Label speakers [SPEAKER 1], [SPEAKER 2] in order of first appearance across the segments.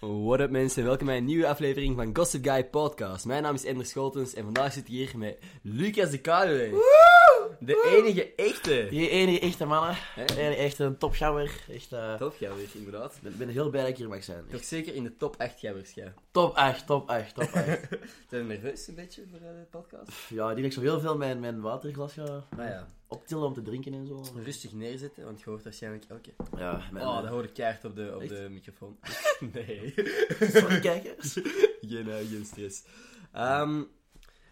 [SPEAKER 1] What up mensen, welkom bij een nieuwe aflevering van Gossip Guy Podcast. Mijn naam is Ender Scholtens en vandaag zit ik hier met Lucas de Kaluwe. De enige echte.
[SPEAKER 2] Die enige echte mannen. Enige echt een topgammer. Echt, eh,
[SPEAKER 1] Top gabbers, inderdaad.
[SPEAKER 2] ik ben, ben heel blij dat ik hier mag zijn.
[SPEAKER 1] Toch zeker in de top 8 gabbers, ja.
[SPEAKER 2] Top 8, top 8, top 8.
[SPEAKER 1] Zijn we nerveus een beetje voor eh, de podcast?
[SPEAKER 2] ja, ik denk dat ik zo heel veel mijn, mijn waterglas ga
[SPEAKER 1] Maar ja,
[SPEAKER 2] optillen om te drinken en zo.
[SPEAKER 1] rustig neerzetten, want je hoort waarschijnlijk elke...
[SPEAKER 2] Ja, mijn...
[SPEAKER 1] Oh, dat hoorde kaart op de, op
[SPEAKER 2] Echt?
[SPEAKER 1] de microfoon. nee.
[SPEAKER 2] Sorry kijkers.
[SPEAKER 1] geen, eh, geen stress. Ehm,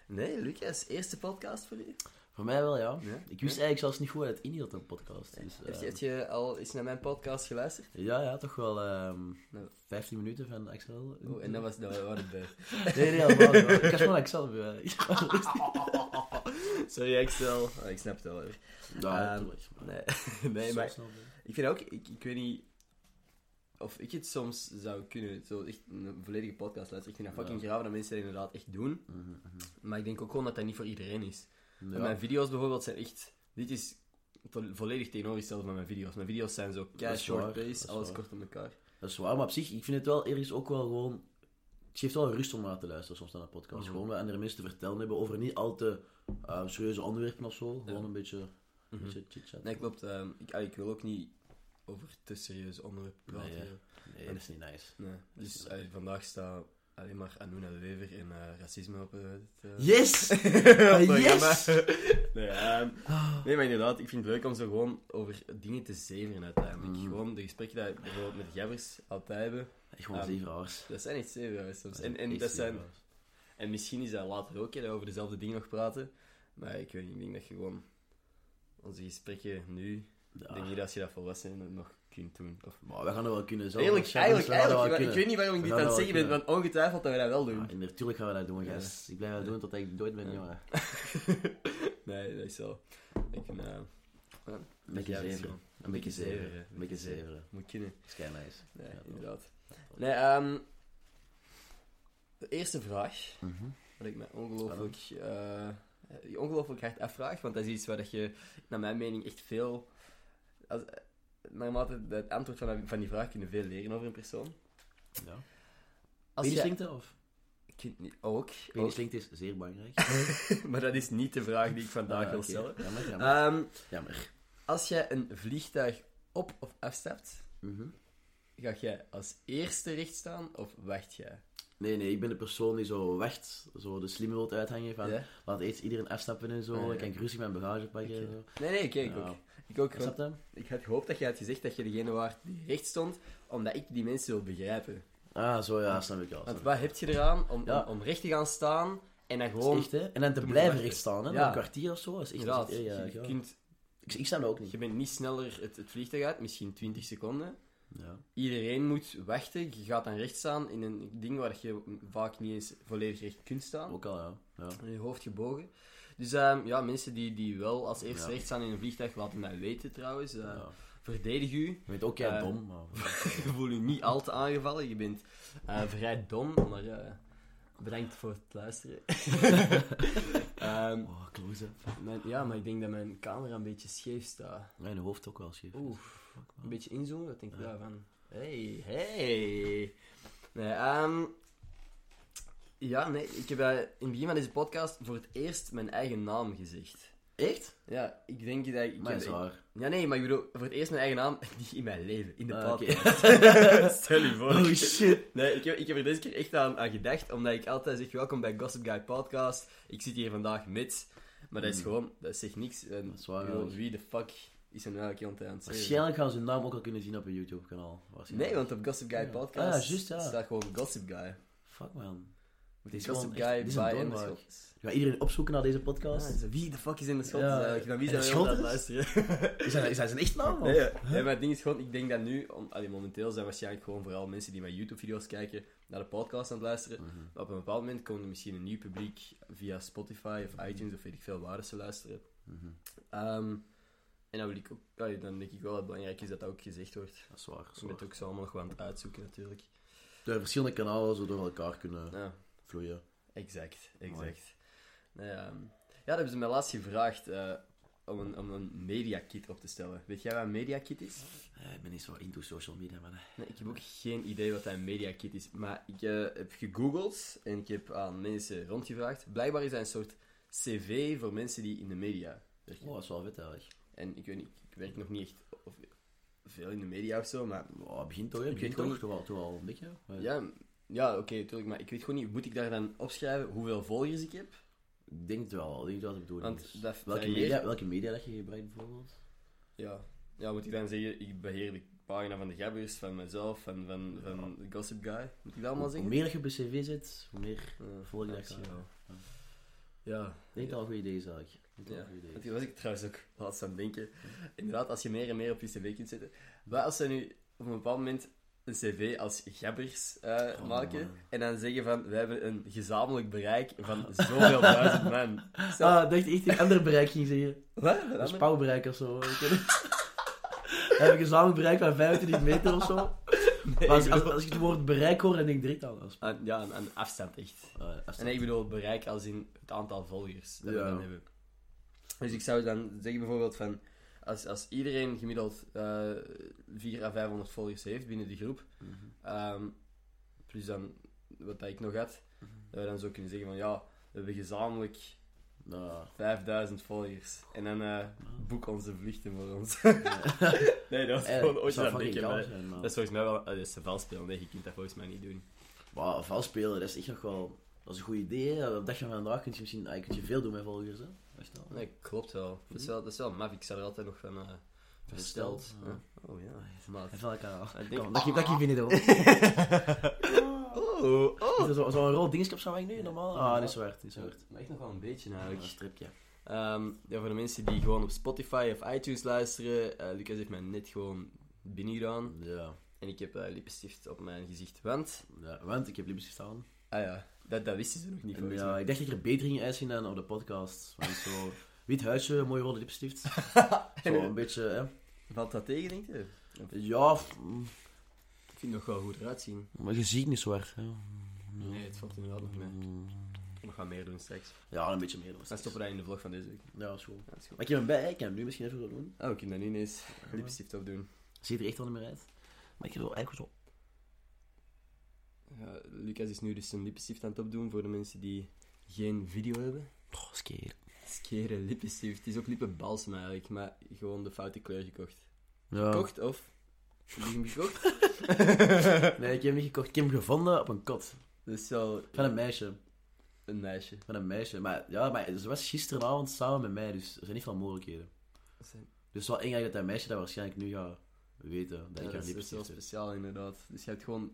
[SPEAKER 1] nee, Lucas, eerste podcast voor u?
[SPEAKER 2] Voor mij wel, ja.
[SPEAKER 1] Ja?
[SPEAKER 2] Ik wist eigenlijk zelfs niet goed dat het in hield, een podcast.
[SPEAKER 1] Heb je,
[SPEAKER 2] Dus, eh,
[SPEAKER 1] heb je al eens naar mijn podcast geluisterd?
[SPEAKER 2] ja, ja, toch wel ehm
[SPEAKER 1] Nou.
[SPEAKER 2] 15 minuten van Axel.
[SPEAKER 1] Oeh, Oh, en dat was... Dat was het bij.
[SPEAKER 2] Nee, nee, helemaal niet, hoor. Ik had gewoon Axel eh. bij.
[SPEAKER 1] Sorry, Excel. Oh, ik snap het wel hoor.
[SPEAKER 2] Ja,
[SPEAKER 1] Ehm,
[SPEAKER 2] natuurlijk.
[SPEAKER 1] Nee, nee
[SPEAKER 2] Zo
[SPEAKER 1] maar
[SPEAKER 2] snel, man.
[SPEAKER 1] ik vind ook, ik, ik weet niet of ik het soms zou kunnen, zo echt een volledige podcast luisteren. Ik vind dat fucking graaf dat mensen dat inderdaad echt doen.
[SPEAKER 2] Mhm.
[SPEAKER 1] Maar ik denk ook gewoon dat dat niet voor iedereen is. Want
[SPEAKER 2] Ja.
[SPEAKER 1] Mijn video's bijvoorbeeld zijn echt, dit is vo- volledig tegenovergesteld van mijn video's. Mijn video's zijn zo
[SPEAKER 2] Dat
[SPEAKER 1] kei
[SPEAKER 2] is
[SPEAKER 1] short
[SPEAKER 2] waar, dat
[SPEAKER 1] pace,
[SPEAKER 2] is
[SPEAKER 1] alles
[SPEAKER 2] waar.
[SPEAKER 1] kort op elkaar.
[SPEAKER 2] Dat is waar, maar op zich, ik vind het wel ergens ook wel gewoon... Het geeft wel rust om naar te luisteren soms naar een podcast.
[SPEAKER 1] Mhm.
[SPEAKER 2] Gewoon wat andere mensen te vertellen hebben over niet al te eh, serieuze onderwerpen of zo. Gewoon een beetje, een
[SPEAKER 1] Mhm.
[SPEAKER 2] beetje chit-chat.
[SPEAKER 1] Nee, klopt. ehm, ik, ah, ik wil ook niet over te serieuze onderwerpen praten.
[SPEAKER 2] Nee, hè.
[SPEAKER 1] joh.
[SPEAKER 2] Nee, dat is niet nice.
[SPEAKER 1] Nee. Dus eh, vandaag staat alleen maar Anouna de Wever en eh, racisme op eh, het... eh,
[SPEAKER 2] Yes!
[SPEAKER 1] Ah,
[SPEAKER 2] yes!
[SPEAKER 1] nee, ehm, nee, maar inderdaad, ik vind het leuk om zo gewoon over dingen te zeveren uiteindelijk.
[SPEAKER 2] Mm.
[SPEAKER 1] Gewoon de gesprekken die we bijvoorbeeld met gabbers altijd hebben,
[SPEAKER 2] Gewoon
[SPEAKER 1] Ehm,
[SPEAKER 2] zeven hours.
[SPEAKER 1] dat zijn echt zeven soms. Ehm, En, en,
[SPEAKER 2] Echt
[SPEAKER 1] dat zijn,
[SPEAKER 2] zeven hours.
[SPEAKER 1] en misschien is dat later ook, hè, dat we over dezelfde dingen nog praten. Maar ik weet niet, ik denk dat je gewoon onze gesprekken nu, ik
[SPEAKER 2] Ja.
[SPEAKER 1] denk niet dat als je dat volwassen bent, nog kunt doen. Of...
[SPEAKER 2] Ah. Maar we gaan dat wel kunnen. Zo,
[SPEAKER 1] Eigenlijk, eigenlijk, eigenlijk, maar ik weet niet waarom ik
[SPEAKER 2] We
[SPEAKER 1] dit
[SPEAKER 2] gaan
[SPEAKER 1] aan het
[SPEAKER 2] dat
[SPEAKER 1] zeggen
[SPEAKER 2] wel Ah,
[SPEAKER 1] ben, want ongetwijfeld dat we dat wel doen.
[SPEAKER 2] Ja, natuurlijk gaan we dat doen,
[SPEAKER 1] Ja.
[SPEAKER 2] gast. Ik blijf dat doen tot ik dood ben,
[SPEAKER 1] Ja.
[SPEAKER 2] jongen.
[SPEAKER 1] nee, dat is zo. Ik vind, eh,
[SPEAKER 2] Een beetje
[SPEAKER 1] ja, dat is
[SPEAKER 2] zeveren.
[SPEAKER 1] gewoon-
[SPEAKER 2] Een beetje zeveren.
[SPEAKER 1] hè.
[SPEAKER 2] Een beetje zeveren.
[SPEAKER 1] Moet kunnen.
[SPEAKER 2] Dat is kei nice.
[SPEAKER 1] Nee,
[SPEAKER 2] Ja, toch.
[SPEAKER 1] inderdaad. Nee, ehm, de eerste vraag,
[SPEAKER 2] Mhm.
[SPEAKER 1] wat ik me ongelooflijk, eh, eh, ongelooflijk hard afvraag, want dat is iets waar dat je, naar mijn mening, echt veel... Als, eh, naarmate het antwoord van, van die vraag kunnen veel leren over een persoon.
[SPEAKER 2] Ja.
[SPEAKER 1] Als je,
[SPEAKER 2] Penislinkte, of?
[SPEAKER 1] ik weet niet, ook, ook,
[SPEAKER 2] Penislinkte is zeer belangrijk.
[SPEAKER 1] maar dat is niet de vraag die ik vandaag
[SPEAKER 2] Ah,
[SPEAKER 1] wil
[SPEAKER 2] oké.
[SPEAKER 1] stellen.
[SPEAKER 2] Jammer, jammer.
[SPEAKER 1] Ehm,
[SPEAKER 2] jammer.
[SPEAKER 1] als jij een vliegtuig op of afstapt, ga jij als eerste recht staan of wacht jij?
[SPEAKER 2] Nee, nee, ik ben de persoon die zo wacht, zo de slimme wilt uithangen van
[SPEAKER 1] Ja? Ah,
[SPEAKER 2] laat eerst iedereen afstappen en zo,
[SPEAKER 1] Ja, eh, ja.
[SPEAKER 2] dan kan ik rustig mijn bagage pakken en
[SPEAKER 1] Oké.
[SPEAKER 2] zo.
[SPEAKER 1] Nee, nee, kijk
[SPEAKER 2] Ja.
[SPEAKER 1] ook. Ik ook gewoon
[SPEAKER 2] Snap je?
[SPEAKER 1] Ik had gehoopt dat je had gezegd dat je degene waard die recht stond, omdat ik die mensen wil begrijpen.
[SPEAKER 2] Ah, zo ja, snap ik wel.
[SPEAKER 1] Want
[SPEAKER 2] snap ik.
[SPEAKER 1] wat heb je eraan om,
[SPEAKER 2] Ja.
[SPEAKER 1] om, om recht te gaan staan en dan
[SPEAKER 2] Dat is
[SPEAKER 1] gewoon...
[SPEAKER 2] echt, hè? En dan te
[SPEAKER 1] moet
[SPEAKER 2] blijven
[SPEAKER 1] wachten.
[SPEAKER 2] recht staan, hè?
[SPEAKER 1] Ja.
[SPEAKER 2] Een kwartier of zo, dat is echt...
[SPEAKER 1] Inderdaad,
[SPEAKER 2] dat is echt
[SPEAKER 1] je,
[SPEAKER 2] erg,
[SPEAKER 1] je
[SPEAKER 2] ja.
[SPEAKER 1] kunt,
[SPEAKER 2] ik, ik snap dat ook niet.
[SPEAKER 1] je bent niet sneller het, het vliegtuig uit, misschien 20 seconden.
[SPEAKER 2] Ja.
[SPEAKER 1] Iedereen moet wachten, je gaat dan recht staan in een ding waar je vaak niet eens volledig recht kunt staan.
[SPEAKER 2] Ook al, ja. ja.
[SPEAKER 1] Met je hoofd gebogen. Dus ehm, ja, mensen die, die wel als eerste
[SPEAKER 2] Ja.
[SPEAKER 1] recht staan in een vliegtuig, laten mij weten trouwens. Eh,
[SPEAKER 2] ja.
[SPEAKER 1] Verdedig u,
[SPEAKER 2] Je bent ook jij
[SPEAKER 1] Eh,
[SPEAKER 2] dom, maar...
[SPEAKER 1] Je voelt je niet al te aangevallen. Je bent eh, vrij dom, maar eh, bedankt voor het luisteren. Ehm,
[SPEAKER 2] Oh, close up.
[SPEAKER 1] mijn- ja, maar ik denk dat mijn camera een beetje scheef staat.
[SPEAKER 2] Mijn hoofd ook wel scheef.
[SPEAKER 1] Oeh, een beetje inzoomen. Wat denk je daarvan? Hey, hey. Nee, ehm, ja, nee, ik heb eh, in het begin van deze podcast voor het eerst mijn eigen naam gezegd.
[SPEAKER 2] Echt?
[SPEAKER 1] Ja, ik denk dat ik... ik
[SPEAKER 2] Maar
[SPEAKER 1] heb-
[SPEAKER 2] dat is waar.
[SPEAKER 1] Ja, nee, maar ik bedoel, voor het eerst mijn eigen naam, niet in mijn leven, in de
[SPEAKER 2] Ah, oké.
[SPEAKER 1] podcast. Stel je voor.
[SPEAKER 2] Oh shit.
[SPEAKER 1] Nee, ik heb, ik heb er deze keer echt aan, aan gedacht, omdat ik altijd zeg welkom bij Gossip Guy Podcast. Ik zit hier vandaag met, maar dat is
[SPEAKER 2] Mm.
[SPEAKER 1] gewoon, dat zegt niks. En,
[SPEAKER 2] Dat is waar,
[SPEAKER 1] ik bedoel,
[SPEAKER 2] ja.
[SPEAKER 1] wie de fuck is er nou eigenlijk iemand aan het zeggen?
[SPEAKER 2] Waarschijnlijk gaan ze hun naam ook al kunnen zien op hun YouTube-kanaal. waarschijnlijk.
[SPEAKER 1] Nee, want op Gossip Guy
[SPEAKER 2] Ja.
[SPEAKER 1] Podcast
[SPEAKER 2] Ah, juist, ja.
[SPEAKER 1] staat gewoon Gossip Guy.
[SPEAKER 2] Fuck man.
[SPEAKER 1] Dit
[SPEAKER 2] is
[SPEAKER 1] is Gossip
[SPEAKER 2] gewoon echt-
[SPEAKER 1] Guy
[SPEAKER 2] dit is een
[SPEAKER 1] by Ender
[SPEAKER 2] doorbraak.
[SPEAKER 1] Scholtens.
[SPEAKER 2] Ik ga iedereen opzoeken naar deze
[SPEAKER 1] Ah,
[SPEAKER 2] podcast.
[SPEAKER 1] dus wie de fuck is in de schot?
[SPEAKER 2] Ja.
[SPEAKER 1] eigenlijk? Naar wie zijn
[SPEAKER 2] Ender
[SPEAKER 1] we allemaal aan het
[SPEAKER 2] Scholtens?
[SPEAKER 1] luisteren?
[SPEAKER 2] Is hij, is hij zijn echt naam? of-
[SPEAKER 1] Nee, ja. Nee, maar het ding is gewoon, ik denk dat nu, om, allee, momenteel zijn waarschijnlijk gewoon vooral mensen die mijn YouTube-video's kijken naar de podcast aan het luisteren. Maar op een bepaald moment komt er misschien een nieuw publiek via Spotify of iTunes of weet ik veel waar dat ze luisteren.
[SPEAKER 2] Mhm.
[SPEAKER 1] Ehm, en dan, wil ik ook, allee, dan denk ik wel dat het belangrijk is dat dat ook gezegd wordt.
[SPEAKER 2] Dat is waar.
[SPEAKER 1] Ik ben het ook zo allemaal nog wel aan het uitzoeken natuurlijk.
[SPEAKER 2] Door verschillende kanalen zo door elkaar kunnen
[SPEAKER 1] Ja,
[SPEAKER 2] vloeien.
[SPEAKER 1] exact,
[SPEAKER 2] Mooi.
[SPEAKER 1] exact. Nee, ehm, ja, dat hebben ze mij laatst gevraagd. eh, om een, om een mediakit op te stellen. Weet jij wat een mediakit is?
[SPEAKER 2] Eh, ik ben niet zo into social media, eh. man. hè.
[SPEAKER 1] Nee, ik heb ook geen idee wat dat een mediakit is. Maar ik eh, heb gegoogeld en ik heb aan mensen rondgevraagd. Blijkbaar is dat een soort cv voor mensen die in de media werken.
[SPEAKER 2] Oh, dat is wel vet eigenlijk.
[SPEAKER 1] En ik weet niet, ik werk nog niet echt of, veel in de media of zo, maar...
[SPEAKER 2] Oh, het begint toch, hè? Het begint
[SPEAKER 1] weet
[SPEAKER 2] toch, toch, wel, toch wel een beetje. hè?
[SPEAKER 1] Ja, ja oké, natuurlijk. Maar ik weet gewoon niet, moet ik daar dan opschrijven hoeveel volgers ik heb?
[SPEAKER 2] Ik denk het wel, ik denk dat het bedoeling is.
[SPEAKER 1] Want dat
[SPEAKER 2] Welke
[SPEAKER 1] varieert-
[SPEAKER 2] media, welke media dat je gebruikt bijvoorbeeld?
[SPEAKER 1] Ja. ja, moet ik dan zeggen, ik beheer de pagina van de gabbers, van mezelf, van, van, van de Gossip Guy. Moet ik dat allemaal
[SPEAKER 2] Hoe, hoe
[SPEAKER 1] zeggen?
[SPEAKER 2] meer dat je op je cv zit, hoe meer
[SPEAKER 1] Ja,
[SPEAKER 2] volg je dat
[SPEAKER 1] misschien
[SPEAKER 2] kan.
[SPEAKER 1] wel.
[SPEAKER 2] Ja.
[SPEAKER 1] Ja.
[SPEAKER 2] Ik denk dat wel een goed idee is eigenlijk. Ik denk
[SPEAKER 1] Ja,
[SPEAKER 2] dat wel een goed idee
[SPEAKER 1] want
[SPEAKER 2] is.
[SPEAKER 1] daar was ik trouwens ook laatst aan het denken. Inderdaad, als je meer en meer op je cv kunt zetten. Wat als ze nu op een bepaald moment een cv als gabbers eh, maken
[SPEAKER 2] Oh, man.
[SPEAKER 1] en dan zeggen van, wij hebben een gezamenlijk bereik van zoveel duizend man. Stel-
[SPEAKER 2] Ah, ik dacht echt een ander bereik ging zeggen.
[SPEAKER 1] Wat?
[SPEAKER 2] Een spouwbereik of zo. ik weet het. We hebben een gezamenlijk bereik van 25 meter of zo.
[SPEAKER 1] Nee,
[SPEAKER 2] Maar als,
[SPEAKER 1] ik
[SPEAKER 2] als,
[SPEAKER 1] bedoel-
[SPEAKER 2] als ik het woord bereik hoor, dan denk ik direct aan. Als,
[SPEAKER 1] aan, ja, aan, aan afstand echt.
[SPEAKER 2] Ah, ja, als
[SPEAKER 1] En nee, ik bedoel bereik als in het aantal volgers dat we
[SPEAKER 2] Ja.
[SPEAKER 1] dan hebben. Dus ik zou dan zeggen bijvoorbeeld van... Als, als iedereen gemiddeld eh 400 à 500 volgers heeft binnen de groep,
[SPEAKER 2] Mhm.
[SPEAKER 1] ehm, plus dan wat dat ik nog had,
[SPEAKER 2] Mhm.
[SPEAKER 1] dat we dan zo kunnen zeggen van ja, we hebben gezamenlijk
[SPEAKER 2] Nou,
[SPEAKER 1] 5000 volgers. En dan eh, boek onze vluchten voor ons. nee, dat is
[SPEAKER 2] eh,
[SPEAKER 1] gewoon
[SPEAKER 2] het
[SPEAKER 1] ooit
[SPEAKER 2] zou
[SPEAKER 1] aan
[SPEAKER 2] fucking
[SPEAKER 1] denken.
[SPEAKER 2] koud
[SPEAKER 1] maar
[SPEAKER 2] zijn, man.
[SPEAKER 1] Dat is volgens mij wel... ah, dat is te vals spelen. Nee, je kunt dat volgens mij niet doen.
[SPEAKER 2] Maar vals spelen, dat is echt nog wel... Dat is een goed idee. hè. Op dag van vandaag kun je misschien... ah, je kunt je veel doen met volgers, hè. Echt wel.
[SPEAKER 1] Nee, klopt wel. Dat is wel, dat is wel maf. Ik sta er altijd nog van eh, versteld.
[SPEAKER 2] Versteld,
[SPEAKER 1] Oh ja,
[SPEAKER 2] Dat
[SPEAKER 1] maat.
[SPEAKER 2] is wel lekker, hoor.
[SPEAKER 1] Ik denk-
[SPEAKER 2] Kom, Dat je dat je binnen hoor.
[SPEAKER 1] Oh,
[SPEAKER 2] Is dat zo- Zo'n rood dingetje op zijn wang nu, normaal? Ah, dat is zwart. Niet zwart.
[SPEAKER 1] Maar echt nog wel een beetje
[SPEAKER 2] Een
[SPEAKER 1] namelijk.
[SPEAKER 2] stripje.
[SPEAKER 1] Ehm, ja, voor de mensen die gewoon op Spotify of iTunes luisteren, eh, Lucas heeft mij net gewoon binnengedaan.
[SPEAKER 2] Ja.
[SPEAKER 1] En ik heb eh, lippenstift op mijn gezicht. Want,
[SPEAKER 2] ja. Want ik heb lips gestaan.
[SPEAKER 1] ah ja, dat, dat wisten ze nog niet
[SPEAKER 2] En
[SPEAKER 1] volgens
[SPEAKER 2] ja,
[SPEAKER 1] mij.
[SPEAKER 2] ik dacht dat ik er beter ging uitzien dan op de podcast. Want zo, wit huisje, mooi rode lipstift. Zo een beetje, hè.
[SPEAKER 1] Valt dat tegen, denk je?
[SPEAKER 2] Ja, f- mm,
[SPEAKER 1] Ik vind het nog wel goed eruit zien.
[SPEAKER 2] maar je ziet niet zo hard. Hè.
[SPEAKER 1] Nee, het valt inderdaad nog mee.
[SPEAKER 2] Mm.
[SPEAKER 1] We gaan meer doen straks.
[SPEAKER 2] Ja, een beetje meer.
[SPEAKER 1] Dan stoppen we dat in de vlog van deze week.
[SPEAKER 2] Ja, dat is goed.
[SPEAKER 1] Ja, dat is goed.
[SPEAKER 2] Maar ik heb hem bij, ik kan hem nu misschien even zo doen.
[SPEAKER 1] Oh, ik kan dat niet eens lippenstift opdoen.
[SPEAKER 2] Ziet er echt al niet meer uit. Maar ik heb wel eigenlijk zo...
[SPEAKER 1] Ja, Lucas is nu dus zijn lippenstift aan het opdoen voor de mensen die geen video hebben.
[SPEAKER 2] Oh, skeer.
[SPEAKER 1] Skere lippenstift. Het is ook lippenbalsem eigenlijk, maar gewoon de foute kleur gekocht.
[SPEAKER 2] Ja.
[SPEAKER 1] Gekocht of? Heb je hem gekocht?
[SPEAKER 2] Nee, ik heb hem niet gekocht. Ik heb hem gevonden op een kot.
[SPEAKER 1] Dat is wel
[SPEAKER 2] Van een meisje.
[SPEAKER 1] een meisje.
[SPEAKER 2] Van een meisje. Maar ja, maar ze was gisteravond samen met mij, dus er zijn niet veel mogelijkheden.
[SPEAKER 1] Dat is-
[SPEAKER 2] Dus wel eng dat dat meisje dat waarschijnlijk nu gaat weten. Dat
[SPEAKER 1] ja,
[SPEAKER 2] ik
[SPEAKER 1] dat
[SPEAKER 2] haar
[SPEAKER 1] is- dat is wel
[SPEAKER 2] lipstift heb.
[SPEAKER 1] speciaal inderdaad. Dus je hebt gewoon...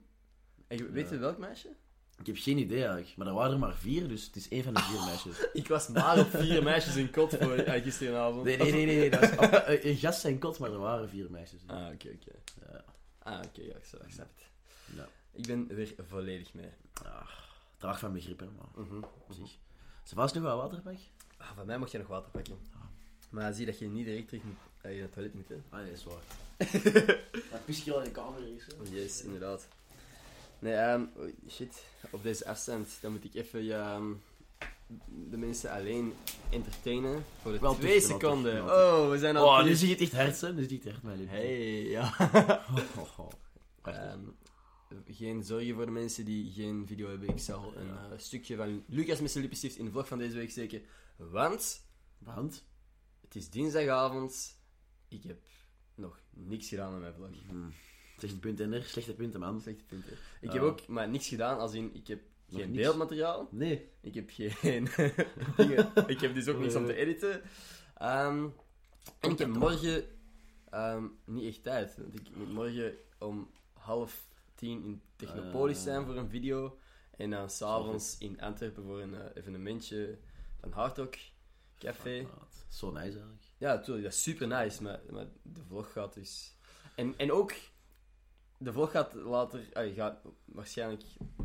[SPEAKER 1] En je-
[SPEAKER 2] Ja.
[SPEAKER 1] Weet je welk meisje?
[SPEAKER 2] Ik heb geen idee eigenlijk, maar er waren er maar vier, dus het is één van de vier meisjes.
[SPEAKER 1] Ik was maar op vier meisjes in kot voor eh, gisteravond.
[SPEAKER 2] Nee, nee, nee, nee, nee, dat is op- eh, een gast zijn kot, maar er waren vier meisjes.
[SPEAKER 1] Ah, oké, oké.
[SPEAKER 2] Ja.
[SPEAKER 1] Ah, oké, ja, ik snap- ik snap het.
[SPEAKER 2] Ja.
[SPEAKER 1] Ik ben weer volledig mee.
[SPEAKER 2] Ah, traag van begrip, hè, maar
[SPEAKER 1] Mhm.
[SPEAKER 2] op zich. Ze was nog wel waterpak?
[SPEAKER 1] Ah, van mij mocht je nog water pakken.
[SPEAKER 2] Ah.
[SPEAKER 1] Maar zie dat je niet direct terug moet, eh, naar het toilet moet, hè.
[SPEAKER 2] Ah, nee, is waar. Maar pis je al in de kamer is, hè?
[SPEAKER 1] Yes, inderdaad. Nee, ehm, oei, shit. Op deze afstand, dan moet ik even ja, ehm, de mensen alleen entertainen. Voor de
[SPEAKER 2] Wel
[SPEAKER 1] twee
[SPEAKER 2] terug, wel
[SPEAKER 1] seconden.
[SPEAKER 2] terug,
[SPEAKER 1] Oh, we zijn al
[SPEAKER 2] Oh,
[SPEAKER 1] terug.
[SPEAKER 2] nu zie je het echt hard, hè? Nu zie je het echt, mijn lief.
[SPEAKER 1] Hey, ja.
[SPEAKER 2] Oh, oh, oh. Wacht eens.
[SPEAKER 1] Ehm, geen zorgen voor de mensen die geen video hebben. Ik zal een
[SPEAKER 2] Ja.
[SPEAKER 1] eh, stukje van Lucas met zijn lippenstift in de vlog van deze week steken. Want
[SPEAKER 2] Want?
[SPEAKER 1] het is dinsdagavond. Ik heb nog niks gedaan aan mijn vlog.
[SPEAKER 2] Hm. Slechte punten, hè? Slechte punten, man.
[SPEAKER 1] Slechte punten. Ik
[SPEAKER 2] Ja.
[SPEAKER 1] heb ook maar niks gedaan, als in ik heb
[SPEAKER 2] Ah. Nog
[SPEAKER 1] geen
[SPEAKER 2] niks?
[SPEAKER 1] beeldmateriaal.
[SPEAKER 2] Nee.
[SPEAKER 1] Ik heb geen dingen. Ik heb dus ook niks om te editen. Ehm, en ik heb morgen ehm, niet echt tijd. Want ik moet morgen om half tien in
[SPEAKER 2] Ah.
[SPEAKER 1] Technopolis zijn voor een video. En dan s'avonds in Antwerpen voor een eh, evenementje van Hardrock Café.
[SPEAKER 2] Ah, het is Zo nice, eigenlijk.
[SPEAKER 1] Ja, natuurlijk, dat is super nice, maar, maar de vlog gaat dus. En, en ook, de vlog gaat later, ah, gaat waarschijnlijk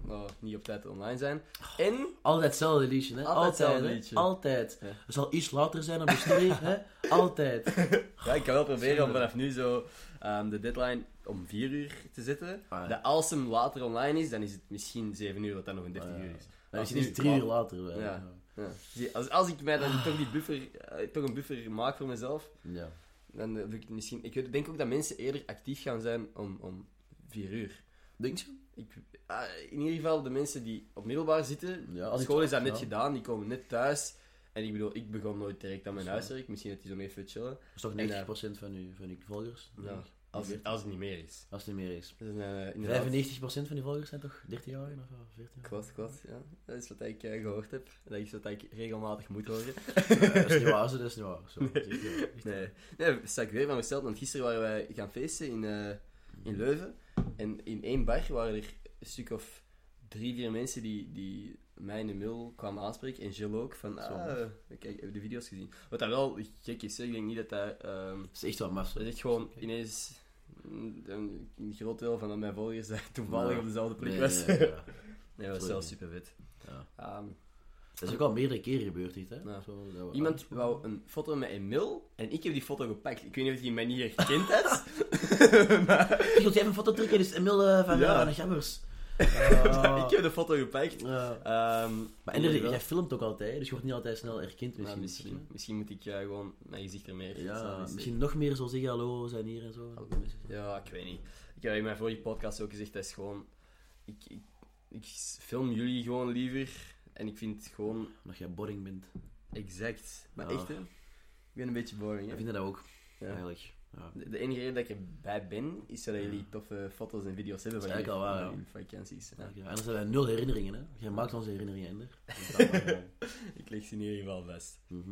[SPEAKER 1] eh, niet op tijd online zijn. En
[SPEAKER 2] Altijd hetzelfde liedje, hè?
[SPEAKER 1] Altijd hetzelfde
[SPEAKER 2] hè?
[SPEAKER 1] liedje.
[SPEAKER 2] Altijd.
[SPEAKER 1] Ja.
[SPEAKER 2] Er zal iets later zijn op de streep, hè? Altijd. Nou,
[SPEAKER 1] Ja, ik kan wel proberen om vanaf nu zo ehm, de deadline om 4 uur te zetten.
[SPEAKER 2] Ah, ja.
[SPEAKER 1] Dat als hem later online is, dan is het misschien 7 uur, wat dan nog een 30
[SPEAKER 2] Ah, ja.
[SPEAKER 1] uur is.
[SPEAKER 2] Dan is
[SPEAKER 1] Als
[SPEAKER 2] het
[SPEAKER 1] nu-
[SPEAKER 2] drie uur later. hè.
[SPEAKER 1] Ja. Ja. Zie, Als, als ik mij dan toch, die buffer, eh, toch een buffer maak voor mezelf,
[SPEAKER 2] Ja.
[SPEAKER 1] dan eh, doe ik het misschien... Ik weet- denk ook dat mensen eerder actief gaan zijn om, om vier uur.
[SPEAKER 2] Denk je?
[SPEAKER 1] Ik, ah, in ieder geval de mensen die op middelbaar zitten,
[SPEAKER 2] Ja, als ik-
[SPEAKER 1] school is dat net
[SPEAKER 2] ja.
[SPEAKER 1] gedaan, die komen net thuis. En ik bedoel, ik begon nooit direct aan mijn
[SPEAKER 2] Zo.
[SPEAKER 1] huiswerk, misschien dat die zo mee even chillen.
[SPEAKER 2] Dat is toch 90%
[SPEAKER 1] En, eh,
[SPEAKER 2] van, uw, van uw volgers? denk
[SPEAKER 1] Ja.
[SPEAKER 2] ik.
[SPEAKER 1] Als, het- als het niet meer is.
[SPEAKER 2] Als het niet meer is.
[SPEAKER 1] Dus, eh, inderdaad.
[SPEAKER 2] 95% van uw volgers zijn toch 13-jarigen of eh, 14-jarigen?
[SPEAKER 1] Klopt, klopt. Ja. Dat is wat ik eh, gehoord heb. Dat is wat ik regelmatig moet horen.
[SPEAKER 2] Eh, dat is niet waar, zo, dat is niet waar. Zo, dat is niet waar. Echt
[SPEAKER 1] Nee, nee sta ik weer van mezelf. Want gisteren waren wij gaan feesten in, eh, in Leuven. En in één bar waren er een stuk of drie, vier mensen die, die mij in de mail kwamen aanspreken. En Jill ook. Van, ah,
[SPEAKER 2] Zo.
[SPEAKER 1] kijk, heb je de video's gezien? Wat dat wel gek is. hè. Ik denk niet dat dat... ehm
[SPEAKER 2] Dat is echt wel maf. zo.
[SPEAKER 1] dat is gewoon ineens... mm, Een een groot deel van mijn volgers dat toevallig
[SPEAKER 2] Nee.
[SPEAKER 1] op dezelfde plek
[SPEAKER 2] Nee,
[SPEAKER 1] was.
[SPEAKER 2] nee,
[SPEAKER 1] Nee,
[SPEAKER 2] nee, ja.
[SPEAKER 1] dat was wel Ehm,
[SPEAKER 2] Sorry.
[SPEAKER 1] super vet.
[SPEAKER 2] Ja. Dat is ook al meerdere keren gebeurd, niet, hè? Zo, dat we- Ah.
[SPEAKER 1] Iemand wou een foto met Emil en ik heb die foto gepakt. Ik weet niet of hij mij niet herkend had. maar
[SPEAKER 2] Ik wil even een foto trekken, dus Emil eh, van,
[SPEAKER 1] Ja.
[SPEAKER 2] ja. van de Gabbers.
[SPEAKER 1] ik heb de foto gepakt.
[SPEAKER 2] Ja.
[SPEAKER 1] Ehm,
[SPEAKER 2] Ah. Maar inderdaad,
[SPEAKER 1] wel.
[SPEAKER 2] jij filmt ook altijd, hè, dus je wordt niet altijd snel erkend
[SPEAKER 1] Nou,
[SPEAKER 2] misschien.
[SPEAKER 1] misschien, misschien moet ik eh, gewoon mijn gezicht er meer
[SPEAKER 2] Ja,
[SPEAKER 1] staan. Dus,
[SPEAKER 2] misschien nog meer zo zeggen, hallo, we zijn hier en zo.
[SPEAKER 1] eh, Ja, ik weet niet. Ik heb in mijn vorige podcast ook gezegd, dat is gewoon... Ik, ik, ik film jullie gewoon liever. En ik vind het gewoon
[SPEAKER 2] Omdat jij boring bent.
[SPEAKER 1] exact. Maar
[SPEAKER 2] Ja.
[SPEAKER 1] echt, hè? Ik ben een beetje boring,
[SPEAKER 2] Ik
[SPEAKER 1] hè?
[SPEAKER 2] vind dat ook,
[SPEAKER 1] Ja.
[SPEAKER 2] eigenlijk. Ja.
[SPEAKER 1] De, de enige reden dat ik erbij ben, is dat jullie toffe foto's en video's hebben
[SPEAKER 2] Dat
[SPEAKER 1] van
[SPEAKER 2] is
[SPEAKER 1] jullie,
[SPEAKER 2] eigenlijk al waar,
[SPEAKER 1] van jullie vakanties. Ja.
[SPEAKER 2] Ja. Anders hebben wij nul herinneringen, hè. Jij maakt onze herinneringen minder. Dat is allemaal, eh,
[SPEAKER 1] Ik leg ze in ieder geval vast.
[SPEAKER 2] mhm.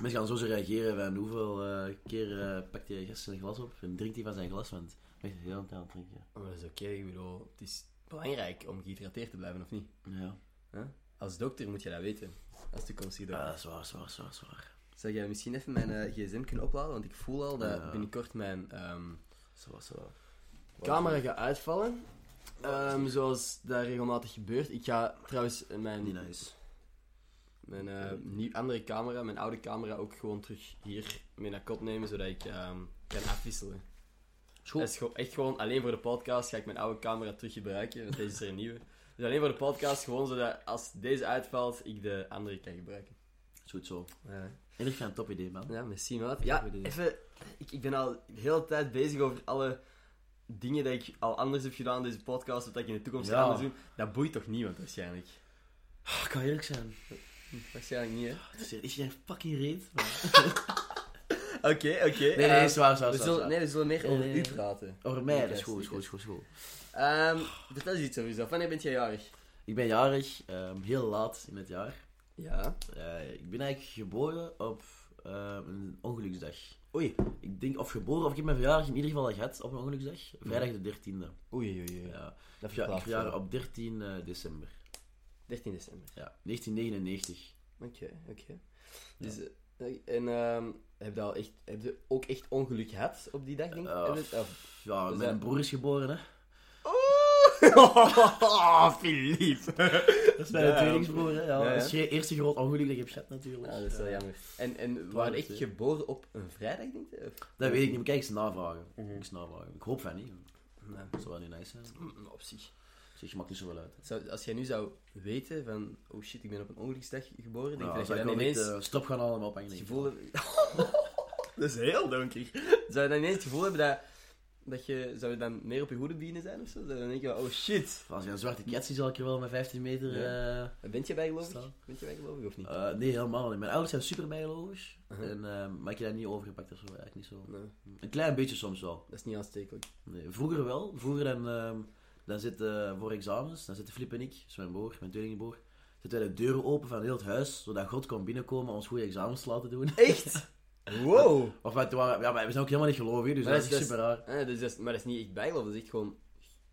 [SPEAKER 2] Mensen gaan zo zo reageren van hoeveel eh, keer eh pakt hij gast zijn glas op en drinkt hij van zijn glas, want hij is de hele tijd aan het drinken.
[SPEAKER 1] Maar dat is oké, ik bedoel, het is belangrijk om gehydrateerd te blijven, of niet?
[SPEAKER 2] Ja,
[SPEAKER 1] Huh? Als dokter moet je dat weten. Als toekomstige dokter.
[SPEAKER 2] ja dat is waar, zwaar, zwaar, zwaar.
[SPEAKER 1] Zou jij misschien even mijn eh, gsm kunnen opladen? Want ik voel al dat
[SPEAKER 2] Ja.
[SPEAKER 1] binnenkort mijn ehm,
[SPEAKER 2] Zwaar, zwaar.
[SPEAKER 1] camera gaat uitvallen. Ehm, zoals dat regelmatig gebeurt. Ik ga trouwens mijn,
[SPEAKER 2] Niet nice.
[SPEAKER 1] mijn eh, nieuw- andere camera, mijn oude camera, ook gewoon terug hier mee naar kot nemen, zodat ik ehm, kan afwisselen.
[SPEAKER 2] School.
[SPEAKER 1] Dat is gewoon- echt gewoon alleen voor de podcast ga ik mijn oude camera terug gebruiken, want deze is er een nieuwe. Dus alleen voor de podcast, gewoon zodat als deze uitvalt, ik de andere kan gebruiken.
[SPEAKER 2] Goed zo.
[SPEAKER 1] Ja,
[SPEAKER 2] En ik ga een top idee, man.
[SPEAKER 1] ja misschien wat. Ja, even, ik, ik ben al de hele tijd bezig over alle dingen dat ik al anders heb gedaan in deze podcast, of dat ik in de toekomst
[SPEAKER 2] Ja.
[SPEAKER 1] ga anders doen. Dat boeit toch niemand waarschijnlijk?
[SPEAKER 2] Ah, ik kan eerlijk zijn.
[SPEAKER 1] Waarschijnlijk niet, hè?
[SPEAKER 2] Het is hier- is hier een fucking reet. maar-
[SPEAKER 1] Oké, oké.
[SPEAKER 2] Nee, nee,
[SPEAKER 1] eh,
[SPEAKER 2] zwaar, zwaar,
[SPEAKER 1] we
[SPEAKER 2] zwaar.
[SPEAKER 1] zullen,
[SPEAKER 2] zwaar.
[SPEAKER 1] nee, we zullen meer over
[SPEAKER 2] Eh,
[SPEAKER 1] u praten.
[SPEAKER 2] Over mij,
[SPEAKER 1] Oké,
[SPEAKER 2] dat is goed, is
[SPEAKER 1] zeker.
[SPEAKER 2] goed, is goed, is goed.
[SPEAKER 1] Ehm, vertel eens iets over jezelf. Wanneer bent jij jarig?
[SPEAKER 2] Ik ben jarig, ehm, heel laat in het jaar.
[SPEAKER 1] Ja.
[SPEAKER 2] Eh, ik ben eigenlijk geboren op ehm, een ongeluksdag.
[SPEAKER 1] Oei.
[SPEAKER 2] Ik denk, of geboren, of ik heb mijn verjaardag in ieder geval al gehad op een ongeluksdag.
[SPEAKER 1] Mhm.
[SPEAKER 2] Vrijdag de 13e.
[SPEAKER 1] Oei, oei, oei.
[SPEAKER 2] Ja.
[SPEAKER 1] Dat
[SPEAKER 2] Ja, ik
[SPEAKER 1] verklaart veel.
[SPEAKER 2] verjaar op 13 december.
[SPEAKER 1] 13 december.
[SPEAKER 2] Ja, 1999.
[SPEAKER 1] Oké, oké. Dus, eh, en ehm, heb je, al echt, heb je ook echt ongeluk gehad op die dag, denk ik?
[SPEAKER 2] Eh,
[SPEAKER 1] Hm, Heb je- of-
[SPEAKER 2] Ja,
[SPEAKER 1] Dus
[SPEAKER 2] mijn
[SPEAKER 1] dat-
[SPEAKER 2] broer is geboren, hè.
[SPEAKER 1] Oh, Philippe.
[SPEAKER 2] Dat is mijn
[SPEAKER 1] Ja,
[SPEAKER 2] tweelingsbroer, hè. Ja,
[SPEAKER 1] Ja, ja.
[SPEAKER 2] Dat is geen eerste groot ongeluk dat je hebt gehad, natuurlijk.
[SPEAKER 1] Ja, dat is wel
[SPEAKER 2] Ja.
[SPEAKER 1] jammer. En, en waren
[SPEAKER 2] dat
[SPEAKER 1] echt
[SPEAKER 2] is-
[SPEAKER 1] geboren op een vrijdag, denk je? Of?
[SPEAKER 2] Dat weet ik niet, maar kijk eens navragen.
[SPEAKER 1] Mhm.
[SPEAKER 2] Ik eens navragen. Ik hoop van niet.
[SPEAKER 1] Nee.
[SPEAKER 2] Dat zou wel niet nice zijn.
[SPEAKER 1] Mm, Op zich.
[SPEAKER 2] Zeg, je maakt niet zoveel uit.
[SPEAKER 1] Zou, als jij nu zou weten van, oh shit, ik ben op een ongeluksdag geboren, denk
[SPEAKER 2] Nou,
[SPEAKER 1] je dat
[SPEAKER 2] zou
[SPEAKER 1] je
[SPEAKER 2] ik
[SPEAKER 1] dan
[SPEAKER 2] wel niet,
[SPEAKER 1] ineens
[SPEAKER 2] eh, stop gaan allemaal op
[SPEAKER 1] het
[SPEAKER 2] Engeland.
[SPEAKER 1] gevoel hebt... dat is heel donker. Zou je dan ineens het gevoel hebben dat, dat je... Zou je dan meer op je hoede beginnen zijn of zo? Zou je dan denken, oh shit.
[SPEAKER 2] Als je een zwarte cat ziet, zal ik er wel met 15 meter... eh,
[SPEAKER 1] Bent je bijgelovig?
[SPEAKER 2] Staan.
[SPEAKER 1] Bent je bijgelovig of niet?
[SPEAKER 2] eh, nee, helemaal niet. Mijn ouders zijn super bijgelovig.
[SPEAKER 1] Uh-huh.
[SPEAKER 2] En, eh, maar ik heb dat niet overgepakt of zo, eigenlijk niet zo.
[SPEAKER 1] Nee,
[SPEAKER 2] Een klein beetje soms wel.
[SPEAKER 1] dat is niet aanstekelijk.
[SPEAKER 2] Nee, vroeger wel. Vroeger dan, ehm, dan zitten voor examens, dan zitten Flip en ik, dat is mijn broer, mijn tweelingbroer, zitten wij de deuren open van heel het huis, zodat God kon binnenkomen om ons goede examens te laten doen.
[SPEAKER 1] Echt? Wow!
[SPEAKER 2] Of wij, toen waren- ja, maar we zijn ook helemaal niet gelovig, dus
[SPEAKER 1] Maar
[SPEAKER 2] dat
[SPEAKER 1] dat
[SPEAKER 2] is
[SPEAKER 1] is-
[SPEAKER 2] super raar.
[SPEAKER 1] Eh, dus dat is, maar dat is niet echt bijgeloof, dat is echt gewoon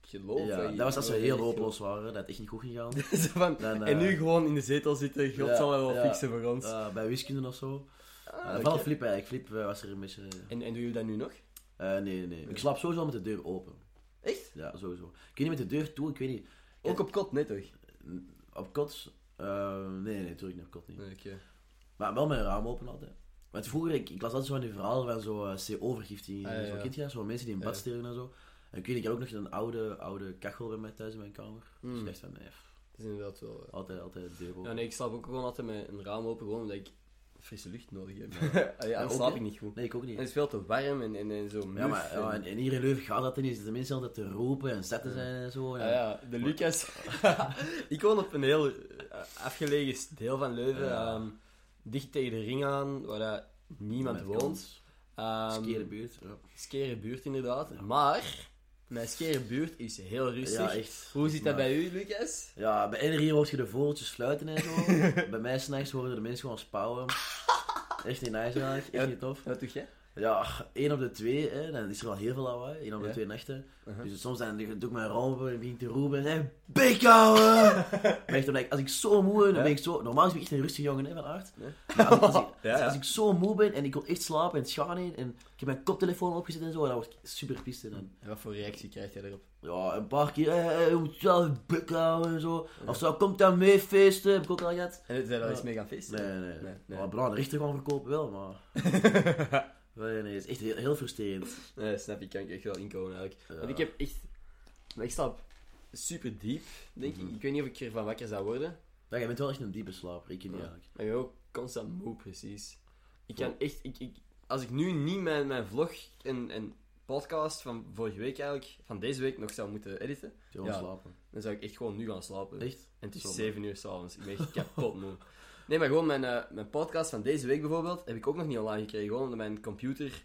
[SPEAKER 1] geloof.
[SPEAKER 2] Ja,
[SPEAKER 1] je-
[SPEAKER 2] dat was als we
[SPEAKER 1] je-
[SPEAKER 2] heel
[SPEAKER 1] je-
[SPEAKER 2] hopeloos waren, dat het echt niet goed ging gaan.
[SPEAKER 1] Zo van,
[SPEAKER 2] Dan, eh,
[SPEAKER 1] en nu gewoon in de zetel zitten, God
[SPEAKER 2] ja,
[SPEAKER 1] zal wel
[SPEAKER 2] ja.
[SPEAKER 1] fixen voor ons.
[SPEAKER 2] eh, bij wiskunde of zo.
[SPEAKER 1] Ah,
[SPEAKER 2] Uh,
[SPEAKER 1] oké.
[SPEAKER 2] Vooral Flip eigenlijk. Flip eh, was er een beetje...
[SPEAKER 1] en, en doen jullie dat nu nog?
[SPEAKER 2] eh, eh, nee, nee, nee. Ik slaap sowieso met de deur open.
[SPEAKER 1] Echt?
[SPEAKER 2] Ja, sowieso. Ik weet niet met de deur toe, ik weet niet...
[SPEAKER 1] Ook op kot, net toch?
[SPEAKER 2] Op kot... eh, nee, nee, natuurlijk niet op kot niet.
[SPEAKER 1] Oké.
[SPEAKER 2] Maar wel mijn raam open altijd. Want vroeger, ik, ik las altijd zo van die verhalen van zo eh, CO-vergiftiging.
[SPEAKER 1] Ah, ja,
[SPEAKER 2] en zo
[SPEAKER 1] ja.
[SPEAKER 2] kind je dat? Zo mensen die in bad
[SPEAKER 1] Ja.
[SPEAKER 2] stelen en zo. En ik weet, ik had ook nog een oude, oude kachel bij mij thuis in mijn kamer. Dus
[SPEAKER 1] Hmm.
[SPEAKER 2] ik dacht van, nee, pff,
[SPEAKER 1] Dus is inderdaad wel... eh.
[SPEAKER 2] Altijd, altijd de deur open.
[SPEAKER 1] Ja, nee, ik slaap ook gewoon altijd met een raam open, gewoon omdat ik frisse lucht nodig heb. Ah, Allee,
[SPEAKER 2] Ja,
[SPEAKER 1] anders
[SPEAKER 2] ook,
[SPEAKER 1] slaap
[SPEAKER 2] hè.
[SPEAKER 1] ik niet goed.
[SPEAKER 2] Nee, ik ook
[SPEAKER 1] En
[SPEAKER 2] niet.
[SPEAKER 1] het is veel te warm en, en, en zo muf.
[SPEAKER 2] Ja, maar ja, en,
[SPEAKER 1] en-
[SPEAKER 2] en hier in Leuven gaat dat ineens. De mensen altijd te roepen en zetten zijn en zo. En,
[SPEAKER 1] Ja, Ah, ja, de Lucas. ik woon op een heel eh, afgelegen deel van Leuven.
[SPEAKER 2] Ja.
[SPEAKER 1] ehm, dicht tegen de ring aan, waar dat niemand
[SPEAKER 2] met
[SPEAKER 1] woont.
[SPEAKER 2] kans.
[SPEAKER 1] Ehm,
[SPEAKER 2] Skere buurt. Ja,
[SPEAKER 1] skere buurt, inderdaad. Maar, mijn skere buurt is heel rustig.
[SPEAKER 2] Ja, echt.
[SPEAKER 1] Hoe zit dat
[SPEAKER 2] Maar-
[SPEAKER 1] bij u, Lucas?
[SPEAKER 2] Ja, bij iedereen hoort je de vogeltjes fluiten en zo. bij mij s'nachts horen de mensen gewoon spouwen. Echt niet nice eigenlijk, echt
[SPEAKER 1] Ja.
[SPEAKER 2] niet tof.
[SPEAKER 1] Wat doe jij?
[SPEAKER 2] Ja, één op de twee, hè, dan is er wel heel veel lawaai, één op de
[SPEAKER 1] Ja.
[SPEAKER 2] twee nachten.
[SPEAKER 1] Uh-huh.
[SPEAKER 2] Dus soms dan doe ik mijn rampen en begin ik te roepen, hé, bek houden! Maar echt, omdat ik- als ik zo moe ben, dan ben ik zo... Normaal ben ik echt een rustige jongen, hè, van aard.
[SPEAKER 1] Ja.
[SPEAKER 2] Maar als, ik- als ik,
[SPEAKER 1] Ja, ja.
[SPEAKER 2] als ik zo moe ben en ik wil echt slapen en het schaam in en ik heb mijn koptelefoon opgezet en zo, dan word ik super piste dan.
[SPEAKER 1] En wat voor reactie krijgt jij erop?
[SPEAKER 2] Ja, een paar keer, eh, hey, hey, je moet zelf je bek houden en zo. Of zo, komt dan mee feesten, heb ik ook al gehad.
[SPEAKER 1] En zijn we daar
[SPEAKER 2] Ja.
[SPEAKER 1] eens mee gaan feesten?
[SPEAKER 2] Nee, nee.
[SPEAKER 1] Nee,
[SPEAKER 2] nee,
[SPEAKER 1] nee.
[SPEAKER 2] Maar Bra, de rechter gaan verkopen wel, maar... nee, nee, het is echt heel, heel frustrerend.
[SPEAKER 1] Nee, snap ik. Kan ik echt wel inkomen, eigenlijk.
[SPEAKER 2] Ja.
[SPEAKER 1] Want ik heb echt... maar Ik slaap super diep, denk ik. Ik weet niet of ik ervan wakker zou worden.
[SPEAKER 2] Ja, jij bent wel echt een diepe slaper, ik niet
[SPEAKER 1] Ja.
[SPEAKER 2] eigenlijk.
[SPEAKER 1] Maar ik ben ook constant moe, precies. Ik kan echt... Ik, ik, als ik nu niet mijn, mijn vlog en, en podcast van vorige week eigenlijk, van deze week, nog zou moeten editen,
[SPEAKER 2] Gewoon
[SPEAKER 1] Ja.
[SPEAKER 2] slapen.
[SPEAKER 1] dan zou ik echt gewoon nu gaan slapen.
[SPEAKER 2] Echt?
[SPEAKER 1] En het is
[SPEAKER 2] Zonde.
[SPEAKER 1] 7 uur s'avonds. Ik ben echt kapot moe. Nee, maar gewoon mijn, eh, mijn podcast van deze week bijvoorbeeld, heb ik ook nog niet online gekregen. Gewoon omdat mijn computer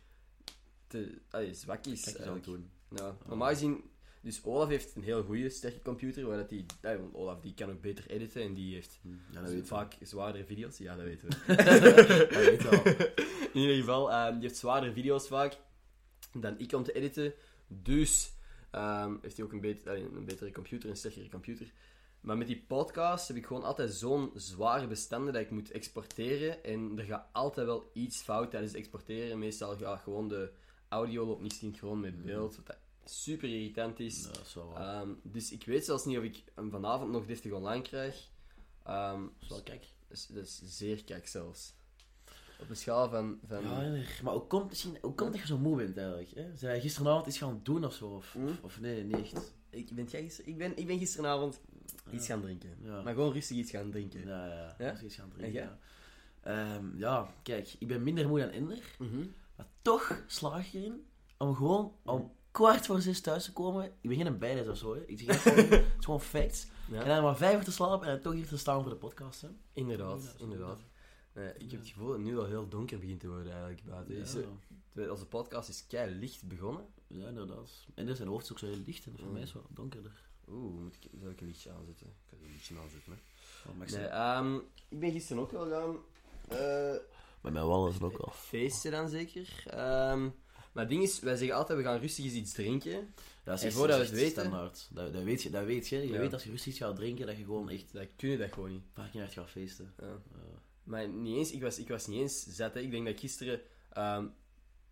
[SPEAKER 1] te allee, zwak is.
[SPEAKER 2] Kijk eens aan Ah.
[SPEAKER 1] eigenlijk.
[SPEAKER 2] het doen.
[SPEAKER 1] Ja, normaal gezien... Dus Olaf heeft een heel goede, sterke computer, waar dat die... ja, want Olaf die kan ook beter editen en die heeft
[SPEAKER 2] Ja, Hmm. dat weet ik.
[SPEAKER 1] vaak zwaardere video's. Ja, dat weten we.
[SPEAKER 2] Dat weet ik wel.
[SPEAKER 1] In ieder geval, ehm, die heeft zwaardere video's vaak dan ik om te editen. Dus ehm, heeft hij ook een, bet- allee, een betere computer, een sterkere computer. Maar met die podcast heb ik gewoon altijd zo'n zware bestanden dat ik moet exporteren. En er gaat altijd wel iets fout tijdens het exporteren. Meestal gaat gewoon de audio loopt niet sync gewoon met
[SPEAKER 2] Hmm.
[SPEAKER 1] beeld. Wat dat super irritant is.
[SPEAKER 2] Ja, dat is wel waar.
[SPEAKER 1] Ehm, dus ik weet zelfs niet of ik hem vanavond nog deftig online krijg. Ehm,
[SPEAKER 2] Dat is wel kijk.
[SPEAKER 1] dat is, dat is zeer kijk zelfs. Op een schaal van... van...
[SPEAKER 2] Ja, erg. maar ook komt, misschien, ook komt dat je zo moe bent eigenlijk. Hè? Zijn jij gisteravond iets gaan doen of zo? Of, of, of nee, niet echt.
[SPEAKER 1] Ik, ben, jij gister- ik, ben, ik ben gisteravond iets gaan drinken.
[SPEAKER 2] Ja.
[SPEAKER 1] Maar gewoon rustig iets gaan drinken.
[SPEAKER 2] Ja, ja.
[SPEAKER 1] Ja?
[SPEAKER 2] ja. Als je iets gaan drinken.
[SPEAKER 1] jij?
[SPEAKER 2] Ja. Ehm, ja, kijk, ik ben minder moe dan Ender.
[SPEAKER 1] Mhm.
[SPEAKER 2] Maar toch slaag ik erin om gewoon om kwart voor zes thuis te komen. Ik ben geen bijles of zo, hè. Ik zeg echt gewoon, het is gewoon facts.
[SPEAKER 1] Ja.
[SPEAKER 2] En dan maar vijf uur te slapen en dan toch hier te staan voor de podcast, hè.
[SPEAKER 1] Inderdaad,
[SPEAKER 2] Ja, dat is
[SPEAKER 1] inderdaad. Nee, ik heb het gevoel dat het nu al heel donker begint te worden eigenlijk buiten.
[SPEAKER 2] Ja,
[SPEAKER 1] Is er- terwijl Onze podcast is kei licht begonnen.
[SPEAKER 2] ja, inderdaad. En er zijn hoofd is ook zo heel licht en voor mij is het wel donkerder.
[SPEAKER 1] Oeh, moet ik, zal ik een lichtje aanzetten? Ik ga een lichtje aanzetten. Hè.
[SPEAKER 2] Oh, maar ik
[SPEAKER 1] Nee,
[SPEAKER 2] zeg-
[SPEAKER 1] ehm, ik ben gisteren ook wel gaan eh,
[SPEAKER 2] Maar mijn wallen is ook al.
[SPEAKER 1] feesten dan zeker. Ehm, maar het ding is, wij zeggen altijd we gaan rustig eens iets drinken.
[SPEAKER 2] Ja, dat
[SPEAKER 1] En
[SPEAKER 2] is echt-
[SPEAKER 1] voordat
[SPEAKER 2] dat is
[SPEAKER 1] we het
[SPEAKER 2] echt
[SPEAKER 1] weten-
[SPEAKER 2] standaard. Dat, dat weet je, dat weet je. Je
[SPEAKER 1] Ja.
[SPEAKER 2] weet als je rustig gaat drinken dat je gewoon echt
[SPEAKER 1] Dat kunnen dat gewoon niet. Ehm,
[SPEAKER 2] fucking hard gaat feesten.
[SPEAKER 1] Ja.
[SPEAKER 2] Ja.
[SPEAKER 1] Maar niet eens, ik, was, ik was niet eens zat. Hè. Ik denk dat ik gisteren ehm,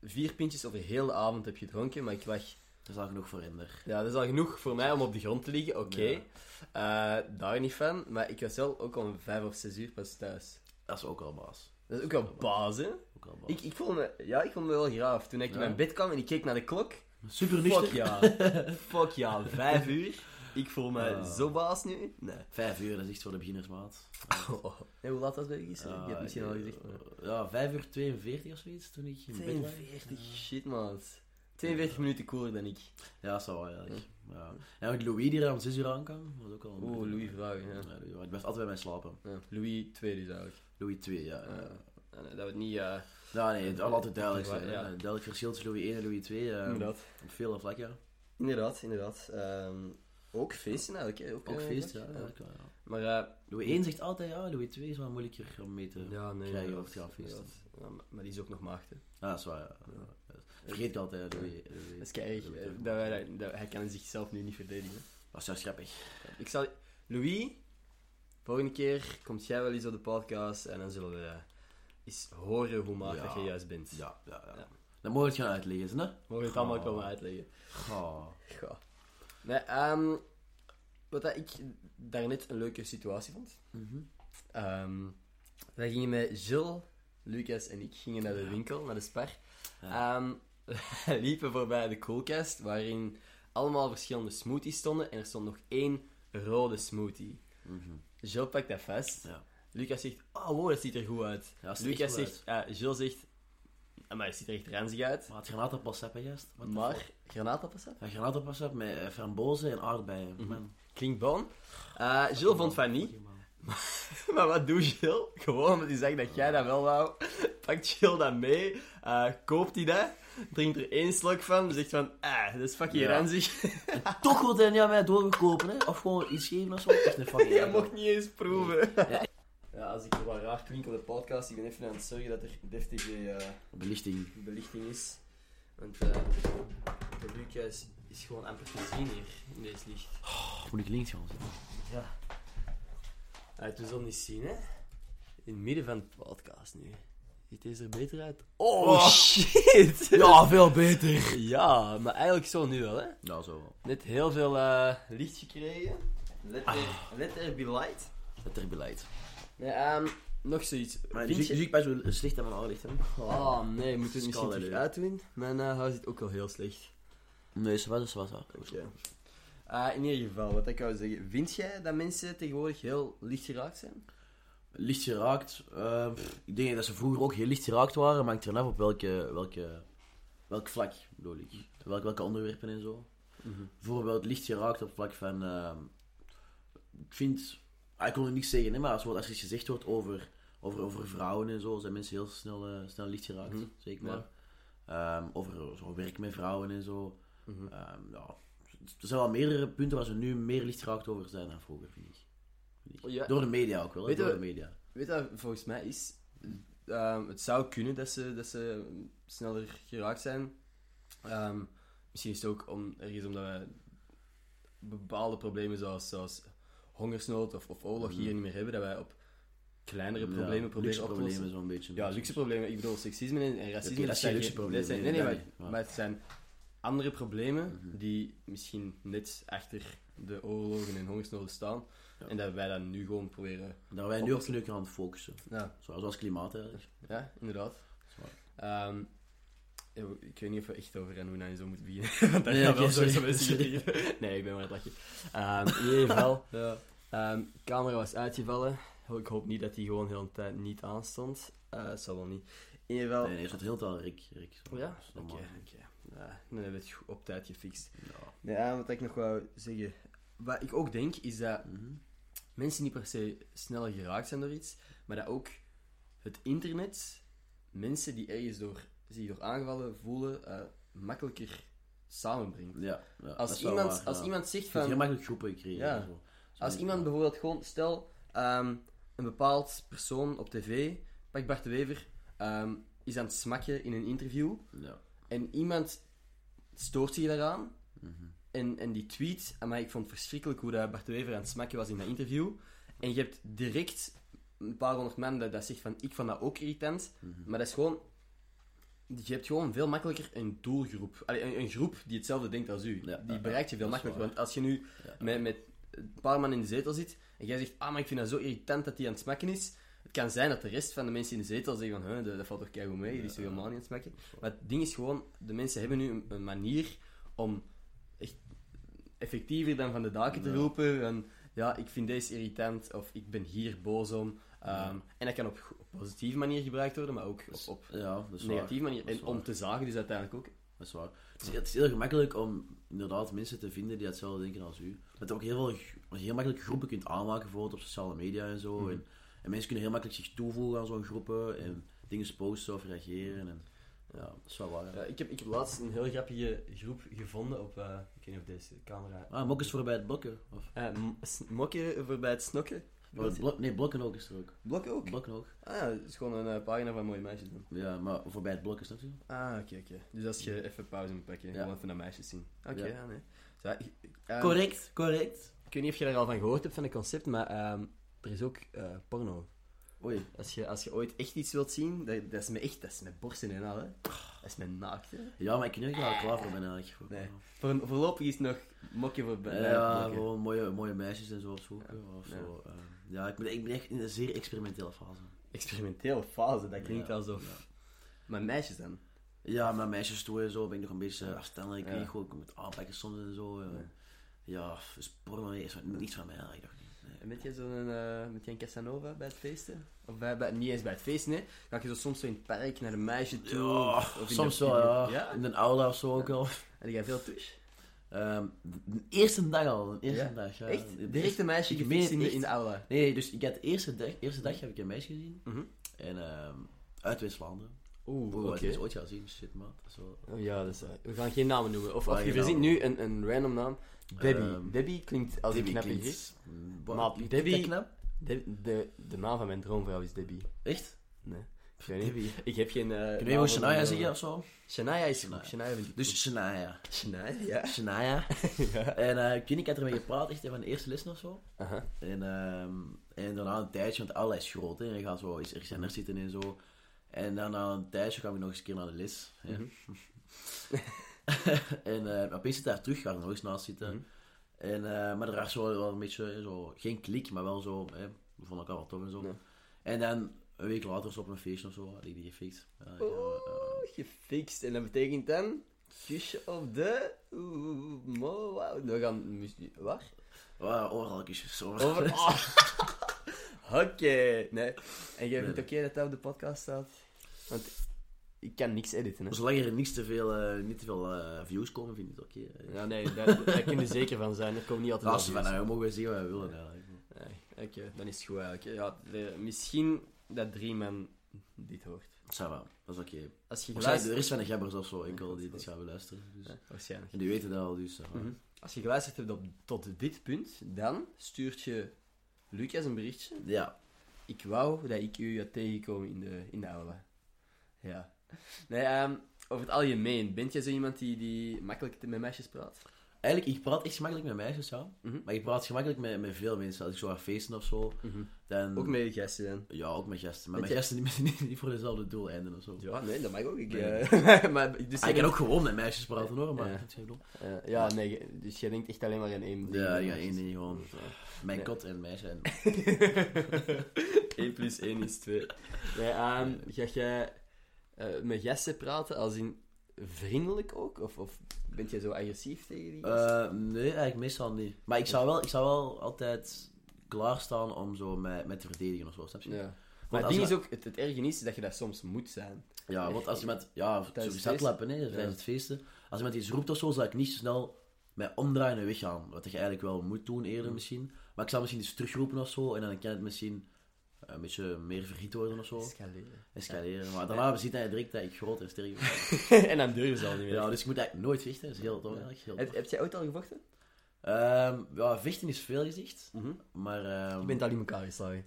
[SPEAKER 1] vier pintjes over heel de avond heb gedronken. Maar ik lag...
[SPEAKER 2] Dat is al genoeg voor Ender.
[SPEAKER 1] Ja, dat is al genoeg voor mij om op de grond te liggen. Oké.
[SPEAKER 2] Ja.
[SPEAKER 1] Eh, daar niet van. Maar ik was wel ook om vijf of zes uur pas thuis.
[SPEAKER 2] Dat is ook al baas.
[SPEAKER 1] Dat is ook wel baas, hè?
[SPEAKER 2] Ook al baas.
[SPEAKER 1] Ik, ik, voelde me, ja, ik voelde me wel graaf. Toen ik in
[SPEAKER 2] Ja.
[SPEAKER 1] mijn bed kwam en ik keek naar de klok...
[SPEAKER 2] Super
[SPEAKER 1] Fuck
[SPEAKER 2] nuchter.
[SPEAKER 1] ja. Fuck ja. Vijf uur. Ik voel me
[SPEAKER 2] Ja.
[SPEAKER 1] zo baas nu. Nee.
[SPEAKER 2] Vijf uur, dat is echt voor de beginnersmaat.
[SPEAKER 1] Oh. En hoe laat was bij je gisteren?
[SPEAKER 2] Ja,
[SPEAKER 1] je hebt misschien
[SPEAKER 2] ik-
[SPEAKER 1] al gezegd. maar-
[SPEAKER 2] Ja, vijf uur 42 of zoiets, toen ik in bed lag.
[SPEAKER 1] 42, shit man. 42 minuten cooler dan ik.
[SPEAKER 2] Ja, dat is wel eigenlijk. Ja. En ook Louis die er om zes uur aan kan, was ook al... een-
[SPEAKER 1] Oeh, Oh, Louis vragen,
[SPEAKER 2] Ja,
[SPEAKER 1] ja.
[SPEAKER 2] Louis, maar ik blijf altijd bij mij slapen.
[SPEAKER 1] ja. Louis 2 dus eigenlijk.
[SPEAKER 2] Louis 2, ja.
[SPEAKER 1] Ja.
[SPEAKER 2] ja.
[SPEAKER 1] Ja, nee, dat we het niet... eh
[SPEAKER 2] Ja, nee, het zal altijd duidelijk zijn. hè.
[SPEAKER 1] Ja.
[SPEAKER 2] Een duidelijk verschil tussen Louis 1 en Louis 2. eh,
[SPEAKER 1] Inderdaad.
[SPEAKER 2] op vele vlakken.
[SPEAKER 1] ehm, Inderdaad, inderdaad. Ehm, ook feesten eigenlijk, hè. Ook,
[SPEAKER 2] Ook
[SPEAKER 1] eh,
[SPEAKER 2] feest, ja.
[SPEAKER 1] leuk.
[SPEAKER 2] eigenlijk wel, ja.
[SPEAKER 1] Maar, eh,
[SPEAKER 2] Louis 1 zegt altijd, ja, Louis 2 is wel moeilijker om mee te...
[SPEAKER 1] ja, nee.
[SPEAKER 2] krijgen
[SPEAKER 1] inderdaad,
[SPEAKER 2] of te gaan feesten.
[SPEAKER 1] inderdaad. Ja, maar, maar die is ook nog maagd, hè.
[SPEAKER 2] Ah, dat is waar, ja. Vergeet ik altijd, hè, Louis. Louis.
[SPEAKER 1] Dat is kei erg,
[SPEAKER 2] Louis
[SPEAKER 1] eh,
[SPEAKER 2] twee.
[SPEAKER 1] dat wij dat- dat- Hij kan zichzelf nu niet verdedigen.
[SPEAKER 2] Dat is juist grappig.
[SPEAKER 1] Ik zal... Louis, volgende keer komt jij wel eens op de podcast en dan zullen we eh, eens horen hoe maagd
[SPEAKER 2] Ja.
[SPEAKER 1] dat je juist bent.
[SPEAKER 2] Ja, ja, ja.
[SPEAKER 1] Ja. Oh.
[SPEAKER 2] Dan mogen we het gaan uitleggen, hè?
[SPEAKER 1] Mogen we het allemaal
[SPEAKER 2] Goh.
[SPEAKER 1] komen uitleggen.
[SPEAKER 2] Goh.
[SPEAKER 1] Goh. Nee, ehm, wat dat ik daarnet een leuke situatie vond.
[SPEAKER 2] Mhm.
[SPEAKER 1] Ehm, wij gingen met Jill, Lucas en ik gingen naar de
[SPEAKER 2] Ja.
[SPEAKER 1] winkel, naar de spar. Ehm, wij liepen voorbij de koelkast, waarin allemaal verschillende smoothies stonden. En er stond nog één rode smoothie.
[SPEAKER 2] Mhm.
[SPEAKER 1] Jill pakt dat vast.
[SPEAKER 2] Ja.
[SPEAKER 1] Lucas zegt, hallo, dat ziet er goed uit.
[SPEAKER 2] Ja, dat ziet er
[SPEAKER 1] Lucas
[SPEAKER 2] echt goed
[SPEAKER 1] zegt, ja, Jill zegt, "Ah, maar het ziet er echt ranzig uit.
[SPEAKER 2] Maar het granaatappel sap, hè, gast? What the fuck?
[SPEAKER 1] Maar, granaatappels, hè?
[SPEAKER 2] Ja, granaatappel sap met eh, frambozen en aardbeien. Man.
[SPEAKER 1] klinkt bon. Eh, Jill vond van niet. Maar wat doet Jill? Gewoon omdat hij zegt dat jij dat wel wou. Pakt Jill dat mee, eh, koopt hij dat, drinkt er één slok van, zegt van, ah, dat is fucking
[SPEAKER 2] Ja.
[SPEAKER 1] ranzig.
[SPEAKER 2] Toch wil hij niet aan mij doorgekopen, hè? Of gewoon iets geven of zo. Echt een fucking
[SPEAKER 1] jij
[SPEAKER 2] eikel.
[SPEAKER 1] mocht niet eens proeven.
[SPEAKER 2] Ja.
[SPEAKER 1] Ja, als ik wat raar klink op de podcast, ik ben even aan het zorgen dat er deftige eh,
[SPEAKER 2] Belichting.
[SPEAKER 1] belichting is. Want eh, de Lucas is gewoon amper te zien hier, in deze licht.
[SPEAKER 2] Oh, moet ik links gaan zitten?
[SPEAKER 1] Ja. Uit we zullen niet zien, hè? In het midden van de podcast nu. Ziet deze er beter uit? Oh,
[SPEAKER 2] Oh.
[SPEAKER 1] shit!
[SPEAKER 2] Ja, veel beter.
[SPEAKER 1] Ja, maar eigenlijk zo nu wel, hè?
[SPEAKER 2] Ja, zo wel.
[SPEAKER 1] Net heel veel eh, licht gekregen. Let there,
[SPEAKER 2] Ah.
[SPEAKER 1] let there be light.
[SPEAKER 2] Het er beleid.
[SPEAKER 1] Nee, ehm, nog zoiets.
[SPEAKER 2] Maar
[SPEAKER 1] Vind
[SPEAKER 2] zie,
[SPEAKER 1] je-
[SPEAKER 2] zie ik best wel slecht aan mijn oudlicht, hè?
[SPEAKER 1] Oh nee, moeten we het misschien
[SPEAKER 2] Scala,
[SPEAKER 1] terug
[SPEAKER 2] hè.
[SPEAKER 1] uitdoen? Mijn eh, huis zit ook al heel slecht.
[SPEAKER 2] Nee, ze was, ze was wel.
[SPEAKER 1] Eh, in ieder geval, wat ik wou zeggen. Vind jij dat mensen tegenwoordig heel licht geraakt zijn?
[SPEAKER 2] Licht geraakt. eh, pff, ik denk dat ze vroeger ook heel licht geraakt waren, maar ik ervan af op welke, welke, welk vlak bedoel ik. Welke, welke onderwerpen en zo.
[SPEAKER 1] Mhm.
[SPEAKER 2] Bijvoorbeeld licht geraakt op vlak van. ehm, ik vind. ah, ik kon er niks zeggen, hè, maar als, als er iets gezegd wordt over, over, over vrouwen en zo, zijn mensen heel snel, eh, snel licht geraakt.
[SPEAKER 1] Mhm.
[SPEAKER 2] Zeker
[SPEAKER 1] Ja.
[SPEAKER 2] maar. Ehm, over zo werk met vrouwen en zo.
[SPEAKER 1] Mhm.
[SPEAKER 2] Ehm, ja. Er zijn wel meerdere punten waar ze nu meer licht geraakt over zijn dan vroeger, vind ik. Vind ik.
[SPEAKER 1] Ja.
[SPEAKER 2] Door de media ook wel, hè,
[SPEAKER 1] Weet je
[SPEAKER 2] door de
[SPEAKER 1] wat-
[SPEAKER 2] media.
[SPEAKER 1] Weet dat volgens mij is. ehm, het zou kunnen dat ze, dat ze sneller geraakt zijn. Ehm, misschien is het ook om, ergens omdat we bepaalde problemen zoals, zoals hongersnood of, of oorlog hier niet meer hebben, dat wij op kleinere problemen
[SPEAKER 2] Mhm. Ja,
[SPEAKER 1] proberen op te
[SPEAKER 2] problemen
[SPEAKER 1] lossen.
[SPEAKER 2] zo'n beetje.
[SPEAKER 1] Ja, luxe problemen. Ik bedoel, seksisme en, en racisme.
[SPEAKER 2] Oké, dat zijn
[SPEAKER 1] geen-
[SPEAKER 2] luxe problemen,
[SPEAKER 1] dat zijn- nee, nee,
[SPEAKER 2] dat
[SPEAKER 1] maar,
[SPEAKER 2] niet, Mhm. maar-
[SPEAKER 1] maar het zijn andere problemen die misschien net achter de oorlogen en hongersnoden staan.
[SPEAKER 2] Ja.
[SPEAKER 1] En dat wij dat nu gewoon proberen.
[SPEAKER 2] Daar wij nu ook leuk aan het focussen.
[SPEAKER 1] Ja,
[SPEAKER 2] Zoals als klimaat eigenlijk.
[SPEAKER 1] Ja, inderdaad.
[SPEAKER 2] Zwaar.
[SPEAKER 1] Ehm, ja, we- ik weet niet of we echt over en hoe nou zo moeten beginnen. Want daar
[SPEAKER 2] Nee,
[SPEAKER 1] gaan
[SPEAKER 2] oké,
[SPEAKER 1] wel sowieso
[SPEAKER 2] sorry.
[SPEAKER 1] mensen hier- Nee, ik ben maar aan het lachen. Ehm, in ieder geval,
[SPEAKER 2] Ja.
[SPEAKER 1] ehm, camera was uitgevallen. Ho- Ik hoop niet dat die gewoon heel de tijd niet aanstond. Eh, Het zal wel niet. In ieder geval...
[SPEAKER 2] Nee, nee, dat heel taal Rick. Rick
[SPEAKER 1] Oh ja?
[SPEAKER 2] Dat is
[SPEAKER 1] Oké,
[SPEAKER 2] normaal.
[SPEAKER 1] oké. Ja, Dan hebben we het goed op tijd gefixt.
[SPEAKER 2] Ja.
[SPEAKER 1] Nee, ja, wat ik nog wou zeggen... Wat ik ook denk, is dat
[SPEAKER 2] Mhm.
[SPEAKER 1] mensen niet per se sneller geraakt zijn door iets, maar dat ook het internet mensen die ergens door, zich door aangevallen voelen, eh, makkelijker samenbrengt.
[SPEAKER 2] ja, ja, dat
[SPEAKER 1] Als
[SPEAKER 2] is wel
[SPEAKER 1] iemand,
[SPEAKER 2] waar,
[SPEAKER 1] als
[SPEAKER 2] ja.
[SPEAKER 1] iemand zegt
[SPEAKER 2] Je kunt heel
[SPEAKER 1] van.
[SPEAKER 2] makkelijk groepen creëren.
[SPEAKER 1] Ja.
[SPEAKER 2] en zo.
[SPEAKER 1] Als
[SPEAKER 2] Zo
[SPEAKER 1] iemand
[SPEAKER 2] mensen-
[SPEAKER 1] bijvoorbeeld gewoon, stel ehm, een bepaald persoon op tv, pak Bart de Wever, ehm, is aan het smakken in een interview
[SPEAKER 2] Ja.
[SPEAKER 1] en iemand stoort zich daaraan,
[SPEAKER 2] Mhm.
[SPEAKER 1] en, en die tweet, maar ik vond het verschrikkelijk hoe dat Bart de Wever aan het smakken was in dat interview. En je hebt direct een paar honderd man dat, dat zegt van, ik vond dat ook irritant.
[SPEAKER 2] Mhm.
[SPEAKER 1] Maar dat is gewoon... Je hebt gewoon veel makkelijker een doelgroep. Allee, een, een groep die hetzelfde denkt als u.
[SPEAKER 2] Ja,
[SPEAKER 1] die
[SPEAKER 2] ja,
[SPEAKER 1] bereikt je veel
[SPEAKER 2] dat is
[SPEAKER 1] makkelijker.
[SPEAKER 2] waar.
[SPEAKER 1] Want als je nu
[SPEAKER 2] Ja.
[SPEAKER 1] met, met een paar man in de zetel zit en jij zegt, ah, maar ik vind dat zo irritant dat die aan het smakken is. Het kan zijn dat de rest van de mensen in de zetel zeggen van, "Huh, dat, dat valt toch keigoed mee, die is toch helemaal niet aan het smakken. Maar het ding is gewoon, de mensen hebben nu een, een manier om echt effectiever dan van de daken te
[SPEAKER 2] Ja.
[SPEAKER 1] roepen. En, ja, ik vind deze irritant of ik ben hier boos om. Ehm,
[SPEAKER 2] Ja.
[SPEAKER 1] En dat kan op, go- op positieve manier gebruikt worden, maar ook op,
[SPEAKER 2] Dus-
[SPEAKER 1] op
[SPEAKER 2] Ja, dat is waar.
[SPEAKER 1] negatieve manier.
[SPEAKER 2] Dat is
[SPEAKER 1] En om
[SPEAKER 2] waar.
[SPEAKER 1] te zagen dus uiteindelijk ook.
[SPEAKER 2] Dat is waar. Het is, het is heel gemakkelijk om inderdaad mensen te vinden die hetzelfde denken als u. Dat je ook heel, veel, gro- heel makkelijk groepen kunt aanmaken, bijvoorbeeld op sociale media en
[SPEAKER 1] Mhm.
[SPEAKER 2] zo. En, en mensen kunnen heel makkelijk zich toevoegen aan zo'n groepen en dingen posten of reageren. En, ja, dat is wel waar. hè.
[SPEAKER 1] Mhm. Ja, Eh, ik, heb, ik heb laatst een heel grappige groep gevonden op... eh, ik weet niet of deze camera...
[SPEAKER 2] Ah, mok is voorbij het blokken. Of,
[SPEAKER 1] Eh, m- s- mokken voorbij het snokken.
[SPEAKER 2] of het blok- nee, blokken ook is er ook.
[SPEAKER 1] Blokken ook?
[SPEAKER 2] Blokken ook.
[SPEAKER 1] Ah ja, het is gewoon een eh, pagina van mooie meisjes doen.
[SPEAKER 2] Ja, maar voorbij het blokken, snap je?
[SPEAKER 1] Ah, oké, oké. Dus als je even pauze moet pakken,
[SPEAKER 2] Ja.
[SPEAKER 1] gewoon even naar meisjes zien. Oké,
[SPEAKER 2] Ja.
[SPEAKER 1] ja, nee. Zo, ik- ik- ehm,
[SPEAKER 2] correct, correct.
[SPEAKER 1] Ik weet niet of je daar al van gehoord hebt, van het concept, maar ehm, er is ook eh, porno.
[SPEAKER 2] Oei.
[SPEAKER 1] Als je, als je ooit echt iets wilt zien, dat, dat is met echt, dat is met borsten en al, hè. Dat is met naakt, hè.
[SPEAKER 2] Ja, maar ik weet niet of ik daar klaar voor ben eigenlijk. Voor-
[SPEAKER 1] Nee. Voor, voorlopig is het nog mokje voor bij- bij het
[SPEAKER 2] Ja,
[SPEAKER 1] blokken.
[SPEAKER 2] gewoon mooie, mooie meisjes en zo opzoeken. Ja, of
[SPEAKER 1] ja.
[SPEAKER 2] zo. eh. ja ik, ben, ik ben echt in een zeer experimentele fase.
[SPEAKER 1] Experimenteel fase, dat klinkt
[SPEAKER 2] Ja,
[SPEAKER 1] alsof... Maar meisjes dan?
[SPEAKER 2] Ja, maar meisjes toe en zo ben ik nog een beetje afstandelijk. Ik
[SPEAKER 1] Ja.
[SPEAKER 2] weet gewoon, ik moet aanpakken soms en zo. eh. Ja, is porno is wat- niets van mij eigenlijk. Nee.
[SPEAKER 1] En Met jij zo'n eh, met jij een Casanova bij het feesten? Of bij, bij, niet eens bij het feesten, hè? Ga je zo soms zo in het park naar een meisje toe?
[SPEAKER 2] Ja,
[SPEAKER 1] of in de
[SPEAKER 2] soms wel,
[SPEAKER 1] publiek-
[SPEAKER 2] ja.
[SPEAKER 1] ja?
[SPEAKER 2] In de aula of zo ook al.
[SPEAKER 1] En jij veel touche?
[SPEAKER 2] Ehm, de eerste dag al. De eerste
[SPEAKER 1] Ja?
[SPEAKER 2] dag, ja. De
[SPEAKER 1] Echt?
[SPEAKER 2] eerste-
[SPEAKER 1] Direct een meisje
[SPEAKER 2] ik meen
[SPEAKER 1] gefixt
[SPEAKER 2] het
[SPEAKER 1] in de,
[SPEAKER 2] echt.
[SPEAKER 1] in de aula?
[SPEAKER 2] Nee, dus ik had de eerste dag, eerste dag heb ik een meisje gezien.
[SPEAKER 1] Mhm.
[SPEAKER 2] En ehm, uit West-Vlaanderen.
[SPEAKER 1] Oeh,
[SPEAKER 2] Wow,
[SPEAKER 1] oké.
[SPEAKER 2] had ik eens ooit gaan zien. Shit, man. Dat is wel...
[SPEAKER 1] Oh Ja, dus, eh, we gaan geen namen noemen. Of,
[SPEAKER 2] Ah,
[SPEAKER 1] of je
[SPEAKER 2] geen
[SPEAKER 1] verzint
[SPEAKER 2] namen.
[SPEAKER 1] nu een, een random naam. Debbie.
[SPEAKER 2] Ehm,
[SPEAKER 1] Debbie klinkt als een
[SPEAKER 2] Debbie
[SPEAKER 1] knappe
[SPEAKER 2] klinkt-
[SPEAKER 1] G.
[SPEAKER 2] Mm, wat-
[SPEAKER 1] Maar
[SPEAKER 2] klinkt
[SPEAKER 1] Debbie-
[SPEAKER 2] dat knap?
[SPEAKER 1] De, de, de naam van mijn droomvrouw is Debbie.
[SPEAKER 2] Echt?
[SPEAKER 1] Nee, ik weet niet.
[SPEAKER 2] Debbie.
[SPEAKER 1] Ik heb geen... eh,
[SPEAKER 2] Kun
[SPEAKER 1] naam
[SPEAKER 2] je gewoon
[SPEAKER 1] van
[SPEAKER 2] Shania
[SPEAKER 1] mijn
[SPEAKER 2] zeggen
[SPEAKER 1] droomvrouw.
[SPEAKER 2] of zo?
[SPEAKER 1] Shania is goed.
[SPEAKER 2] Shania.
[SPEAKER 1] Shania vind ik
[SPEAKER 2] Dus Shania.
[SPEAKER 1] goed. Shania, ja.
[SPEAKER 2] Shania. En eh, ik weet niet, ik had ermee gepraat, echt van de eerste les of zo.
[SPEAKER 1] Aha.
[SPEAKER 2] En, ehm, en daarna een tijdje, want Allah is groot, hè. En je gaat zo iets recenter zitten en zo. En dan na een tijdje kwam ik nog eens een keer naar de les. hè.
[SPEAKER 1] Mhm.
[SPEAKER 2] en eh opeens zit daar terug, ga er nog eens naast zitten.
[SPEAKER 1] Mhm.
[SPEAKER 2] En, eh, maar er was zo wel een beetje, hè, zo, geen klik, maar wel zo, hè, we vonden elkaar wel tof en zo.
[SPEAKER 1] Ja.
[SPEAKER 2] En dan een week later zo op een feestje of zo, had ik die gefixt. Ja, ja, eh,
[SPEAKER 1] Oeh, Oh, gefixt. En dat betekent dan... Kusje op de... Oeh, mo, wauw. We gaan... muzie- Waar?
[SPEAKER 2] waar- overal kusjes. overal.
[SPEAKER 1] Over... Oh. Oké. Nee. En jij vindt oké dat dat op de podcast staat? Want ik kan niks editen, hè?
[SPEAKER 2] Zolang er niks te veel, eh, niet te veel eh, views komen, vind ik het oké. hè.
[SPEAKER 1] Ja, nee, daar, daar kun je zeker van zijn. Er komt niet altijd
[SPEAKER 2] Als we
[SPEAKER 1] wel
[SPEAKER 2] van,
[SPEAKER 1] nieuws.
[SPEAKER 2] nou, we mogen zien wat we willen eigenlijk.
[SPEAKER 1] Nee, Oké, dan is het goed eigenlijk. Ja, de- misschien dat drie man dit hoort.
[SPEAKER 2] Ça va, dat is oké.
[SPEAKER 1] Als je
[SPEAKER 2] Of zijn
[SPEAKER 1] geluisterd...
[SPEAKER 2] de rest van de gabbers of zo enkel
[SPEAKER 1] dat
[SPEAKER 2] die
[SPEAKER 1] is
[SPEAKER 2] dit gaan beluisteren. Dus.
[SPEAKER 1] Ja, waarschijnlijk.
[SPEAKER 2] En die weten dat al, dus. ça va.
[SPEAKER 1] Mhm. Als je geluisterd hebt op, tot dit punt, dan stuurt je Lucas een berichtje.
[SPEAKER 2] Ja,
[SPEAKER 1] Ik wou dat ik u had tegenkomen in de, in de aula. Ja. Nee, ehm, over het algemeen, bent jij zo iemand die, die makkelijk te- met meisjes praat?
[SPEAKER 2] eigenlijk, ik praat echt gemakkelijk met meisjes, ja.
[SPEAKER 1] Mhm.
[SPEAKER 2] Maar ik praat gemakkelijk met, met veel mensen. Als ik zo ga feesten of zo, dan...
[SPEAKER 1] Ook met gasten dan?
[SPEAKER 2] Ja, ook met gasten. Maar
[SPEAKER 1] Met
[SPEAKER 2] met gasten die, niet, niet voor dezelfde doeleinden of zo.
[SPEAKER 1] Ja, nee, dat mag ook. Ik,
[SPEAKER 2] Nee.
[SPEAKER 1] eh, maar, dus
[SPEAKER 2] Ah,
[SPEAKER 1] je
[SPEAKER 2] ik kan
[SPEAKER 1] bent-
[SPEAKER 2] ook gewoon met meisjes praten hoor, maar...
[SPEAKER 1] Ja.
[SPEAKER 2] dat is heel dom.
[SPEAKER 1] Eh, ja, nee, je- dus jij denkt echt alleen maar aan één.
[SPEAKER 2] Ja, ja,
[SPEAKER 1] meisjes.
[SPEAKER 2] één ding gewoon. Mijn
[SPEAKER 1] Ja.
[SPEAKER 2] kot en meisje en...
[SPEAKER 1] 1 plus 1 is 2. Nee, ehm, ga jij eh, met gasten praten als in vriendelijk ook? Of, of bent jij zo agressief tegen die gasten?
[SPEAKER 2] Eh, nee, eigenlijk meestal niet. Maar ik zou wel, ik zou wel altijd klaarstaan om zo met, met te verdedigen of zo, snap je?
[SPEAKER 1] ja. Maar
[SPEAKER 2] Want
[SPEAKER 1] het
[SPEAKER 2] als
[SPEAKER 1] ding
[SPEAKER 2] je-
[SPEAKER 1] is ook, het, het erge is dat je dat soms moet zijn.
[SPEAKER 2] Ja, want als iemand... Ja, sowieso
[SPEAKER 1] feesten.
[SPEAKER 2] zatlappen, hè, tijdens het feesten. Als iemand iets roept of zo, zou ik niet zo snel mij omdraaien en weggaan. Wat je eigenlijk wel moet doen eerder misschien. Maar ik zou misschien iets terugroepen of zo. En dan kan het misschien eh, een beetje meer vergiet worden of zo.
[SPEAKER 1] Escaleren.
[SPEAKER 2] Escaleren. Maar daarna ziet hij direct dat ik groot en sterk ben.
[SPEAKER 1] en dan durven ze al niet meer.
[SPEAKER 2] Ja, dus ik moet eigenlijk nooit vechten. Dat is heel dom
[SPEAKER 1] Ja.
[SPEAKER 2] eigenlijk. Heel
[SPEAKER 1] Heb,
[SPEAKER 2] dom.
[SPEAKER 1] heb jij ooit al gevochten?
[SPEAKER 2] Ehm, ja, vechten is veel gezicht. Maar... ehm,
[SPEAKER 1] Je bent al in elkaar geslagen.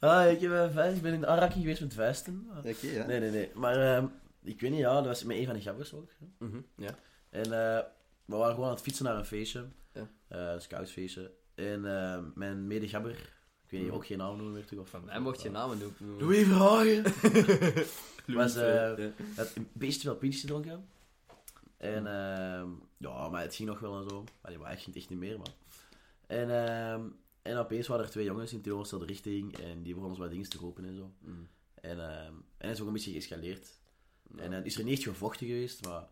[SPEAKER 2] Ah, ik, heb een vuist, ik ben in Araki geweest met vuisten.
[SPEAKER 1] Oké, ja.
[SPEAKER 2] Nee, nee, nee. Maar ehm, ik weet niet, ja, dat was met een van de gabbers ook. hè.
[SPEAKER 1] Mhm, ja.
[SPEAKER 2] En eh, we waren gewoon aan het fietsen naar een feestje.
[SPEAKER 1] Ja.
[SPEAKER 2] Eh, een scoutsfeestje. En eh, mijn medegabber, ik weet niet, ook geen naam noemen meer toch? Of,
[SPEAKER 1] Hij mocht je namen noemen.
[SPEAKER 2] Louis Verhagen!
[SPEAKER 1] Louis,
[SPEAKER 2] was, eh,
[SPEAKER 1] ja.
[SPEAKER 2] Hij had een beetje te veel pintjes gedronken. En ehm, ja, maar het ging nog wel en zo. Maar die ging het echt niet meer, man. En, ehm, en opeens waren er twee jongens in tegenovergestelde richting. En die begonnen ons wat dingen te roepen en zo.
[SPEAKER 1] Mm.
[SPEAKER 2] En, ehm, en het is ook een beetje geëscaleerd.
[SPEAKER 1] Ja.
[SPEAKER 2] En dan is er niet echt gevochten geweest, maar...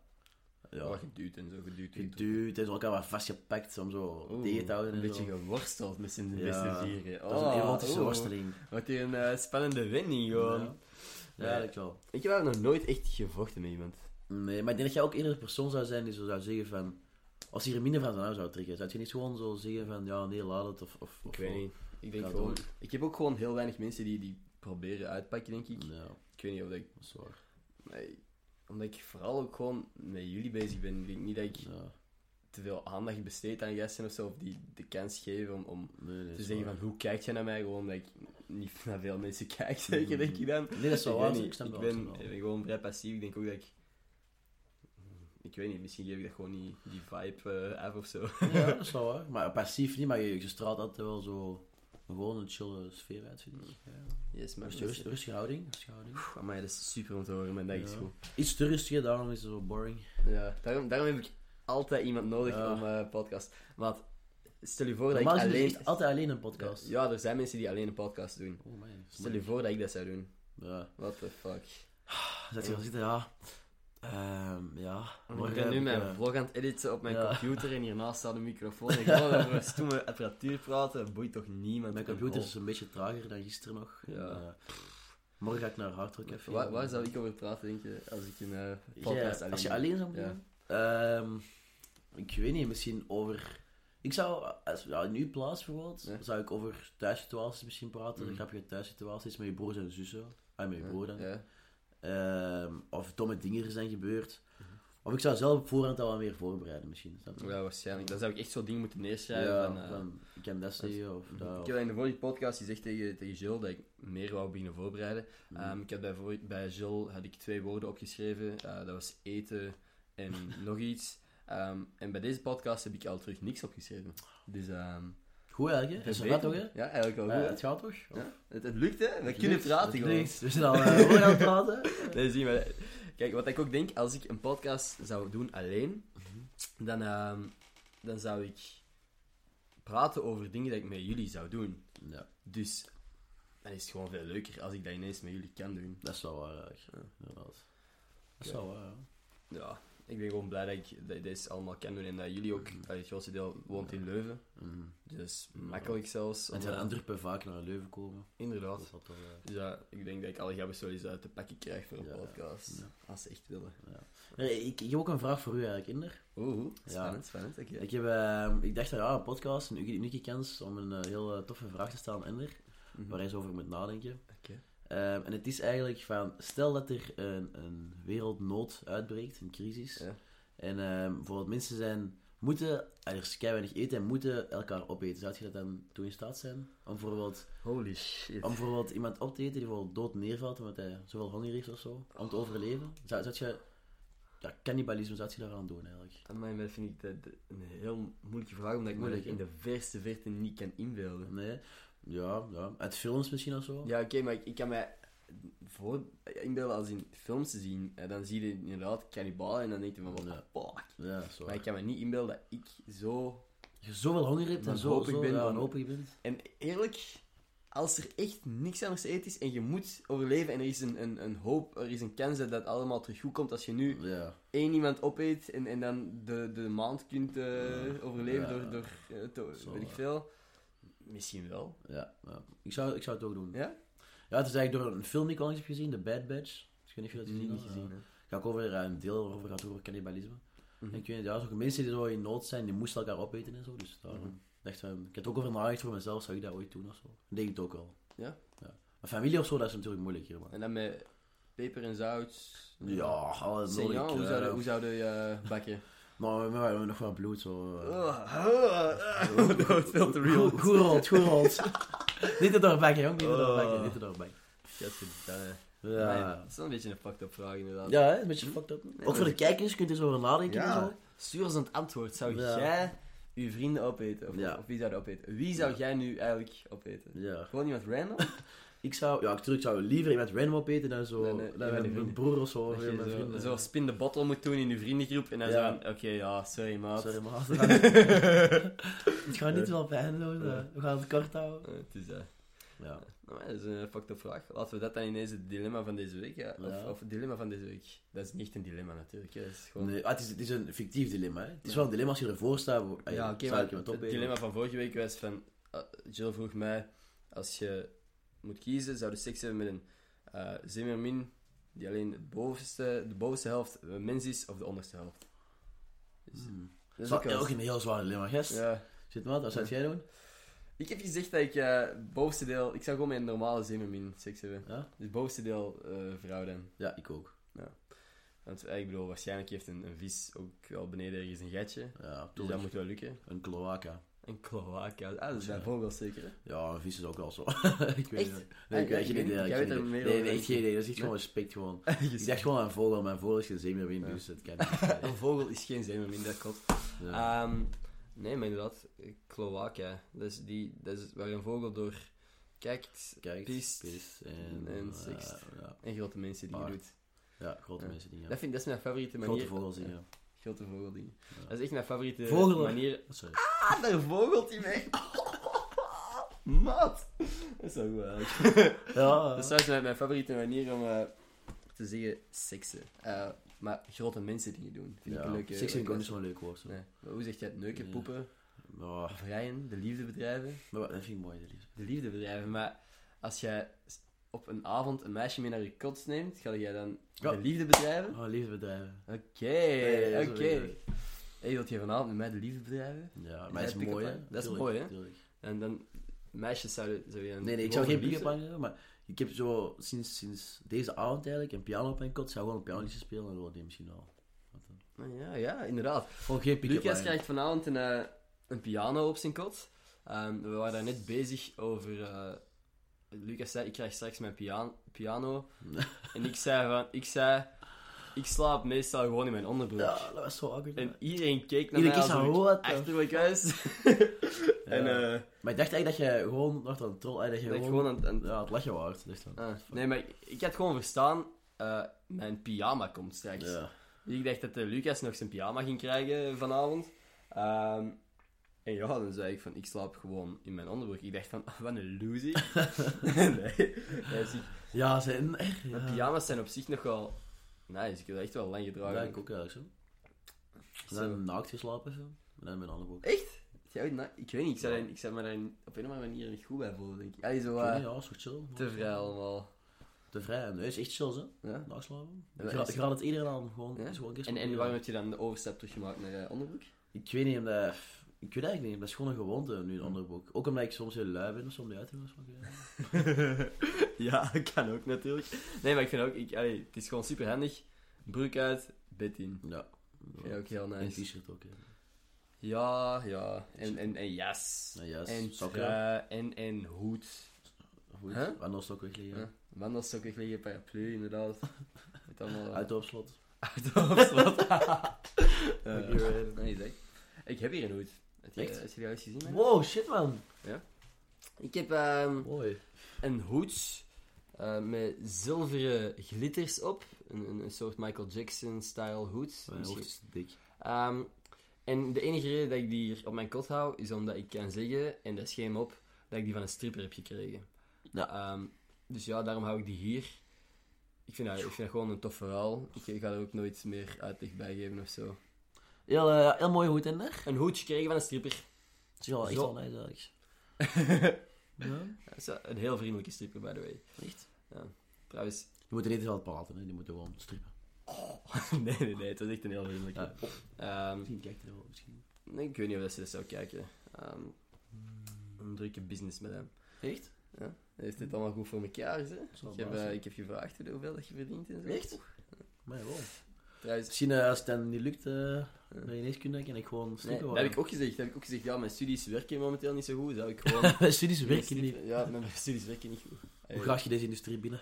[SPEAKER 1] Oh,
[SPEAKER 2] Ja,
[SPEAKER 1] geduwd en zo, geduwd.
[SPEAKER 2] geduwd en zo elkaar wat vastgepakt om zo
[SPEAKER 1] Oeh,
[SPEAKER 2] tegen te houden en
[SPEAKER 1] Een beetje
[SPEAKER 2] zo.
[SPEAKER 1] geworsteld met z'n
[SPEAKER 2] Ja,
[SPEAKER 1] beste vieren.
[SPEAKER 2] Dat is een
[SPEAKER 1] Oh,
[SPEAKER 2] erotische
[SPEAKER 1] oeh.
[SPEAKER 2] worsteling.
[SPEAKER 1] Wat hier een eh, spannende winning, gewoon.
[SPEAKER 2] Ja. Ja,
[SPEAKER 1] Nee.
[SPEAKER 2] eigenlijk wel.
[SPEAKER 1] Ik heb nog nooit echt gevochten met iemand.
[SPEAKER 2] Nee, maar ik denk dat jij ook eerder de persoon zou zijn die zo zou zeggen van... Als hier minder van zijn arm zou trekken, zou je niet gewoon zo zeggen van... Ja, nee, laat het, of... of
[SPEAKER 1] Ik weet niet. Ik denk
[SPEAKER 2] Ja,
[SPEAKER 1] gewoon...
[SPEAKER 2] doe.
[SPEAKER 1] Ik heb ook gewoon heel weinig mensen die die proberen uitpakken, denk ik.
[SPEAKER 2] Ja,
[SPEAKER 1] Ik weet niet of dat ik...
[SPEAKER 2] dat is waar.
[SPEAKER 1] nee, omdat ik vooral ook gewoon met jullie bezig ben. Ik denk niet dat ik
[SPEAKER 2] Ja,
[SPEAKER 1] te veel aandacht besteed aan gasten of zo. Of die de kans geven om, om
[SPEAKER 2] nee, nee, dat
[SPEAKER 1] te
[SPEAKER 2] is
[SPEAKER 1] zeggen
[SPEAKER 2] waar.
[SPEAKER 1] van hoe kijkt jij naar mij? Gewoon dat ik niet naar veel mensen kijk, zeker denk ik dan.
[SPEAKER 2] Nee, Mm. dat is
[SPEAKER 1] Ik,
[SPEAKER 2] wel
[SPEAKER 1] weet
[SPEAKER 2] waar,
[SPEAKER 1] niet,
[SPEAKER 2] ik snap
[SPEAKER 1] ik
[SPEAKER 2] wel,
[SPEAKER 1] ben,
[SPEAKER 2] snap wel.
[SPEAKER 1] ik ben gewoon vrij passief. Ik denk ook dat ik... Ik weet niet, misschien geef ik dat gewoon niet die vibe eh, af of zo.
[SPEAKER 2] Ja, dat is wel waar. Maar passief niet, maar je, je straalt altijd wel zo... Gewoon een chille sfeer uit, vind ik. Ja.
[SPEAKER 1] Yes, maar...
[SPEAKER 2] Rust- rust- Rustige houding, rustige houding.
[SPEAKER 1] Pff, Amai, dat is super om te horen. Mijn dag is
[SPEAKER 2] Ja.
[SPEAKER 1] goed.
[SPEAKER 2] Iets te rustiger, daarom is het zo boring.
[SPEAKER 1] Ja, daarom, daarom heb ik altijd iemand nodig
[SPEAKER 2] Ja.
[SPEAKER 1] om eh podcast. Maar stel je voor dat ik
[SPEAKER 2] Normaal gezien is
[SPEAKER 1] alleen...
[SPEAKER 2] het altijd alleen een podcast.
[SPEAKER 1] Ja, er zijn mensen die alleen een podcast doen.
[SPEAKER 2] Oh man.
[SPEAKER 1] Stel je voor dat ik dat zou doen.
[SPEAKER 2] Ja.
[SPEAKER 1] What the fuck.
[SPEAKER 2] Zet je wel zitten, ja. Ehm, ja.
[SPEAKER 1] ik
[SPEAKER 2] morgen
[SPEAKER 1] ben
[SPEAKER 2] heb
[SPEAKER 1] nu
[SPEAKER 2] ik,
[SPEAKER 1] mijn
[SPEAKER 2] eh,
[SPEAKER 1] vlog aan het editen op mijn
[SPEAKER 2] ja.
[SPEAKER 1] computer en hiernaast staat een microfoon. Ik wil over een stomme apparatuur praten, dat boeit toch niemand.
[SPEAKER 2] Mijn computer is een beetje trager dan gisteren nog. En,
[SPEAKER 1] Ja.
[SPEAKER 2] eh, morgen ga ik naar Hardrock Café.
[SPEAKER 1] Waar, waar zou Oh, ik over praten, denk je, als ik een eh, podcast
[SPEAKER 2] Jij,
[SPEAKER 1] alleen
[SPEAKER 2] Als je
[SPEAKER 1] doe?
[SPEAKER 2] alleen zou moeten
[SPEAKER 1] Ja.
[SPEAKER 2] doen? Ehm, ik weet niet, misschien over... Ik zou, als, ja, in uw plaats bijvoorbeeld,
[SPEAKER 1] Ja.
[SPEAKER 2] zou ik over thuissituaties misschien praten.
[SPEAKER 1] Mhm.
[SPEAKER 2] Grappige thuissituaties met je broers en zussen. Ah, met je broer dan.
[SPEAKER 1] Ja.
[SPEAKER 2] Ehm, of domme dingen er zijn gebeord. Of ik zou zelf op voorhand al wat meer voorbereiden misschien. snap je?
[SPEAKER 1] Mhm. ja, waarschijnlijk. Dan zou ik echt zo'n ding moeten
[SPEAKER 2] Ja,
[SPEAKER 1] neerschrijven. van, eh,
[SPEAKER 2] van, ik kan dat zeggen of dat.
[SPEAKER 1] Ik
[SPEAKER 2] of-
[SPEAKER 1] heb in de vorige podcast gezegd tegen, tegen Jill dat ik meer wou beginnen voorbereiden.
[SPEAKER 2] Mhm.
[SPEAKER 1] Ehm, ik had bij, voor- bij Jill had ik twee woorden opgeschreven. Eh, dat was eten en nog iets. Ehm, en bij deze podcast heb ik al terug niks opgeschreven. Dus ehm
[SPEAKER 2] Goed eigenlijk, hè? Is dat
[SPEAKER 1] beter.
[SPEAKER 2] toch, hè?
[SPEAKER 1] Oh, Ja, eigenlijk wel
[SPEAKER 2] Eh,
[SPEAKER 1] goed. hè?
[SPEAKER 2] het gaat toch? Of-
[SPEAKER 1] Ja, het, het lukt, hè? We
[SPEAKER 2] het
[SPEAKER 1] kunnen
[SPEAKER 2] lukt,
[SPEAKER 1] praten
[SPEAKER 2] het
[SPEAKER 1] gewoon.
[SPEAKER 2] lukt. We zijn al eh, goed aan het praten.
[SPEAKER 1] Nee, zie maar. Kijk, wat ik ook denk, als ik een podcast zou doen alleen,
[SPEAKER 2] Mhm.
[SPEAKER 1] dan, ehm, dan zou ik praten over dingen die ik met jullie zou doen.
[SPEAKER 2] Ja,
[SPEAKER 1] Dus dan is het gewoon veel leuker als ik dat ineens met jullie kan doen.
[SPEAKER 2] dat is wel waar eigenlijk. Inderdaad. Dat is
[SPEAKER 1] Oké.
[SPEAKER 2] wel waar, ja.
[SPEAKER 1] Ja, ik ben gewoon blij dat ik dat ik deze allemaal kan doen en dat jullie ook, allee, het grootste deel woont in Leuven.
[SPEAKER 2] Mhm.
[SPEAKER 1] Dus makkelijk zelfs.
[SPEAKER 2] En
[SPEAKER 1] om,
[SPEAKER 2] zijn
[SPEAKER 1] eh,
[SPEAKER 2] Antwerpen vaak naar Leuven komen. Dat is
[SPEAKER 1] Inderdaad.
[SPEAKER 2] wel toch, eh.
[SPEAKER 1] Dus ja, ik denk dat ik alle gabbers wel eens uit te pakken krijg voor een
[SPEAKER 2] Ja,
[SPEAKER 1] podcast.
[SPEAKER 2] ja.
[SPEAKER 1] Als ze echt willen.
[SPEAKER 2] Nee, ik, ik heb ook een vraag voor u eigenlijk, Inder.
[SPEAKER 1] Oeh, oeh,
[SPEAKER 2] Ja.
[SPEAKER 1] spannend, spannend. Oké.
[SPEAKER 2] Ik, heb, eh, ik dacht, ja, een podcast, een unieke- unieke kans om een eh, heel eh, toffe vraag te stellen aan Inder.
[SPEAKER 1] Mhm.
[SPEAKER 2] Waar hij eens over moet nadenken.
[SPEAKER 1] Oké.
[SPEAKER 2] Ehm, en het is eigenlijk van, stel dat er een, een wereldnood uitbreekt, een crisis.
[SPEAKER 1] Ja.
[SPEAKER 2] En ehm, bijvoorbeeld mensen zijn, moeten, er is kei weinig eten en moeten elkaar opeten. Zou je dat dan toe in staat zijn? Om bijvoorbeeld,
[SPEAKER 1] Holy shit.
[SPEAKER 2] om bijvoorbeeld iemand op te eten die bijvoorbeeld dood neervalt omdat hij zoveel honger heeft of zo. Om te overleven. Zou, zou je, ja, cannibalisme zou je daaraan doen eigenlijk?
[SPEAKER 1] Amai, maar dat vind ik dat- dat een heel moeilijke vraag, omdat ik me dat
[SPEAKER 2] Moeilijk,
[SPEAKER 1] in de verste verte niet kan inbeelden.
[SPEAKER 2] Nee? Ja, ja. Uit films misschien of zo?
[SPEAKER 1] Ja, oké, maar ik, ik kan mij voor inbeelden als in films te zien. En dan zie je inderdaad kannibalen en dan denk je van, wat
[SPEAKER 2] Ja.
[SPEAKER 1] fuck.
[SPEAKER 2] Ja, zo.
[SPEAKER 1] Maar ik kan me niet inbeelden dat ik zo...
[SPEAKER 2] je zoveel honger hebt en
[SPEAKER 1] Dan
[SPEAKER 2] zo,
[SPEAKER 1] hoop ik
[SPEAKER 2] zo
[SPEAKER 1] ben
[SPEAKER 2] ja,
[SPEAKER 1] dan-
[SPEAKER 2] wanhopig bent.
[SPEAKER 1] En eerlijk, als er echt niks anders te eten is en je moet overleven en er is een, een, een hoop, er is een kans dat dat allemaal terug goed komt als je nu
[SPEAKER 2] Ja.
[SPEAKER 1] één iemand opeet en, en dan de, de maand kunt eh,
[SPEAKER 2] Ja.
[SPEAKER 1] overleven
[SPEAKER 2] Ja.
[SPEAKER 1] door, door eh, te-
[SPEAKER 2] Zo,
[SPEAKER 1] weet ik
[SPEAKER 2] ja.
[SPEAKER 1] veel. Misschien wel.
[SPEAKER 2] Ja, ja. Ik, zou, ik zou het ook doen.
[SPEAKER 1] Ja?
[SPEAKER 2] Ja, het is eigenlijk door een film die ik al eens heb gezien, The Bad Batch. Ik weet niet of je dat gezien
[SPEAKER 1] Niet
[SPEAKER 2] hebt.
[SPEAKER 1] gezien, hè.
[SPEAKER 2] Ga ik over eh, een deel over gaat over cannibalisme.
[SPEAKER 1] Mhm.
[SPEAKER 2] En Ik weet niet, ja, zo mensen die zo in nood zijn, die moesten elkaar opeten en zo. Dus daarom
[SPEAKER 1] Mhm.
[SPEAKER 2] dacht van, ik heb er ook over nagedacht voor mezelf, zou ik dat ooit doen of zo? Ik denk het ook wel.
[SPEAKER 1] Ja?
[SPEAKER 2] ja. Maar familie of zo, dat is natuurlijk moeilijk hier, man.
[SPEAKER 1] En dan met peper en zout.
[SPEAKER 2] Ja, alle
[SPEAKER 1] Seigneur, hoe
[SPEAKER 2] zou eh,
[SPEAKER 1] zouden hoe zou je bakken?
[SPEAKER 2] Maar we hebben nog wel bloed, zo. eh. oh.
[SPEAKER 1] Oh. Dat wordt veel te real.
[SPEAKER 2] Goed goed rolt, goed rolt. Niet te doorbakken, jong. Niet te
[SPEAKER 1] Oh.
[SPEAKER 2] doorbakken, niet te doorbakken.
[SPEAKER 1] Gadverdamme. Nee,
[SPEAKER 2] Ja.
[SPEAKER 1] Dat is wel een beetje een fucked up vraag, inderdaad.
[SPEAKER 2] Ja, hè, een beetje fucked up. Ook voor de kijkers, kunt je zo over nadenken en zo.
[SPEAKER 1] Ja. Stuur ons een antwoord. Zou
[SPEAKER 2] Ja.
[SPEAKER 1] jij uw vrienden opeten? Of,
[SPEAKER 2] Ja.
[SPEAKER 1] of wie zou je opeten? Wie zou
[SPEAKER 2] Ja.
[SPEAKER 1] jij nu eigenlijk opeten?
[SPEAKER 2] Ja.
[SPEAKER 1] Gewoon iemand random?
[SPEAKER 2] Ik zou, ja, natuurlijk ik zou liever iemand random opeten dan zo,
[SPEAKER 1] Nee, nee,
[SPEAKER 2] dan
[SPEAKER 1] je bent
[SPEAKER 2] mijn,
[SPEAKER 1] niet
[SPEAKER 2] mijn broer of zo, of
[SPEAKER 1] Dat je
[SPEAKER 2] mijn
[SPEAKER 1] zo-
[SPEAKER 2] vrienden.
[SPEAKER 1] zo spin de bottle moet doen in je vriendengroep en dan
[SPEAKER 2] Ja.
[SPEAKER 1] zo van, oké, ja, sorry maat.
[SPEAKER 2] Sorry, maar het gaat niet wel pijn doen,
[SPEAKER 1] Ja.
[SPEAKER 2] we gaan het kort houden.
[SPEAKER 1] Eh, Het is eh,
[SPEAKER 2] Ja,
[SPEAKER 1] Nou, maar dat is een fucked up vraag. Laten we dat dan ineens het dilemma van deze week... Ja. Of,
[SPEAKER 2] Ja.
[SPEAKER 1] of het dilemma van deze week. Dat is niet echt een dilemma natuurlijk. Hè. Dat is gewoon...
[SPEAKER 2] nee, ah, het, is, het is een fictief dilemma, hè. Het is wel een dilemma als je ervoor staat, wo- ah,
[SPEAKER 1] Ja, oké,
[SPEAKER 2] zou
[SPEAKER 1] maar
[SPEAKER 2] ik iemand
[SPEAKER 1] het
[SPEAKER 2] opeten.
[SPEAKER 1] dilemma van vorige week was van... eh, Jill vroeg mij, als je moet kiezen, zou je seks hebben met een eh zeemermin die alleen het bovenste, de bovenste helft een mens is, of de onderste helft? Dus,
[SPEAKER 2] Hmm.
[SPEAKER 1] dat is
[SPEAKER 2] Zwa-
[SPEAKER 1] ook wel
[SPEAKER 2] ook
[SPEAKER 1] eens-
[SPEAKER 2] een heel zwaar dilemma, gest.
[SPEAKER 1] ja.
[SPEAKER 2] Zit maat, wat zou jij doen?
[SPEAKER 1] Ik heb gezegd dat ik eh, bovenste deel... Ik zou gewoon met een normale zeemermin seks hebben.
[SPEAKER 2] Ja?
[SPEAKER 1] Dus bovenste deel eh, vrouw dan.
[SPEAKER 2] ja, ik ook.
[SPEAKER 1] Want eh, ik bedoel, waarschijnlijk heeft een, een vis ook wel beneden ergens een gatje.
[SPEAKER 2] Ja,
[SPEAKER 1] Dus
[SPEAKER 2] tuurlijk.
[SPEAKER 1] dat moet wel lukken.
[SPEAKER 2] Een cloaca.
[SPEAKER 1] Een kloaka. Ah, dat is bij
[SPEAKER 2] Ja.
[SPEAKER 1] vogels zeker. hè?
[SPEAKER 2] Ja, een vis is ook wel zo. ik weet
[SPEAKER 1] Echt?
[SPEAKER 2] niet. Nee,
[SPEAKER 1] Ah,
[SPEAKER 2] ik weet
[SPEAKER 1] ja,
[SPEAKER 2] geen
[SPEAKER 1] ik
[SPEAKER 2] idee.
[SPEAKER 1] weet-
[SPEAKER 2] ik
[SPEAKER 1] jij
[SPEAKER 2] geen
[SPEAKER 1] weet er
[SPEAKER 2] idee.
[SPEAKER 1] meer
[SPEAKER 2] Nee,
[SPEAKER 1] over
[SPEAKER 2] nee,
[SPEAKER 1] dan
[SPEAKER 2] echt
[SPEAKER 1] ik.
[SPEAKER 2] geen idee. Dat is
[SPEAKER 1] Nee.
[SPEAKER 2] echt gewoon respect gewoon. Ik
[SPEAKER 1] Je
[SPEAKER 2] dacht gewoon aan een vogel, mijn vogel is geen zeemeermin,
[SPEAKER 1] Ja.
[SPEAKER 2] dus het kan niet.
[SPEAKER 1] Een vogel is geen zeemermin, dat klopt.
[SPEAKER 2] Ja.
[SPEAKER 1] Ehm, nee, maar inderdaad, eh, kloaka. Dat is, die, dat is waar een vogel door kijkt
[SPEAKER 2] Kijk,
[SPEAKER 1] pist
[SPEAKER 2] pist
[SPEAKER 1] en
[SPEAKER 2] en... eh,
[SPEAKER 1] sekst.
[SPEAKER 2] ja.
[SPEAKER 1] en grote mensen die
[SPEAKER 2] Paard.
[SPEAKER 1] doet.
[SPEAKER 2] Ja, grote
[SPEAKER 1] Ja.
[SPEAKER 2] mensen dingen.
[SPEAKER 1] Dat, vind, dat is mijn favoriete manier. Ah.
[SPEAKER 2] Grote vogels dingen.
[SPEAKER 1] Grote vogeldingen.
[SPEAKER 2] Ja.
[SPEAKER 1] Dat is echt mijn favoriete
[SPEAKER 2] Vogelen.
[SPEAKER 1] manier.
[SPEAKER 2] Sorry.
[SPEAKER 1] Ah, daar vogelt hij mee. Maat. Dat is zo goed eigenlijk.
[SPEAKER 2] Ja,
[SPEAKER 1] Dat is trouwens mijn, mijn favoriete manier om eh, te zeggen seksen. Eh, Maar grote mensen dingen doen. Vind ik
[SPEAKER 2] Ja.
[SPEAKER 1] een leuke...
[SPEAKER 2] Seks en
[SPEAKER 1] leuke
[SPEAKER 2] gewoon is wel een leuk woord. zo.
[SPEAKER 1] Nee. Maar hoe zeg jij het? Neuken,
[SPEAKER 2] Ja.
[SPEAKER 1] poepen,
[SPEAKER 2] Maar, wa-
[SPEAKER 1] vrijen, de liefdebedrijven.
[SPEAKER 2] maar wa- dat vind ik mooi, dat liefde.
[SPEAKER 1] De liefdebedrijven, maar als jij s- op een avond een meisje mee naar je kots neemt, ga jij dan
[SPEAKER 2] Ja.
[SPEAKER 1] de liefdebedrijven?
[SPEAKER 2] Oh, liefdebedrijven.
[SPEAKER 1] Oké,
[SPEAKER 2] Nee, dat is
[SPEAKER 1] oké.
[SPEAKER 2] wel leuk.
[SPEAKER 1] Hey, wilt je vanavond met mij de liefdebedrijven?
[SPEAKER 2] Ja,
[SPEAKER 1] Is
[SPEAKER 2] maar dat
[SPEAKER 1] dat
[SPEAKER 2] is mooi,
[SPEAKER 1] pick-up
[SPEAKER 2] hè?
[SPEAKER 1] line? Dat is
[SPEAKER 2] Tuurlijk,
[SPEAKER 1] mooi, hè?
[SPEAKER 2] tuurlijk.
[SPEAKER 1] En dan, meisjes zouden, zou je dan...
[SPEAKER 2] Nee, nee, ik
[SPEAKER 1] gewoon
[SPEAKER 2] zou geen
[SPEAKER 1] verliefd
[SPEAKER 2] pick-up line hebben, maar ik heb zo sinds, sinds deze avond eigenlijk een piano op mijn kot. Ik zou gewoon een pianoliedje spelen en dan wil die misschien al.
[SPEAKER 1] zijn? Ah, Ja, ja, inderdaad.
[SPEAKER 2] Gewoon geen pick-up
[SPEAKER 1] Lucas
[SPEAKER 2] line.
[SPEAKER 1] krijgt vanavond een, eh, een piano op zijn kot. Ehm, we waren daar net bezig over. eh, Lucas zei: Ik krijg straks mijn pian- piano. en ik zei, van, ik zei: Ik slaap meestal gewoon in mijn onderbroek.
[SPEAKER 2] Ja, dat was zo awkward.
[SPEAKER 1] En iedereen keek naar
[SPEAKER 2] Iedereen
[SPEAKER 1] mij
[SPEAKER 2] keek zo,
[SPEAKER 1] alsof ik
[SPEAKER 2] "What the
[SPEAKER 1] achterlijk was. en
[SPEAKER 2] Ja.
[SPEAKER 1] eh,
[SPEAKER 2] Maar ik dacht eigenlijk dat je gewoon nog aan het trollen, eh, dat je
[SPEAKER 1] dat ik
[SPEAKER 2] gewoon,
[SPEAKER 1] gewoon aan, aan-
[SPEAKER 2] ja, het lachen waard. Dacht van,
[SPEAKER 1] ah, nee, maar ik, ik had gewoon verstaan: eh, Mijn pyjama komt straks.
[SPEAKER 2] ja.
[SPEAKER 1] Dus ik dacht dat eh, Lucas nog zijn pyjama ging krijgen vanavond. Ehm, en ja, dan zei ik van, ik slaap gewoon in mijn onderbroek. Ik dacht van, ah, wat een loser. nee. nee zie ik-
[SPEAKER 2] ja, zijn
[SPEAKER 1] Mijn
[SPEAKER 2] ja.
[SPEAKER 1] pyjama's zijn op zich nog wel nice. Ik heb dat echt wel lang
[SPEAKER 2] Ja,
[SPEAKER 1] gedragen.
[SPEAKER 2] ik ook eigenlijk zo. En
[SPEAKER 1] Zo.
[SPEAKER 2] dan naakt geslapen zo. En dan met een andere boek.
[SPEAKER 1] Echt? Ja, nou, ik weet niet, ik zou,
[SPEAKER 2] Ja.
[SPEAKER 1] daarin- ik zou me daar op een of andere manier niet goed bij voelen, denk ik. Allee, zo
[SPEAKER 2] Ik weet
[SPEAKER 1] eh,
[SPEAKER 2] niet, ja, zo chill.
[SPEAKER 1] te vrij allemaal.
[SPEAKER 2] Te vrij. Nee, is echt chill, hè?
[SPEAKER 1] Ja?
[SPEAKER 2] Naakt slapen.
[SPEAKER 1] Ja,
[SPEAKER 2] Ik
[SPEAKER 1] dat
[SPEAKER 2] raad,
[SPEAKER 1] is-
[SPEAKER 2] ik raad het iedereen aan. Gewoon,
[SPEAKER 1] Ja?
[SPEAKER 2] is gewoon een keer
[SPEAKER 1] En, en
[SPEAKER 2] proberen.
[SPEAKER 1] waarom heb je dan de overstap teruggemaakt naar eh, onderbroek?
[SPEAKER 2] Ik weet niet, omdat... Ik weet eigenlijk niet, dat is gewoon een gewoonte, nu een ander boek. Ook omdat ik soms heel lui ben of zo, om die uit te doen. of zo.
[SPEAKER 1] ja, kan ook natuurlijk. Nee, maar ik vind ook, ik, allee, het is gewoon super handig. Broek uit, bed in.
[SPEAKER 2] Ja.
[SPEAKER 1] Vind jij ook heel
[SPEAKER 2] En
[SPEAKER 1] nice.
[SPEAKER 2] t-shirt ook, hè.
[SPEAKER 1] Ja, ja. En, en, en jas.
[SPEAKER 2] Nou, juist.
[SPEAKER 1] En
[SPEAKER 2] sokken.
[SPEAKER 1] trui, en, en hoed.
[SPEAKER 2] Goed.
[SPEAKER 1] Huh?
[SPEAKER 2] Anders ook wegleggen.
[SPEAKER 1] Ja. Wandelstokken liggen, paraplu inderdaad. Met allemaal... eh,
[SPEAKER 2] Auto op slot.
[SPEAKER 1] Auto op slot. Eh,
[SPEAKER 2] Dankjewel.
[SPEAKER 1] nee, zeg. Ik heb hier een hoed. Heb je,
[SPEAKER 2] Echt?
[SPEAKER 1] heb je die al eens gezien? man?
[SPEAKER 2] Wow, shit man.
[SPEAKER 1] Ik heb ehm,
[SPEAKER 2] Mooi.
[SPEAKER 1] een hoed eh, met zilveren glitters op. Een, een, een soort Michael Jackson-style hoed.
[SPEAKER 2] Mijn
[SPEAKER 1] Misschien-
[SPEAKER 2] hoofd is dik.
[SPEAKER 1] Ehm, en de enige reden dat ik die hier op mijn kot hou, is omdat ik kan zeggen, en dat is geen mop, dat ik die van een stripper heb gekregen.
[SPEAKER 2] Ja.
[SPEAKER 1] Ehm, dus ja, daarom hou ik die hier. Ik vind dat, ik vind dat gewoon een tof verhaal. Ik, ik ga er ook nooit meer uitleg bij geven of zo.
[SPEAKER 2] Heel, eh, heel mooi hoed in daar.
[SPEAKER 1] Een hoedje gekregen van een stripper.
[SPEAKER 2] Het is wel echt
[SPEAKER 1] Zo.
[SPEAKER 2] wel nice eigenlijk. ja,
[SPEAKER 1] Dat is een heel vriendelijke stripper, by the way.
[SPEAKER 2] echt.
[SPEAKER 1] Trouwens,
[SPEAKER 2] Die moeten niet wel praten, hè. die moeten gewoon strippen.
[SPEAKER 1] nee, nee, nee, het was echt een heel vriendelijke. Ehm,
[SPEAKER 2] Misschien kijkt hij wel, misschien.
[SPEAKER 1] nee, ik weet niet of dat ze dat zou kijken. Ehm, een drukke business met hem.
[SPEAKER 2] Echt?
[SPEAKER 1] Hij Heeft dit allemaal goed voor elkaar, hè?
[SPEAKER 2] Zal
[SPEAKER 1] Ik heb,
[SPEAKER 2] Oh, baas
[SPEAKER 1] eh,
[SPEAKER 2] zijn.
[SPEAKER 1] ik heb gevraagd hoeveel dat je verdient en zo.
[SPEAKER 2] Echt? Maar wel.
[SPEAKER 1] Trouwens,
[SPEAKER 2] Misschien eh, als het dan niet lukt, eh bij geneeskunde kan ik gewoon
[SPEAKER 1] nee,
[SPEAKER 2] strippen
[SPEAKER 1] dat
[SPEAKER 2] worden.
[SPEAKER 1] heb ik ook gezegd. Dat heb ik ook gezegd. Ja, mijn studies werken momenteel niet zo goed. Zou ik gewoon...
[SPEAKER 2] Mijn studies werken niet.
[SPEAKER 1] Ja, mijn studies werken niet goed.
[SPEAKER 2] Hoe graag je deze industrie binnen?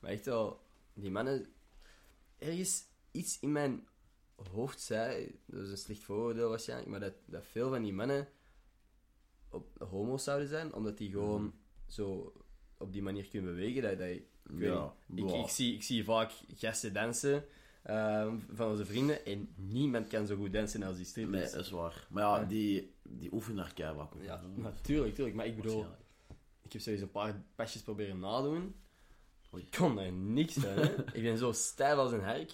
[SPEAKER 1] Maar echt wel, die mannen... Ergens iets in mijn hoofd zei... Dat is een slecht vooroordeel waarschijnlijk. Maar dat, dat veel van die mannen op, homo's zouden zijn. Omdat die gewoon
[SPEAKER 2] Mhm.
[SPEAKER 1] zo op die manier kunnen bewegen. Dat, dat, je- ik weet niet. Ik, ik, zie, ik zie vaak gasten dansen ehm, van onze vrienden en niemand kan zo goed dansen als die
[SPEAKER 2] Nee,
[SPEAKER 1] strippers.
[SPEAKER 2] dat is waar. Maar ja,
[SPEAKER 1] Ja.
[SPEAKER 2] die, die oefenen naar keihard.
[SPEAKER 1] ja, natuurlijk, natuurlijk. Maar ik bedoel, ik heb sowieso een paar pasjes proberen nadoen.
[SPEAKER 2] Oei.
[SPEAKER 1] Ik kon er niks aan. hè. ik ben zo stijf als een herk.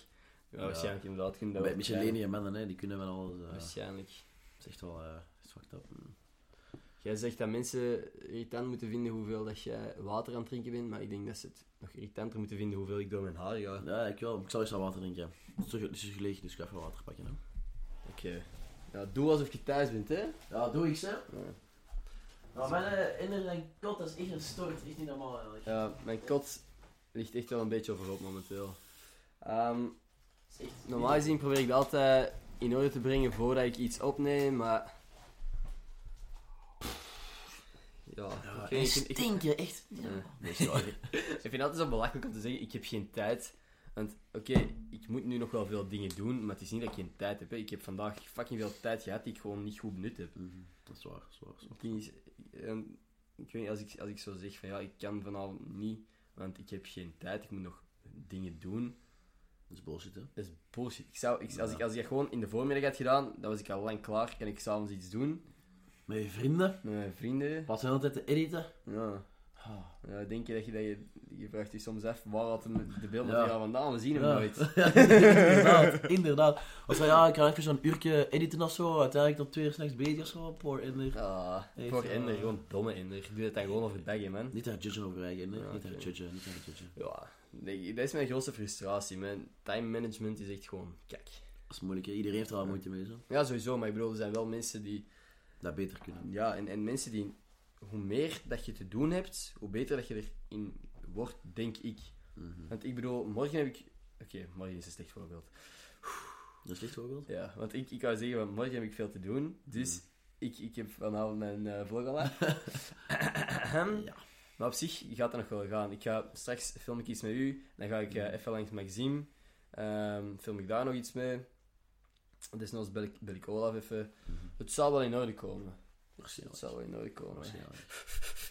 [SPEAKER 1] Ja,
[SPEAKER 2] Ja.
[SPEAKER 1] waarschijnlijk inderdaad. Kun je dat
[SPEAKER 2] Bij
[SPEAKER 1] wel
[SPEAKER 2] Michelinie mannen, hè, die kunnen wel alles.
[SPEAKER 1] krijgen.
[SPEAKER 2] eh, Het
[SPEAKER 1] Waarschijnlijk.
[SPEAKER 2] is echt wel eh, is fucked up.
[SPEAKER 1] Jij zegt dat mensen irritant moeten vinden hoeveel dat jij water aan het drinken bent, maar ik denk dat ze het nog irritanter moeten vinden hoeveel ik door mijn haar ga. Oké.
[SPEAKER 2] Ja, ik wel. Ik zal eens aan water drinken. Het is toch- Het is gelegen, dus ik ga even water pakken. Hè.
[SPEAKER 1] Ja, doe alsof je thuis bent, hè.
[SPEAKER 2] Ja, doe ik ze.
[SPEAKER 1] Ja.
[SPEAKER 2] Maar mijn innerlijke kot is echt een stort. Echt niet normaal eigenlijk.
[SPEAKER 1] Ja, mijn kot ligt echt wel een beetje overhoop momenteel. Ehm,
[SPEAKER 2] Het is echt-
[SPEAKER 1] normaal gezien probeer ik dat altijd in orde te brengen voordat ik iets opneem, maar... Ja,
[SPEAKER 2] Ja,
[SPEAKER 1] ik,
[SPEAKER 2] en
[SPEAKER 1] vind, ik, ik,
[SPEAKER 2] stinken, echt.
[SPEAKER 1] Ja.
[SPEAKER 2] Nee, sorry.
[SPEAKER 1] ik vind het altijd zo belachelijk om te zeggen, ik heb geen tijd. Want, oké, ik moet nu nog wel veel dingen doen, maar het is niet dat ik geen tijd heb. Hè. Ik heb vandaag fucking veel tijd gehad die ik gewoon niet goed benut heb.
[SPEAKER 2] dat is waar, dat is waar. dat is waar.
[SPEAKER 1] Het ding is, en ik weet niet, als ik, als ik zo zeg van ja, ik kan vanavond niet, want ik heb geen tijd, ik moet nog dingen doen.
[SPEAKER 2] Dat is bullshit, hè.
[SPEAKER 1] Dat is bullshit. Ik zou, ik, als,
[SPEAKER 2] Ja.
[SPEAKER 1] ik, als ik dat gewoon in de voormiddag had gedaan, dan was ik al lang klaar. Kan ik s'avonds iets doen
[SPEAKER 2] Met je vrienden.
[SPEAKER 1] met mijn vrienden.
[SPEAKER 2] Pas de hele tijd te editen.
[SPEAKER 1] Ja. Ja, denk je dat je, dat je, je vraagt je soms af, waar had hem de beeldmateriaal
[SPEAKER 2] Ja.
[SPEAKER 1] vandaan? We zien hem
[SPEAKER 2] Ja.
[SPEAKER 1] nooit.
[SPEAKER 2] Ja, inderdaad, inderdaad. Of zo, ja, ik ga even zo'n uurtje editen of zo. Uiteindelijk tot twee uur s'nachts bezig of zo. Poor Ender.
[SPEAKER 1] Ah,
[SPEAKER 2] Echt,
[SPEAKER 1] voor
[SPEAKER 2] ja.
[SPEAKER 1] Ender, gewoon domme Ender. Doe dat dan gewoon overdag, hè, man.
[SPEAKER 2] Niet daar judgen over eigen, nee.
[SPEAKER 1] Ja,
[SPEAKER 2] niet daar
[SPEAKER 1] oké.
[SPEAKER 2] judgen, niet daar judgen.
[SPEAKER 1] Ja, nee, dat is mijn grootste frustratie. Mijn time management is echt gewoon kak.
[SPEAKER 2] Dat is moeilijk, hè. Iedereen heeft er al moeite mee, zo.
[SPEAKER 1] Ja, sowieso, maar ik bedoel, er zijn wel mensen die
[SPEAKER 2] Dat beter kunnen.
[SPEAKER 1] Ja, en, en mensen die... Hoe meer dat je te doen hebt, hoe beter dat je erin wordt, denk ik.
[SPEAKER 2] Mhm.
[SPEAKER 1] Want ik bedoel, morgen heb ik... Oké, morgen is een slecht voorbeeld.
[SPEAKER 2] Dat is een slecht voorbeeld.
[SPEAKER 1] Ja, want ik, ik wou zeggen, want morgen heb ik veel te doen. Dus
[SPEAKER 2] Mm.
[SPEAKER 1] ik, ik heb vanavond mijn uh,
[SPEAKER 2] Ja.
[SPEAKER 1] maar op zich gaat dat nog wel gaan. Ik ga straks film ik iets met u. Dan ga ik
[SPEAKER 2] Mm.
[SPEAKER 1] eh, even langs Maxime. Ehm, film ik daar nog iets mee. Desnoods bel ik, bel ik Olaf even. Het zal wel in orde komen. Het
[SPEAKER 2] Waarschijnlijk.
[SPEAKER 1] zal wel in orde komen.
[SPEAKER 2] Mm-hmm. Waarschijnlijk.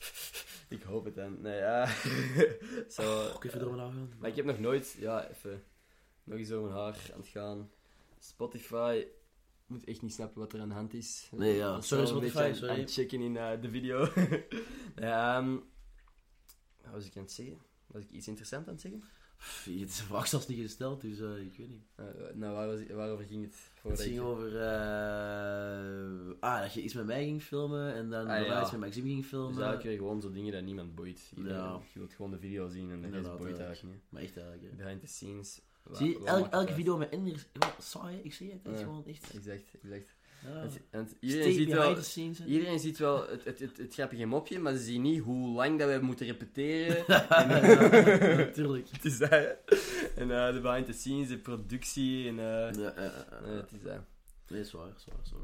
[SPEAKER 1] Ik hoop het dan. Nee, ja. Zo,
[SPEAKER 2] Ook even door mijn gaan.
[SPEAKER 1] maar ik heb nog nooit, ja, even nog eens over mijn haar aan het gaan. Spotify moet echt niet snappen wat er aan de hand is.
[SPEAKER 2] Nee, ja.
[SPEAKER 1] Dat is
[SPEAKER 2] Sorry,
[SPEAKER 1] wel een
[SPEAKER 2] Spotify,
[SPEAKER 1] beetje aan-
[SPEAKER 2] sorry.
[SPEAKER 1] Aan het checken in eh, de video. Nee, ehm, wat was ik aan het zeggen? Was ik iets interessants aan het zeggen?
[SPEAKER 2] Pff, Het is vaak zelfs niet gesteld, dus eh, ik weet niet.
[SPEAKER 1] Eh, nou, waar was ik- waarover ging het?
[SPEAKER 2] Het
[SPEAKER 1] Voordat
[SPEAKER 2] ging
[SPEAKER 1] ik-
[SPEAKER 2] over... eh, ah, dat je iets met mij ging filmen en dan
[SPEAKER 1] Ah,
[SPEAKER 2] daarna
[SPEAKER 1] ja.
[SPEAKER 2] iets met Maxime ging filmen.
[SPEAKER 1] Dus eigenlijk weer gewoon zo dingen dat niemand boeit. Iedereen-
[SPEAKER 2] Ja.
[SPEAKER 1] Je wilt gewoon de video zien en de rest
[SPEAKER 2] Inderdaad,
[SPEAKER 1] boeit
[SPEAKER 2] ja.
[SPEAKER 1] eigenlijk niet.
[SPEAKER 2] Maar echt eigenlijk, hè.
[SPEAKER 1] Behind the scenes. wa-
[SPEAKER 2] Zie je,
[SPEAKER 1] wa-
[SPEAKER 2] elk,
[SPEAKER 1] maakt het
[SPEAKER 2] elke
[SPEAKER 1] uit.
[SPEAKER 2] video met Ender is wat saai, hè. ik zie het. Het is
[SPEAKER 1] Ja.
[SPEAKER 2] gewoon echt...
[SPEAKER 1] Exact, exact.
[SPEAKER 2] Ja.
[SPEAKER 1] Want, want iedereen,
[SPEAKER 2] Steek
[SPEAKER 1] ziet
[SPEAKER 2] behind
[SPEAKER 1] wel,
[SPEAKER 2] the scenes. en-
[SPEAKER 1] iedereen ziet wel het, het, het, het grappige mopje, maar ze zien niet hoe lang dat we moeten repeteren.
[SPEAKER 2] Natuurlijk.
[SPEAKER 1] het is dat, hè. En eh, de behind the scenes, de productie en... eh,
[SPEAKER 2] Ja, eh, eh, eh,
[SPEAKER 1] eh, het is dat.
[SPEAKER 2] Nee, zwaar, zwaar, zwaar.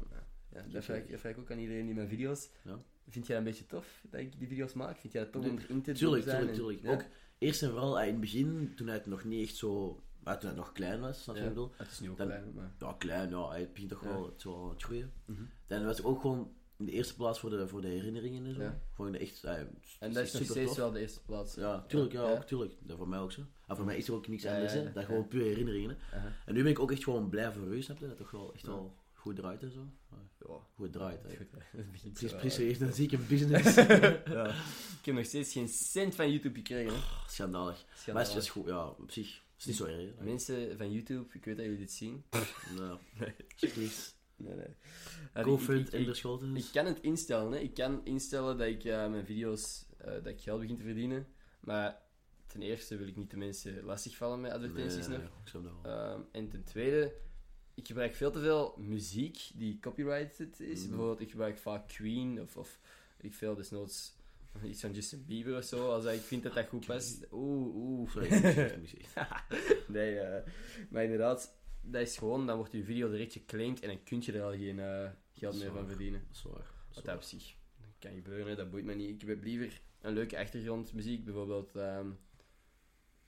[SPEAKER 1] Ja, dat, vraag ik, dat vraag ik ook aan iedereen in mijn video's.
[SPEAKER 2] Ja.
[SPEAKER 1] Vind jij dat een beetje tof, dat ik die video's maak? Vind jij dat tof om
[SPEAKER 2] Nee,
[SPEAKER 1] erin te
[SPEAKER 2] Tuurlijk,
[SPEAKER 1] doen?
[SPEAKER 2] tuurlijk, tuurlijk. Ook eerst en vooral eh, in het begin, toen hij het nog niet echt zo... Maar toen hij nog klein was, snap je wat ik bedoel?
[SPEAKER 1] Het is nu ook
[SPEAKER 2] Dan-
[SPEAKER 1] klein, maar...
[SPEAKER 2] Ja, klein, ja. Het begint toch
[SPEAKER 1] Ja.
[SPEAKER 2] wel, het is wel aan het groeien.
[SPEAKER 1] Mhm.
[SPEAKER 2] Dan was het ook gewoon in de eerste plaats voor de, voor de herinneringen en zo.
[SPEAKER 1] Ja.
[SPEAKER 2] Gewoon de echt... eh, het is
[SPEAKER 1] En dat is
[SPEAKER 2] echt
[SPEAKER 1] nog
[SPEAKER 2] supertof.
[SPEAKER 1] steeds wel de eerste plaats.
[SPEAKER 2] Ja, tuurlijk, ja,
[SPEAKER 1] Ja.
[SPEAKER 2] ook, tuurlijk. Dat voor mij ook zo. Maar voor mij is er ook niks
[SPEAKER 1] Ja,
[SPEAKER 2] anders,
[SPEAKER 1] ja,
[SPEAKER 2] hè.
[SPEAKER 1] ja,
[SPEAKER 2] Dat is gewoon
[SPEAKER 1] ja.
[SPEAKER 2] puur herinneringen, hè.
[SPEAKER 1] Aha.
[SPEAKER 2] En nu ben ik ook echt gewoon blij voor u, snap je? Dat het toch wel echt
[SPEAKER 1] Ja.
[SPEAKER 2] wel goed draait en zo. Maar
[SPEAKER 1] Ja.
[SPEAKER 2] Goed draait, hè.
[SPEAKER 1] Goed, hè. Het begint
[SPEAKER 2] Precies,
[SPEAKER 1] zo,
[SPEAKER 2] precies.
[SPEAKER 1] eh,
[SPEAKER 2] heeft een zieke business.
[SPEAKER 1] Ik heb nog steeds geen cent van YouTube gekregen. hè.
[SPEAKER 2] Schandalig. Maar
[SPEAKER 1] Schandaal.
[SPEAKER 2] het is- het is goed, ja, op zich. Het is niet zo erg. hè.
[SPEAKER 1] Mensen van YouTube, ik weet dat jullie dit zien.
[SPEAKER 2] Nou, alsjeblieft.
[SPEAKER 1] Nee, nee.
[SPEAKER 2] GoFund
[SPEAKER 1] ik,
[SPEAKER 2] en de
[SPEAKER 1] ik,
[SPEAKER 2] Scholten.
[SPEAKER 1] ik kan het instellen. Hè. Ik kan instellen dat ik eh, mijn video's eh, dat ik geld begin te verdienen. Maar ten eerste wil ik niet de mensen lastigvallen met advertenties nog.
[SPEAKER 2] Ik snap dat wel.
[SPEAKER 1] Ehm, en ten tweede, ik gebruik veel te veel muziek die copyrighted is.
[SPEAKER 2] Mhm.
[SPEAKER 1] Bijvoorbeeld, ik gebruik vaak Queen of, of ik veel desnoods iets van Justin Bieber of zo. Als ik vind dat dat goed past. Oeh, oeh.
[SPEAKER 2] Sorry, ik moet zeggen, ik moet zeggen.
[SPEAKER 1] Nee, eh, maar inderdaad, dat is gewoon, dan wordt je video direct geclaimd en dan kun je er al geen eh, geld meer
[SPEAKER 2] Zwaar.
[SPEAKER 1] van verdienen.
[SPEAKER 2] Dat is waar.
[SPEAKER 1] Wat dat op zich kan gebeuren, hè, dat boeit me niet. Ik heb liever een leuke achtergrondmuziek, bijvoorbeeld, ehm,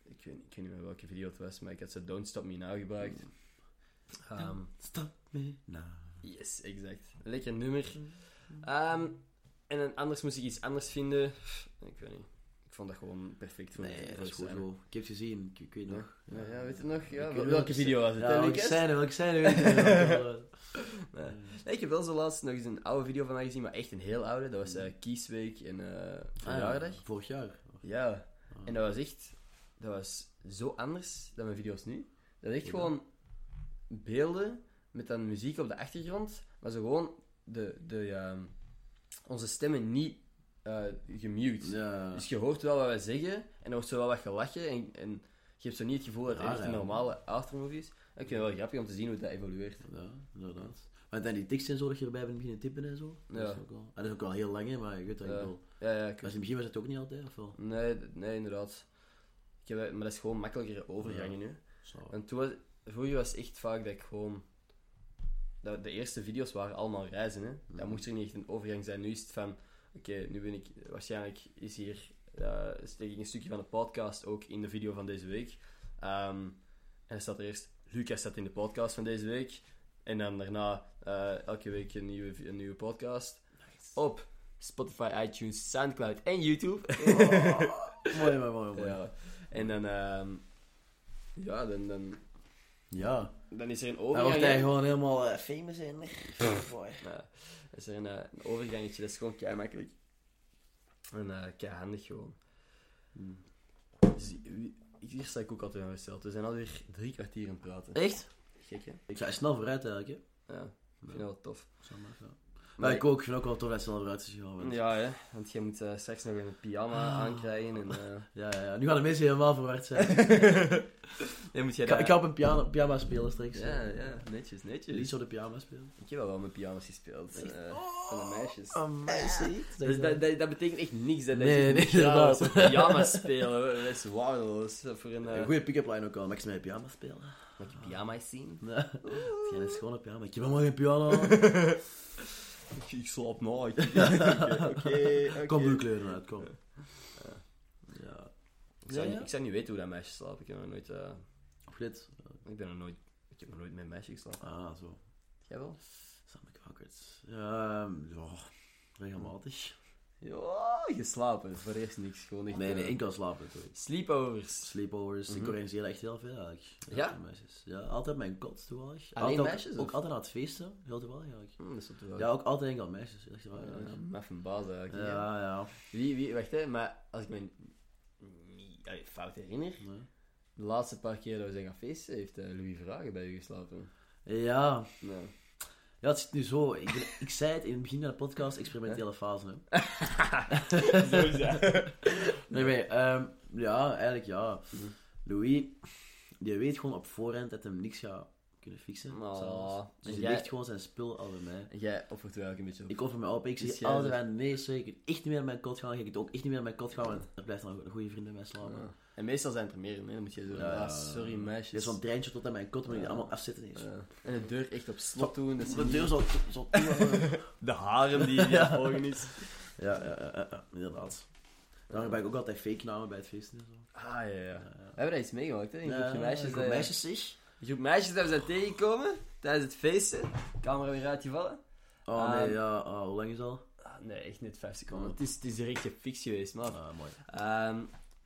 [SPEAKER 1] ik, weet, niet- ik weet niet meer welke video het was, maar ik had ze Don't Stop Me Now gebruikt.
[SPEAKER 2] Mm.
[SPEAKER 1] Ehm,
[SPEAKER 2] Stop me now.
[SPEAKER 1] yes, exact. Een lekker nummer.
[SPEAKER 2] Mm.
[SPEAKER 1] Ehm, en dan anders moest ik iets anders vinden. Ik weet niet. Ik vond dat gewoon perfect voor
[SPEAKER 2] Nee,
[SPEAKER 1] voor
[SPEAKER 2] dat is goed
[SPEAKER 1] scène.
[SPEAKER 2] zo. Ik heb het gezien, ik, ik weet
[SPEAKER 1] Ja.
[SPEAKER 2] nog.
[SPEAKER 1] Ja, ja, weet je nog? Ja,
[SPEAKER 2] Ik weet
[SPEAKER 1] welke
[SPEAKER 2] nog.
[SPEAKER 1] video was het, hè,
[SPEAKER 2] Ja, welke
[SPEAKER 1] Lucas?
[SPEAKER 2] scène, welke scène. weet ik nog wel.
[SPEAKER 1] Nee. Nee, ik heb wel zo laatst nog eens een oude video van mij gezien, maar echt een heel oude. Dat was eh Kiesweek en eh
[SPEAKER 2] Ah,
[SPEAKER 1] verjaardag.
[SPEAKER 2] ja, Vorig jaar.
[SPEAKER 1] Ja.
[SPEAKER 2] Ah.
[SPEAKER 1] En dat was echt... Dat was zo anders dan mijn video's nu. Dat is echt
[SPEAKER 2] Ja.
[SPEAKER 1] gewoon beelden met dan muziek op de achtergrond, maar zo gewoon de, de, ehm, onze stemmen niet eh, gemute.
[SPEAKER 2] Ja.
[SPEAKER 1] Dus je hoort wel wat wij zeggen en er wordt zo wel wat gelachen en, en je hebt zo niet het gevoel dat het
[SPEAKER 2] Raar,
[SPEAKER 1] echt een
[SPEAKER 2] hè?
[SPEAKER 1] normale aftermovie is. Ik vind het wel grappig om te zien hoe dat evolueert.
[SPEAKER 2] Ja, inderdaad. Maar dan die tekst en zo dat je erbij bent beginnen tippen en zo.
[SPEAKER 1] Ja.
[SPEAKER 2] Dat is ook wel, en dat is ook al heel lang, hè, maar ik weet dat
[SPEAKER 1] Ja.
[SPEAKER 2] ik wel.
[SPEAKER 1] Ja, ja, ik
[SPEAKER 2] Maar in het begin was het ook niet altijd, of wel?
[SPEAKER 1] Nee, d- nee inderdaad. Ik heb, maar dat is gewoon makkelijker overgangen nu.
[SPEAKER 2] Zo.
[SPEAKER 1] Want toen was, vroeger was het echt vaak dat ik gewoon... Dat de eerste video's waren allemaal reizen, hè.
[SPEAKER 2] Mhm.
[SPEAKER 1] Dan moest er niet echt een overgang zijn. Nu is het van... Oké, nu ben ik... Waarschijnlijk is hier... eh, steek ik een stukje van de podcast ook in de video van deze week. Ehm, en dan staat er eerst... Lucas staat in de podcast van deze week. En dan daarna eh, elke week een nieuwe, vi- een nieuwe podcast. Op Spotify, iTunes, Soundcloud en YouTube.
[SPEAKER 2] Mooi, mooi, mooi, mooi. Ja.
[SPEAKER 1] Ja. En dan, ehm, ja, dan, dan, dan is er een
[SPEAKER 2] Dan wordt
[SPEAKER 1] overgang.
[SPEAKER 2] hij
[SPEAKER 1] hè.
[SPEAKER 2] gewoon helemaal eh, famous in. Boy.
[SPEAKER 1] Ja, is er een, eh, een overgangetje, dat is gewoon kei makkelijk. En eh keihandig gewoon.
[SPEAKER 2] Hmm.
[SPEAKER 1] Dus i- hier sta ik ook altijd aan gesteld. We zijn alweer drie kwartier aan het praten.
[SPEAKER 2] Echt?
[SPEAKER 1] Gek, hè?
[SPEAKER 2] Ik zei snel vooruit eigenlijk, hè?
[SPEAKER 1] Ja, ik vind dat wel tof.
[SPEAKER 2] Zo maar, ja. Maar
[SPEAKER 1] Maar
[SPEAKER 2] ik ook, ik vind ook wel tof dat je snel vooruit is gegaan. bent.
[SPEAKER 1] Ja, hè? want jij moet eh, straks nog een pyjama
[SPEAKER 2] Ah.
[SPEAKER 1] aankrijgen en... eh,
[SPEAKER 2] Ja, ja, ja. Nu gaan de mensen helemaal verward zijn.
[SPEAKER 1] nee, moet jij
[SPEAKER 2] ik, ga,
[SPEAKER 1] dat-
[SPEAKER 2] ik ga op een piano, pyjama spelen straks. Eh,
[SPEAKER 1] Ja, ja, netjes, netjes.
[SPEAKER 2] Lies op de pyjama spelen.
[SPEAKER 1] Ik heb al wel met pyjama's gespeeld.
[SPEAKER 2] Echt?
[SPEAKER 1] eh, van de meisjes.
[SPEAKER 2] Amazing.
[SPEAKER 1] Dus dat, dat, dat betekent echt niks. Dat dat
[SPEAKER 2] Oh, Nee,
[SPEAKER 1] je
[SPEAKER 2] nee,
[SPEAKER 1] niet graag
[SPEAKER 2] inderdaad.
[SPEAKER 1] op pyjama's spelen. Dat is waardeloos. Voor een...
[SPEAKER 2] Een
[SPEAKER 1] eh,
[SPEAKER 2] goede pick-up line ook al. Mag ik ze met een pyjama spelen?
[SPEAKER 1] Mag je pyjama's zien?
[SPEAKER 2] Nee. Het is een schone pyjama. Ik heb helemaal geen pyjama.
[SPEAKER 1] Ik, ik slaap na. ik- Oké, oké.
[SPEAKER 2] Kom, doe kleuren uit, kom. Ja.
[SPEAKER 1] Ik zou,
[SPEAKER 2] Ja,
[SPEAKER 1] niet-
[SPEAKER 2] ja.
[SPEAKER 1] ik zou niet weten hoe dat meisje slaapt. Ik heb nog nooit... eh,
[SPEAKER 2] Of dit.
[SPEAKER 1] ik ben nog nooit... Ik heb nog nooit met een meisje geslapen.
[SPEAKER 2] Ah, zo.
[SPEAKER 1] Jij wel?
[SPEAKER 2] Sam ik wakkerd. Ehm, ja, regelmatig.
[SPEAKER 1] Hm. Ja, geslapen. Voor eerst niks. Gewoon echt...
[SPEAKER 2] Nee,
[SPEAKER 1] eh,
[SPEAKER 2] nee, ik kan slapen. sorry.
[SPEAKER 1] Sleepovers.
[SPEAKER 2] Sleepovers, ik
[SPEAKER 1] Mhm.
[SPEAKER 2] organiseer echt heel veel eigenlijk.
[SPEAKER 1] Ja?
[SPEAKER 2] met meisjes. Ja, altijd mijn kot toevallig.
[SPEAKER 1] Alleen
[SPEAKER 2] altijd,
[SPEAKER 1] meisjes,
[SPEAKER 2] Ook, ook
[SPEAKER 1] of?
[SPEAKER 2] altijd aan het feesten, heel toevallig eigenlijk.
[SPEAKER 1] Hm, dat is op de
[SPEAKER 2] Ja, ook altijd enkel meisjes. Echt waar,
[SPEAKER 1] Oh,
[SPEAKER 2] ja, ja.
[SPEAKER 1] Met een baas eigenlijk. hè.
[SPEAKER 2] Ja, ja.
[SPEAKER 1] Wie, wie, wacht hè, maar als ik me niet allee, fout herinner,
[SPEAKER 2] Nee.
[SPEAKER 1] de laatste paar keer dat we zijn gaan feesten, heeft eh, Louis Vragen bij u geslapen.
[SPEAKER 2] Ja.
[SPEAKER 1] Nee.
[SPEAKER 2] ja, het zit nu zo. Ik, ik zei het in het begin van de podcast, experimentele fase. Hè.
[SPEAKER 1] Zo is dat.
[SPEAKER 2] Nee, nee, ehm, ja, eigenlijk ja.
[SPEAKER 1] Mhm.
[SPEAKER 2] Louis, die weet gewoon op voorhand dat hem niks gaat kunnen fixen.
[SPEAKER 1] Oh,
[SPEAKER 2] s'avonds.
[SPEAKER 1] dus
[SPEAKER 2] Dus die
[SPEAKER 1] jij-
[SPEAKER 2] legt gewoon zijn spul al bij mij.
[SPEAKER 1] En jij offert wel eigenlijk een beetje op.
[SPEAKER 2] Ik offer me op, ik
[SPEAKER 1] Dus
[SPEAKER 2] zeg
[SPEAKER 1] jij
[SPEAKER 2] altijd
[SPEAKER 1] zegt-
[SPEAKER 2] aan, nee zeker, ik kan echt niet meer naar mijn kot gaan, ik kan ook echt niet meer naar mijn kot gaan, want er blijft nog een goede vriend bij mij slapen.
[SPEAKER 1] Ja. En meestal zijn het er meer, hè, dan moet je zo,
[SPEAKER 2] Ja,
[SPEAKER 1] ah,
[SPEAKER 2] ja.
[SPEAKER 1] sorry
[SPEAKER 2] Dit
[SPEAKER 1] meisjes.
[SPEAKER 2] is zo'n treintje tot aan mijn kot, moet ik die
[SPEAKER 1] Ja.
[SPEAKER 2] allemaal afzetten. Nee.
[SPEAKER 1] Ja. En de deur echt op slot doen. Dat is
[SPEAKER 2] De
[SPEAKER 1] niet-
[SPEAKER 2] deur zo, zo toe.
[SPEAKER 1] de haren die die aan het volgen is.
[SPEAKER 2] ja, ja, ja, ja, ja, inderdaad. Daarom gebruik ik ook altijd fake namen bij het feesten en zo.
[SPEAKER 1] Ah ja, ja.
[SPEAKER 2] Ja, ja.
[SPEAKER 1] We hebben dat iets meegemaakt, hè? Een groepje
[SPEAKER 2] Ja,
[SPEAKER 1] meisjes. eh,
[SPEAKER 2] een groep
[SPEAKER 1] dat-
[SPEAKER 2] meisjes zeg.
[SPEAKER 1] Een groep meisjes dat we zijn tegengekomen tijdens het feesten. Camera weer uitgevallen.
[SPEAKER 2] Oh nee,
[SPEAKER 1] Ehm,
[SPEAKER 2] ja, oh, hoe lang is het al?
[SPEAKER 1] Ah, nee, echt net 5 seconden. Het is, het is direct gefix geweest, man.
[SPEAKER 2] Ah, mooi.
[SPEAKER 1] Ehm,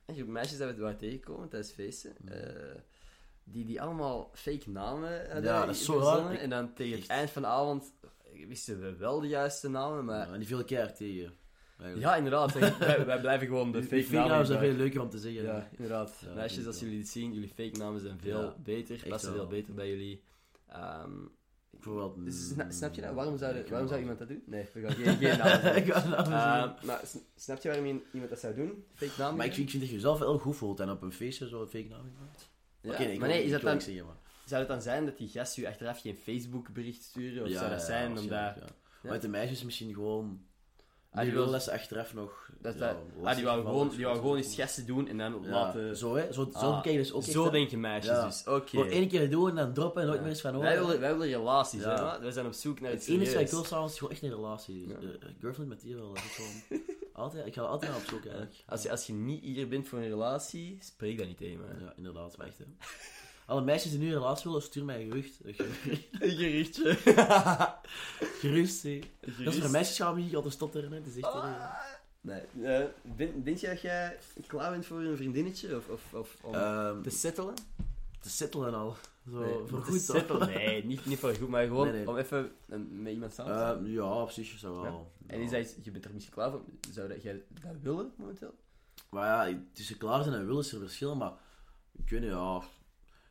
[SPEAKER 1] een groep meisjes dat we waren tegengekomen tijdens feesten.
[SPEAKER 2] Mhm.
[SPEAKER 1] eh, die, die allemaal fake namen hadden
[SPEAKER 2] Ja, dat is zo
[SPEAKER 1] verzonnen.
[SPEAKER 2] raar. Ik-
[SPEAKER 1] En dan tegen het
[SPEAKER 2] Echt.
[SPEAKER 1] eind van de avond wisten we wel de juiste namen, maar...
[SPEAKER 2] Ja, Ah, en die viel keer tegen. eigenlijk.
[SPEAKER 1] Ja, inderdaad. wij, wij blijven gewoon de
[SPEAKER 2] Die-
[SPEAKER 1] fake
[SPEAKER 2] die fake
[SPEAKER 1] namen
[SPEAKER 2] namen zijn
[SPEAKER 1] gebruiken.
[SPEAKER 2] veel leuker om te zeggen.
[SPEAKER 1] Ja, inderdaad.
[SPEAKER 2] Ja,
[SPEAKER 1] meisjes,
[SPEAKER 2] vind
[SPEAKER 1] als
[SPEAKER 2] ik
[SPEAKER 1] jullie dit zien, jullie fake namen zijn veel
[SPEAKER 2] Ja,
[SPEAKER 1] beter.
[SPEAKER 2] echt
[SPEAKER 1] Passen
[SPEAKER 2] wel.
[SPEAKER 1] veel beter bij jullie. Ehm,
[SPEAKER 2] Bijvoorbeeld,
[SPEAKER 1] dus
[SPEAKER 2] mm,
[SPEAKER 1] sna- snap je dat? Waarom zou, de-
[SPEAKER 2] ik
[SPEAKER 1] waarom zou
[SPEAKER 2] weet
[SPEAKER 1] iemand
[SPEAKER 2] het
[SPEAKER 1] dat doen? Nee, we gaan geen, geen namen
[SPEAKER 2] wel.
[SPEAKER 1] zeggen.
[SPEAKER 2] Ik ga namen zeggen.
[SPEAKER 1] Ehm, maar s- snap je waarom i- iemand dat zou doen? Fake namen?
[SPEAKER 2] Maar ik vind, ik vind dat je jezelf heel goed voelt en op een feestje zo een fake naam gebruikt.
[SPEAKER 1] Ja,
[SPEAKER 2] Oké, nee, ik
[SPEAKER 1] maar
[SPEAKER 2] wil-
[SPEAKER 1] nee, is
[SPEAKER 2] ik
[SPEAKER 1] dat
[SPEAKER 2] wil
[SPEAKER 1] dan,
[SPEAKER 2] niks zeggen, maar.
[SPEAKER 1] zou het dan zijn dat die gasten u achteraf geen Facebook-bericht sturen? Of
[SPEAKER 2] Ja,
[SPEAKER 1] zou dat
[SPEAKER 2] ja,
[SPEAKER 1] zijn
[SPEAKER 2] waarschijnlijk,
[SPEAKER 1] omdat...
[SPEAKER 2] ja. Maar met de meisjes misschien gewoon...
[SPEAKER 1] Ah,
[SPEAKER 2] die
[SPEAKER 1] die
[SPEAKER 2] willen
[SPEAKER 1] wil-
[SPEAKER 2] dat ze achteraf nog...
[SPEAKER 1] Dat,
[SPEAKER 2] ja,
[SPEAKER 1] dat- ah,
[SPEAKER 2] lastig
[SPEAKER 1] die wou
[SPEAKER 2] vallen
[SPEAKER 1] gewoon,
[SPEAKER 2] of
[SPEAKER 1] die
[SPEAKER 2] zo.
[SPEAKER 1] wou gewoon eens gasten doen en dan
[SPEAKER 2] Ja,
[SPEAKER 1] laten...
[SPEAKER 2] eh, Zo, hè? Zo, zo
[SPEAKER 1] Ah,
[SPEAKER 2] kijk je dus ook
[SPEAKER 1] Zo
[SPEAKER 2] echt, hè.
[SPEAKER 1] denk je meisjes
[SPEAKER 2] Ja.
[SPEAKER 1] dus. Oké.
[SPEAKER 2] Gewoon één keer doen en dan droppen en nooit meer eens van
[SPEAKER 1] Wij
[SPEAKER 2] horen.
[SPEAKER 1] willen, wij willen relaties,
[SPEAKER 2] Ja.
[SPEAKER 1] hè, man. Wij zijn op zoek naar
[SPEAKER 2] Het
[SPEAKER 1] iets
[SPEAKER 2] enige wat ik
[SPEAKER 1] serieus.
[SPEAKER 2] wil s'avonds is gewoon echt een relatie.
[SPEAKER 1] Ja.
[SPEAKER 2] Eh, eh, girlfriend met die wel. dat is gewoon- altijd, ik ga er altijd naar op zoek eigenlijk.
[SPEAKER 1] Als je, als je niet hier bent voor een relatie, spreek dan niet tegen mij.
[SPEAKER 2] Ja, inderdaad, maar echt hè. Alle meisjes die nu een relatie willen, stuur mij een gerucht. Eh, gerucht.
[SPEAKER 1] Een gerichtje.
[SPEAKER 2] Gerust, hè. Dat is voor meisjes gaan we hier altijd stotteren, hè. Dat is echt...
[SPEAKER 1] Ah.
[SPEAKER 2] eh,
[SPEAKER 1] Nee. eh, ben- denk je dat jij klaar bent voor een vriendinnetje? Of, of, of om
[SPEAKER 2] ehm,
[SPEAKER 1] te settelen?
[SPEAKER 2] te settelen al. Zo,
[SPEAKER 1] Nee,
[SPEAKER 2] voor
[SPEAKER 1] te
[SPEAKER 2] goed toch?
[SPEAKER 1] settelen. Nee, niet, niet voor goed, maar gewoon
[SPEAKER 2] Nee, nee.
[SPEAKER 1] om even eh, met iemand samen te zijn.
[SPEAKER 2] Ehm, ja, op zich zou wel.
[SPEAKER 1] En
[SPEAKER 2] Ja.
[SPEAKER 1] is dat iets- je bent er misschien klaar voor? Zou dat, jij dat willen momenteel?
[SPEAKER 2] Maar ja, tussen klaar zijn en willen is er verschil, maar ik weet niet, ja.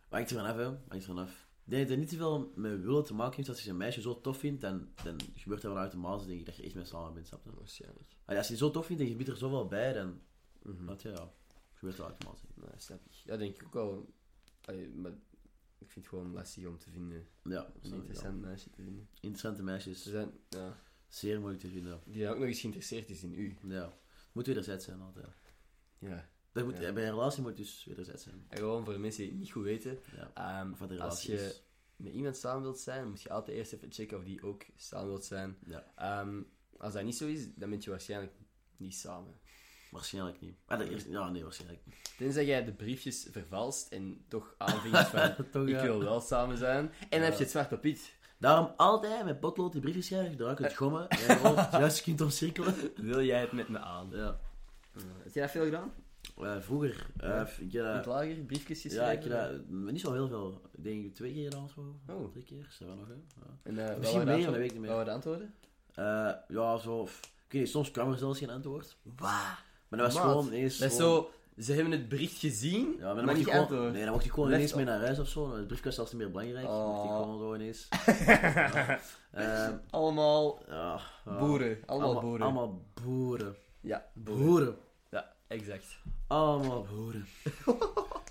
[SPEAKER 2] Hangt er vanaf, hè? Hangt er vanaf. Ik denk dat het niet te veel met willen te maken heeft. Als je een meisje zo tof vindt, dan, dan gebeurt dat wel automatisch, denk ik, dat je echt mee samen bent, snap je?
[SPEAKER 1] Waarschijnlijk.
[SPEAKER 2] Allee, Als je het zo tof vindt en je biedt er zoveel bij, dan
[SPEAKER 1] Mhm.
[SPEAKER 2] wat, ja, ja, gebeurt dat automatisch.
[SPEAKER 1] Nee, snap ik. Ja, denk ik ook wel. Allee, maar ik vind het gewoon lastig om te vinden.
[SPEAKER 2] Ja,
[SPEAKER 1] Een interessant meisje te vinden.
[SPEAKER 2] ja. interessante
[SPEAKER 1] Ze
[SPEAKER 2] meisjes.
[SPEAKER 1] zijn, ja,
[SPEAKER 2] Zeer moeilijk te vinden.
[SPEAKER 1] die dan ook nog eens geïnteresseerd is in u.
[SPEAKER 2] Ja. Moet wederzijds zijn altijd.
[SPEAKER 1] Ja.
[SPEAKER 2] Dat moet,
[SPEAKER 1] Ja.
[SPEAKER 2] Bij een relatie moet het dus wederzijds zijn.
[SPEAKER 1] En gewoon voor de mensen die het niet goed weten.
[SPEAKER 2] Ja.
[SPEAKER 1] ehm,
[SPEAKER 2] Of wat de
[SPEAKER 1] als
[SPEAKER 2] relatie
[SPEAKER 1] je
[SPEAKER 2] is.
[SPEAKER 1] met iemand samen wilt zijn, moet je altijd eerst even checken of die ook samen wilt zijn.
[SPEAKER 2] Ja.
[SPEAKER 1] Ehm, als dat niet zo is, dan ben je waarschijnlijk niet samen.
[SPEAKER 2] Waarschijnlijk niet. Ah, dat is, ja, nee, waarschijnlijk niet.
[SPEAKER 1] Tenzij jij de briefjes vervalst en toch aanvinkt van...
[SPEAKER 2] Toch,
[SPEAKER 1] Ik
[SPEAKER 2] ja.
[SPEAKER 1] wil wel samen zijn. En dan
[SPEAKER 2] Ja.
[SPEAKER 1] heb je het zwart op wit.
[SPEAKER 2] Daarom altijd met potlood die briefjes schrijven, gebruik het gommen en gewoon het juiste kunt omcirkelen.
[SPEAKER 1] Wil jij het met me aan?
[SPEAKER 2] Ja.
[SPEAKER 1] Heb jij dat veel gedaan?
[SPEAKER 2] Eh, vroeger, eh,
[SPEAKER 1] Ja.
[SPEAKER 2] ik heb
[SPEAKER 1] In het
[SPEAKER 2] dat-
[SPEAKER 1] lager, briefjes
[SPEAKER 2] ja, ik
[SPEAKER 1] geschreven?
[SPEAKER 2] heb dat niet zo heel veel. Ik denk twee keer gedaan of zo.
[SPEAKER 1] Oh.
[SPEAKER 2] Drie keer, zijn we nog, hè? Ja.
[SPEAKER 1] En, eh, wat waren de
[SPEAKER 2] Misschien meer,
[SPEAKER 1] antwoorden?
[SPEAKER 2] dat weet ik niet meer.
[SPEAKER 1] Wat waren de antwoorden?
[SPEAKER 2] Eh, ja, zo. f- weet niet, soms kwam er zelfs geen antwoord.
[SPEAKER 1] Waar?
[SPEAKER 2] Maar dat was
[SPEAKER 1] Maat,
[SPEAKER 2] gewoon ineens.
[SPEAKER 1] Dat is
[SPEAKER 2] gewoon-
[SPEAKER 1] zo... Ze hebben het bericht gezien,
[SPEAKER 2] Ja, maar dan
[SPEAKER 1] maar niet
[SPEAKER 2] mocht hij gewoon,
[SPEAKER 1] antwoorden.
[SPEAKER 2] nee, dan mocht hij gewoon
[SPEAKER 1] Left
[SPEAKER 2] ineens
[SPEAKER 1] off.
[SPEAKER 2] mee naar huis of zo. Het briefkast was niet meer belangrijk. Dan mocht hij
[SPEAKER 1] Oh.
[SPEAKER 2] gewoon zo ineens. Ehm,
[SPEAKER 1] Allemaal
[SPEAKER 2] ja, ja.
[SPEAKER 1] boeren. Allemaal, boeren.
[SPEAKER 2] Ah. Allemaal boeren.
[SPEAKER 1] Ja, boeren.
[SPEAKER 2] Boeren.
[SPEAKER 1] Ja, exact.
[SPEAKER 2] Allemaal boeren. Oh,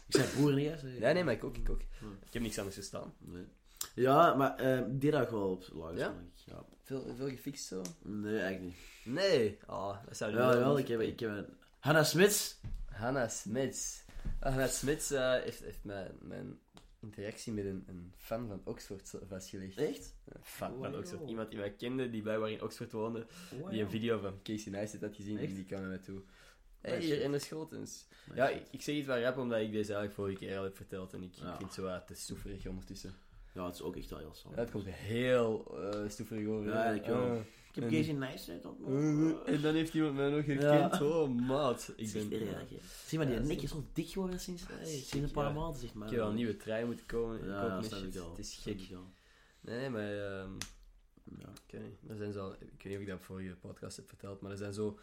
[SPEAKER 2] ik zei boeren niet eens.
[SPEAKER 1] Ja, nee, maar ik ook, ik ook.
[SPEAKER 2] Hm.
[SPEAKER 1] Ik heb niks anders gestaan.
[SPEAKER 2] Nee. Ja, maar eh, ik deed dat wel op lager
[SPEAKER 1] Ja?
[SPEAKER 2] denk ik. Ja.
[SPEAKER 1] Veel, veel gefixt zo?
[SPEAKER 2] Nee, eigenlijk niet.
[SPEAKER 1] Nee. Ah, dat zou je
[SPEAKER 2] Ja,
[SPEAKER 1] wel
[SPEAKER 2] wel,
[SPEAKER 1] niet-
[SPEAKER 2] ik heb, ik heb een... Hanna Smits.
[SPEAKER 1] Hannah Smits. Ah, Hannah Smits eh, heeft, heeft mijn, mijn interactie met een, een fan van Oxford zo- vastgelegd.
[SPEAKER 2] Echt?
[SPEAKER 1] Een fan
[SPEAKER 2] Wow.
[SPEAKER 1] van Oxford. Iemand die mij kende, die blijkbaar in Oxford woonde, die een video van Casey Neistat had gezien,
[SPEAKER 2] Echt?
[SPEAKER 1] en die kwam naar mij toe. Hé,
[SPEAKER 2] Nice.
[SPEAKER 1] hier in de Schotens. Ja, ik, ik zeg iets van rap omdat ik deze eigenlijk vorige keer al heb verteld en ik, ik
[SPEAKER 2] Ja.
[SPEAKER 1] vind het zo wat te stoeverig ondertussen.
[SPEAKER 2] Ja, het is ook echt wel heel saai.
[SPEAKER 1] Ja, het komt heel eh stoeverig over.
[SPEAKER 2] Ja, ik wel.
[SPEAKER 1] Ah.
[SPEAKER 2] Ik heb
[SPEAKER 1] en-
[SPEAKER 2] Casey Neistat ontmoet.
[SPEAKER 1] Eh, En dan heeft iemand mij nog herkend.
[SPEAKER 2] Ja.
[SPEAKER 1] Oh, maat.
[SPEAKER 2] Ik
[SPEAKER 1] Ik ben...
[SPEAKER 2] ben erg, hè. Zie maar, die
[SPEAKER 1] Ja,
[SPEAKER 2] nek
[SPEAKER 1] zo.
[SPEAKER 2] is al dik geworden sinds,
[SPEAKER 1] Ja,
[SPEAKER 2] sinds
[SPEAKER 1] ik-
[SPEAKER 2] een paar
[SPEAKER 1] ja.
[SPEAKER 2] maanden, zeg maar.
[SPEAKER 1] Ik heb wel een nieuwe trui moeten komen.
[SPEAKER 2] Ah. Ja,
[SPEAKER 1] kopen en
[SPEAKER 2] dat snap
[SPEAKER 1] shit.
[SPEAKER 2] ik al.
[SPEAKER 1] Het is
[SPEAKER 2] Dat snap
[SPEAKER 1] gek.
[SPEAKER 2] ik al.
[SPEAKER 1] Nee, nee, maar... ehm,
[SPEAKER 2] Ja.
[SPEAKER 1] ik weet niet. Er zijn zo... Ik weet niet of ik dat vorige podcast heb verteld, maar er zijn zo...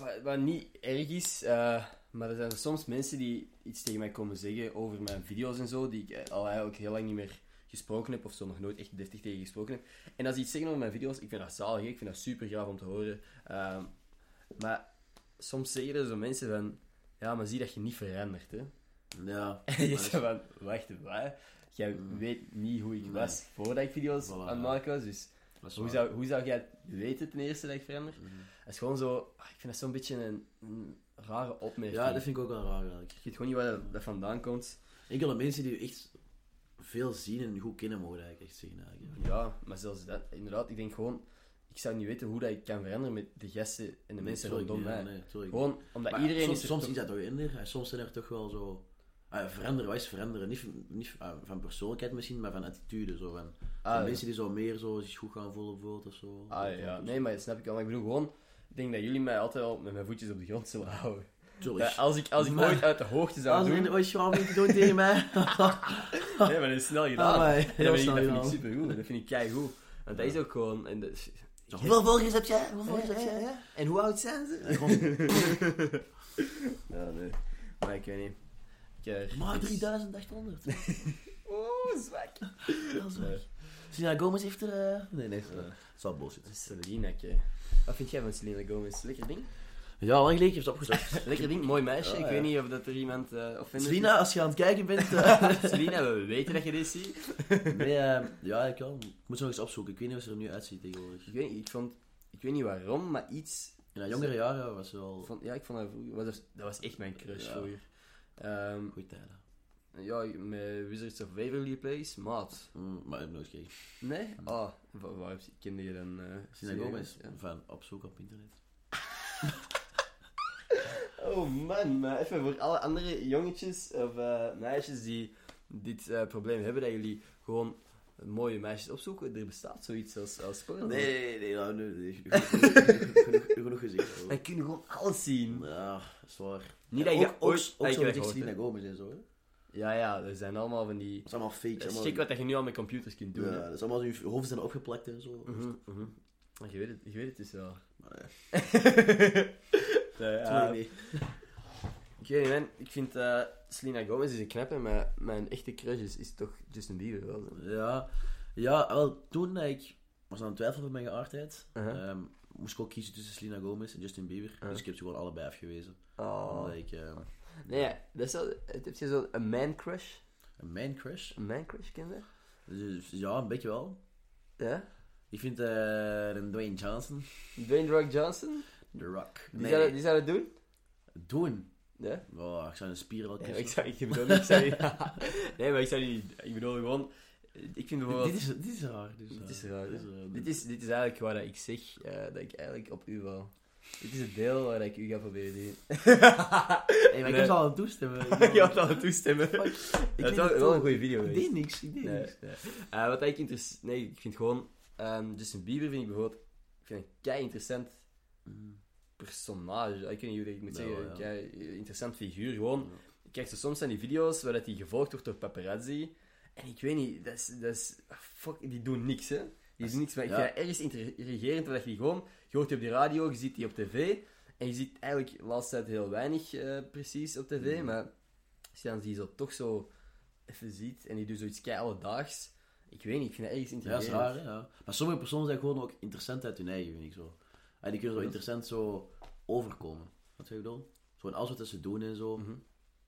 [SPEAKER 1] Wat, wat niet erg is, eh, maar er zijn soms mensen die iets tegen mij komen zeggen over mijn video's en zo, die ik eh, al eigenlijk heel lang niet meer gesproken heb of zo nog nooit echt deftig tegen gesproken heb. En als ze iets zeggen over mijn video's, ik vind dat zalig, ik vind dat super graag om te horen. Ehm, maar soms zeggen er zo mensen van, ja, maar zie dat je niet verandert, hè.
[SPEAKER 2] Ja.
[SPEAKER 1] En je
[SPEAKER 2] Maar
[SPEAKER 1] zei van, wacht, wat? Jij
[SPEAKER 2] Mm.
[SPEAKER 1] weet niet hoe ik
[SPEAKER 2] Nee.
[SPEAKER 1] was voordat ik video's
[SPEAKER 2] Voilà,
[SPEAKER 1] aan
[SPEAKER 2] ja.
[SPEAKER 1] het maken was, dus
[SPEAKER 2] dat is
[SPEAKER 1] hoe
[SPEAKER 2] waar.
[SPEAKER 1] zou, hoe zou jij het weten ten eerste dat ik verander?
[SPEAKER 2] Mhm.
[SPEAKER 1] Dat is gewoon zo, ah, ik vind dat zo'n beetje een, een rare opmerking.
[SPEAKER 2] Ja, dat vind ik ook wel raar, eigenlijk.
[SPEAKER 1] Ik weet gewoon niet waar dat, dat vandaan komt.
[SPEAKER 2] Enkele mensen die je echt veel zien en goed kennen, mogen dat eigenlijk echt zeggen. Eigenlijk.
[SPEAKER 1] Ja, maar zelfs dat, inderdaad, ik denk gewoon, ik zou niet weten hoe dat ik kan veranderen met de gasten en de mensen
[SPEAKER 2] Tuurlijk
[SPEAKER 1] rondom
[SPEAKER 2] niet, ja,
[SPEAKER 1] mij.
[SPEAKER 2] nee, tuurlijk niet.
[SPEAKER 1] Gewoon, omdat
[SPEAKER 2] Maar
[SPEAKER 1] iedereen
[SPEAKER 2] soms,
[SPEAKER 1] is er
[SPEAKER 2] soms
[SPEAKER 1] toch-
[SPEAKER 2] is dat toch minder. En soms zijn er toch wel zo... ah, veranderen, wat is veranderen? Niet, van- niet van- ah, van persoonlijkheid misschien, maar van attitude. Zo, van, van
[SPEAKER 1] Ah, ja.
[SPEAKER 2] mensen die zo meer zo, zich goed gaan voelen bijvoorbeeld of zo.
[SPEAKER 1] Ah ja, nee, maar dat snap ik wel. Maar ik bedoel gewoon, ik denk dat jullie mij altijd wel met mijn voetjes op de grond zullen houden.
[SPEAKER 2] Tuurlijk.
[SPEAKER 1] Dat als ik, als ik
[SPEAKER 2] Maar-
[SPEAKER 1] ooit uit de hoogte zou
[SPEAKER 2] Als
[SPEAKER 1] doen,
[SPEAKER 2] een ooit schraam niet doen tegen mij.
[SPEAKER 1] Nee, maar dat is snel gedaan.
[SPEAKER 2] Ah,
[SPEAKER 1] En dat, vind ik,
[SPEAKER 2] snel
[SPEAKER 1] dat vind ik
[SPEAKER 2] gedaan.
[SPEAKER 1] supergoed. Dat vind ik keigoed. Want dat is ook gewoon... En, dat-
[SPEAKER 2] Zo, Hoeveel volgers heb jij? Hoeveel volgers heb jij?
[SPEAKER 1] en hoe oud zijn ze? ja, nee. Maar ik weet niet. Ik heb-
[SPEAKER 2] Maar 3800.
[SPEAKER 1] Oeh, zwak.
[SPEAKER 2] Dat is weg. Selena Gomez heeft er... eh, Nee, nee. Het is wel bullshit.
[SPEAKER 1] Selineke. Wat vind jij van Selena Gomez? Lekker ding?
[SPEAKER 2] Ja, lang geleden heeft ze opgezocht.
[SPEAKER 1] Lekker ding, mooi meisje.
[SPEAKER 2] Ja,
[SPEAKER 1] ik
[SPEAKER 2] ja.
[SPEAKER 1] weet niet of dat er iemand... eh of
[SPEAKER 2] Selena, als je aan het kijken bent... eh,
[SPEAKER 1] Selena, we weten dat je dit ziet.
[SPEAKER 2] nee, eh, ja, ik wel. Ik moet ze nog eens opzoeken. Ik weet niet hoe ze er nu uitziet tegenwoordig.
[SPEAKER 1] Ik weet niet, ik vond... Ik weet niet waarom, maar iets
[SPEAKER 2] In haar jongere jaren was ze wel...
[SPEAKER 1] Vond- ja, ik vond haar vroeger... was- dat was echt mijn crush
[SPEAKER 2] Ja.
[SPEAKER 1] vroeger. Ehm,
[SPEAKER 2] Goeie tijden.
[SPEAKER 1] ja, met Wizards of Waverly Place, maat.
[SPEAKER 2] Mm, maar ik heb nooit gekeken.
[SPEAKER 1] Nee? Ah, wa- waar kende je dan... eh
[SPEAKER 2] Selena Gomez.
[SPEAKER 1] Ja.
[SPEAKER 2] Van opzoeken op internet.
[SPEAKER 1] Oh man, maar even voor alle andere jongetjes of eh, meisjes die dit eh, probleem hebben, dat jullie gewoon mooie meisjes opzoeken. Er bestaat zoiets als, als porno.
[SPEAKER 2] nee, nee. nou, nee, nee, genoeg- genoeg- genoeg- Genoeg gezegd. hoor.
[SPEAKER 1] Dan kun je gewoon alles zien.
[SPEAKER 2] Ja, dat Ah, is waar.
[SPEAKER 1] Niet dat je
[SPEAKER 2] ook,
[SPEAKER 1] ooit- dat
[SPEAKER 2] ook, ook
[SPEAKER 1] je
[SPEAKER 2] zo
[SPEAKER 1] dat
[SPEAKER 2] met echt
[SPEAKER 1] hoort,
[SPEAKER 2] Selena Gomez en zo. Hè?
[SPEAKER 1] Ja, ja, er zijn allemaal van die...
[SPEAKER 2] Dat is allemaal fake.
[SPEAKER 1] Dat is
[SPEAKER 2] allemaal-
[SPEAKER 1] gek wat dat je nu al met computers kunt doen.
[SPEAKER 2] Ja,
[SPEAKER 1] hè.
[SPEAKER 2] dat is allemaal zo, je hoofd zijn opgeplakt en zo.
[SPEAKER 1] Mhm, mhm. Maar Je weet het, je weet het dus wel.
[SPEAKER 2] Maar ja,
[SPEAKER 1] Nee,
[SPEAKER 2] tuurlijk
[SPEAKER 1] ja,
[SPEAKER 2] niet.
[SPEAKER 1] Ik weet niet, man. Ik vind eh, Selena Gomez is een knappe, maar mijn echte crush is, is toch Justin Bieber wel. hè?
[SPEAKER 2] Ja, ja wel, toen dat ik was aan het twijfelen over mijn geaardheid,
[SPEAKER 1] Uh-huh.
[SPEAKER 2] ehm, moest ik ook kiezen tussen Selena Gomez en Justin Bieber. Dus ik heb ze gewoon allebei afgewezen.
[SPEAKER 1] Oh.
[SPEAKER 2] Omdat ik, ehm,
[SPEAKER 1] Nee, dat is wel, het heb je zo een man crush?
[SPEAKER 2] een man crush.
[SPEAKER 1] Een man crush, ken je? dat?
[SPEAKER 2] Dus, ja, een beetje wel.
[SPEAKER 1] Ja?
[SPEAKER 2] Ik vind eh een Dwayne Johnson,
[SPEAKER 1] Dwayne Rock Johnson?
[SPEAKER 2] The Rock.
[SPEAKER 1] Die,
[SPEAKER 2] Nee,
[SPEAKER 1] zou, dat- die zou dat doen?
[SPEAKER 2] doen.
[SPEAKER 1] Ja?
[SPEAKER 2] Oh, ik zou een spier al
[SPEAKER 1] ik
[SPEAKER 2] kussen.
[SPEAKER 1] zou, ik bedoel, ik zou niet- Nee, maar ik zou die niet... Ik bedoel gewoon... Ik vind bijvoorbeeld...
[SPEAKER 2] dit, is, dit is raar. Dit is
[SPEAKER 1] Dit is
[SPEAKER 2] raar.
[SPEAKER 1] raar,
[SPEAKER 2] Dit is
[SPEAKER 1] hè?
[SPEAKER 2] raar.
[SPEAKER 1] Dit is, dit is eigenlijk waar dat ik zeg eh, dat ik eigenlijk op u wil. Dit is het deel waar ik u ga proberen te doen.
[SPEAKER 2] Hey, maar ik
[SPEAKER 1] Nee.
[SPEAKER 2] heb ze al aan het toestemmen.
[SPEAKER 1] Je had al toestemmen.
[SPEAKER 2] Fuck.
[SPEAKER 1] Dat
[SPEAKER 2] Ik
[SPEAKER 1] is
[SPEAKER 2] weet
[SPEAKER 1] wel,
[SPEAKER 2] het
[SPEAKER 1] wel
[SPEAKER 2] ook.
[SPEAKER 1] een goede video
[SPEAKER 2] Ik
[SPEAKER 1] geweest.
[SPEAKER 2] deed niks, ik deed
[SPEAKER 1] Nee,
[SPEAKER 2] niks.
[SPEAKER 1] nee. Eh, wat ik interessant... Nee, ik vind gewoon... ehm, Justin Bieber vind ik bijvoorbeeld... Ik vind een kei interessant personage. Ik weet niet hoe ik het moet
[SPEAKER 2] Ja,
[SPEAKER 1] zeggen.
[SPEAKER 2] ja.
[SPEAKER 1] Een kei eh, interessant figuur. Gewoon... Ik krijg zo soms aan die video's waar dat hij gevolgd wordt door paparazzi. En ik weet niet... Dat is... Dat is fuck, ah, die doen niks, hè. Die is niks, maar ik
[SPEAKER 2] Ja.
[SPEAKER 1] vind dat ergens intrigerend, omdat je gewoon... Je hoort die op de radio, je ziet die op tv, en je ziet eigenlijk de laatste tijd heel weinig eh, precies op tv,
[SPEAKER 2] Hmm.
[SPEAKER 1] maar als je dan die zo toch zo even ziet, en die doet zoiets kei-alledaags, ik weet niet, ik vind dat ergens
[SPEAKER 2] Ja, dat
[SPEAKER 1] intrigerend.
[SPEAKER 2] is raar, hè, ja. Maar sommige personen zijn gewoon ook interessant uit hun eigen, vind ik zo. En die kunnen zo interessant zo overkomen. Wat zeg ik bedoel? Gewoon alles wat ze doen en zo. Niet
[SPEAKER 1] Mhm.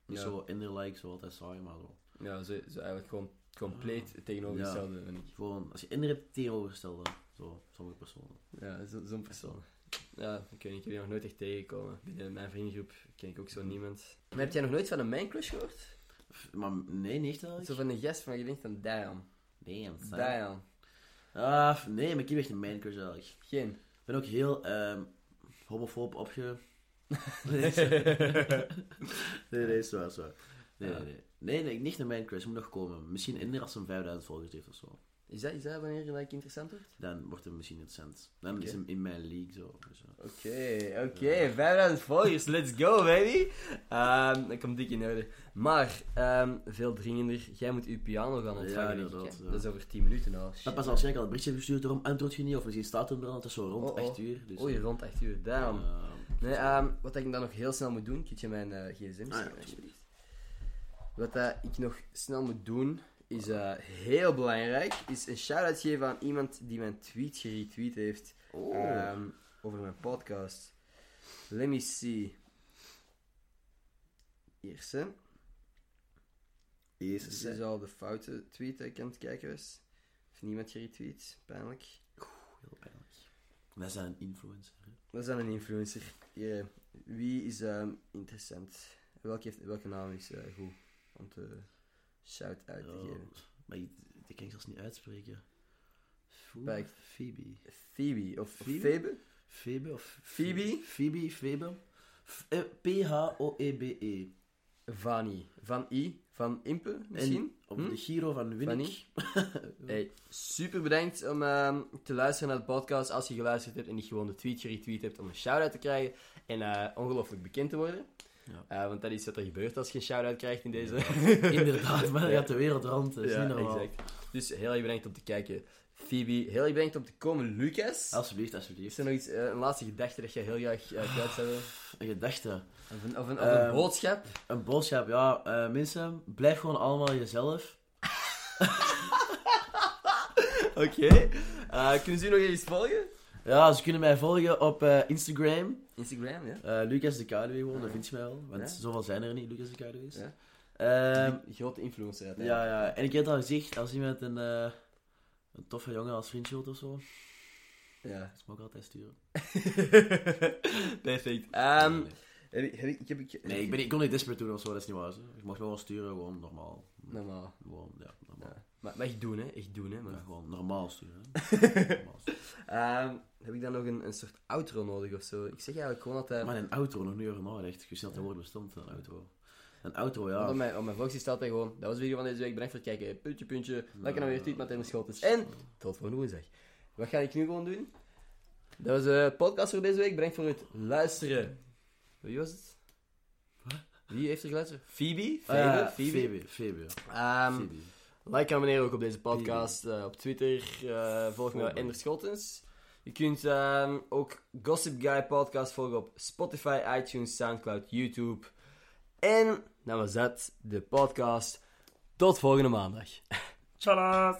[SPEAKER 1] Ja.
[SPEAKER 2] zo in their like, zo altijd saai, maar zo.
[SPEAKER 1] Ja, zo, zo eigenlijk gewoon compleet
[SPEAKER 2] Ah.
[SPEAKER 1] het tegenovergestelde, vind ik.
[SPEAKER 2] Gewoon, als je in hebt tegenovergestelde, zo, sommige personen.
[SPEAKER 1] Ja, zo- zo'n persoon. Ja, ik weet niet, ik heb die nog nooit echt tegengekomen. Binnen mijn vriendengroep ken ik ook zo niemand. Maar heb jij nog nooit van een mancrush gehoord?
[SPEAKER 2] Pff, Maar nee, niet echt
[SPEAKER 1] Zo
[SPEAKER 2] eigenlijk.
[SPEAKER 1] van een gast van je denkt aan Dian.
[SPEAKER 2] Damn, saai.
[SPEAKER 1] Dian.
[SPEAKER 2] Ah, pff, nee, maar ik heb echt een minecurse eigenlijk.
[SPEAKER 1] Geen.
[SPEAKER 2] Ik ben ook heel ehm homofoob opge... Nee, nee, is waar, is waar. Nee,
[SPEAKER 1] Ja.
[SPEAKER 2] nee, nee. Nee, nee, niet naar Minecraft. Moet nog komen. Misschien in als een 5000 volgers heeft of zo.
[SPEAKER 1] Is dat, is dat wanneer je like, interessant wordt?
[SPEAKER 2] Dan wordt het misschien interessant. Dan
[SPEAKER 1] Oké.
[SPEAKER 2] is hem in mijn league zo. Dus, ja.
[SPEAKER 1] Oké, oké. 5000 volgers, dus let's go baby. Ehm dat komt dik in orde. Maar, ehm, veel dringender, jij moet uw piano gaan ontvangen. denk
[SPEAKER 2] Ja,
[SPEAKER 1] ik, hè.
[SPEAKER 2] inderdaad, ja.
[SPEAKER 1] Dat is over 10 minuten al.
[SPEAKER 2] Maar
[SPEAKER 1] Shit.
[SPEAKER 2] pas als jij al een berichtje hebt gestuurd, daarom antwoord je niet. Of misschien staat hem dan, het is zo rond
[SPEAKER 1] Oh, oh.
[SPEAKER 2] 8 uur. Dus,
[SPEAKER 1] Oei, rond 8 uur, damn.
[SPEAKER 2] ja.
[SPEAKER 1] Nee, ehm, wat ik dan nog heel snel moet doen, kun je mijn eh, gsm
[SPEAKER 2] Ah, ja,
[SPEAKER 1] sturen,
[SPEAKER 2] tuurlijk.
[SPEAKER 1] alsjeblieft? Wat eh, ik nog snel moet doen, is eh, heel belangrijk, is een shout-out geven aan iemand die mijn tweet geretweet heeft
[SPEAKER 2] Oh.
[SPEAKER 1] ehm, over mijn podcast. Let me see. Hier, ze.
[SPEAKER 2] Jezus,
[SPEAKER 1] Dit
[SPEAKER 2] hè.
[SPEAKER 1] is al de foute tweet dat ik aan het kijken was. Heeft niemand geretweet, pijnlijk.
[SPEAKER 2] Heel pijnlijk. Wij zijn een influencer. hè.
[SPEAKER 1] Dat is dan een influencer. Hier, eh, wie is ehm, interessant? Welke, heeft, welke naam is eh, goed om te shout-out te
[SPEAKER 2] Ja,
[SPEAKER 1] geven?
[SPEAKER 2] maar ik- die kan ik zelfs niet uitspreken. Foe-
[SPEAKER 1] Kijk.
[SPEAKER 2] Phoebe.
[SPEAKER 1] Phoebe of
[SPEAKER 2] Phoebe?
[SPEAKER 1] Phoebe?
[SPEAKER 2] Phoebe of...
[SPEAKER 1] Phoebe?
[SPEAKER 2] Phoebe, Phoebe. F- eh, P-H-O-E-B-E.
[SPEAKER 1] Vani. Van I? Van Impe misschien?
[SPEAKER 2] En op de Giro van Winnik.
[SPEAKER 1] Vanny? Hey, super bedankt om ehm, te luisteren naar de podcast. Als je geluisterd hebt en niet gewoon de tweet geretweet hebt om een shout-out te krijgen en eh, ongelooflijk bekend te worden.
[SPEAKER 2] Ja.
[SPEAKER 1] Eh, want dat is wat er gebeurt als je een shout-out krijgt in deze.
[SPEAKER 2] Inderdaad, maar dan gaat de wereld rond. Dat is niet normaal.
[SPEAKER 1] exact. Dus heel erg bedankt om te kijken, Phoebe. Heel erg bedankt om te komen, Lucas.
[SPEAKER 2] Alsjeblieft,
[SPEAKER 1] Is
[SPEAKER 2] alsjeblieft.
[SPEAKER 1] er nog iets, eh, een laatste gedachte dat jij heel graag eh, kwijt zou willen?
[SPEAKER 2] Een gedachte.
[SPEAKER 1] Of een, of een, of een
[SPEAKER 2] Ehm,
[SPEAKER 1] boodschap?
[SPEAKER 2] Een boodschap, ja. eh, mensen, blijf gewoon allemaal jezelf.
[SPEAKER 1] Oké. Eh, kunnen ze u nog eens volgen?
[SPEAKER 2] Ja, ze kunnen mij volgen op eh, Instagram.
[SPEAKER 1] Instagram, ja.
[SPEAKER 2] Eh, Lucas de Kaluwe gewoon, dat vind je mij wel. Want
[SPEAKER 1] Ja.
[SPEAKER 2] zoveel zijn er niet, Lucas de Kaluwe's.
[SPEAKER 1] Ja.
[SPEAKER 2] Ehm,
[SPEAKER 1] Die grote influencer uiteindelijk.
[SPEAKER 2] ja, ja. En ik heb het al gezegd, als iemand een, eh, een toffe jongen als vriendje wilt of zo, dat
[SPEAKER 1] Ja.
[SPEAKER 2] is me ook altijd sturen.
[SPEAKER 1] Perfect. Ehm,
[SPEAKER 2] Nee, nee.
[SPEAKER 1] heb ik, heb ik, heb ik,
[SPEAKER 2] Nee, ik, ben, niet- ik kon niet desperate doen of zo, dat is niet waar. zo. Ik mocht me gewoon sturen, gewoon normaal.
[SPEAKER 1] Normaal.
[SPEAKER 2] Gewoon, ja, normaal.
[SPEAKER 1] Ja. Maar, maar echt doen, hè. Echt doen, hè.
[SPEAKER 2] Ja,
[SPEAKER 1] man.
[SPEAKER 2] gewoon normaal sturen. hè. normaal sturen.
[SPEAKER 1] Ehm, heb ik dan nog een, een soort outro nodig of zo? Ik zeg eigenlijk gewoon dat... eh,
[SPEAKER 2] Maar een auto, nog niet over nagedacht. Ik wist niet dat dat woord bestond, een auto. Een auto, ja.
[SPEAKER 1] want op mijn, op mijn vlog staat hij gewoon... Dat was de video van deze week. Bedankt voor het kijken. Puntje, puntje. Lekker
[SPEAKER 2] Eh,
[SPEAKER 1] nou weer tweet met in de schot is. En tot volgende woensdag. Wat ga ik nu gewoon doen? Dat was de podcast voor deze week. Bedankt voor het luisteren. Wie was het? Wie heeft er geluisterd? Phoebe?
[SPEAKER 2] Ah, ja,
[SPEAKER 1] Phoebe? Phoebe?
[SPEAKER 2] Phoebe, Phoebe, ja.
[SPEAKER 1] Ehm,
[SPEAKER 2] Phoebe.
[SPEAKER 1] Like en abonneer ook op deze podcast, eh, op Twitter. eh, volg me
[SPEAKER 2] Volg
[SPEAKER 1] bij
[SPEAKER 2] me.
[SPEAKER 1] Ender Schottens. Je kunt ehm, ook Gossip Guy podcast volgen op Spotify, iTunes, Soundcloud, YouTube. En dat was dat, de podcast. Tot volgende maandag.
[SPEAKER 2] Tjallas!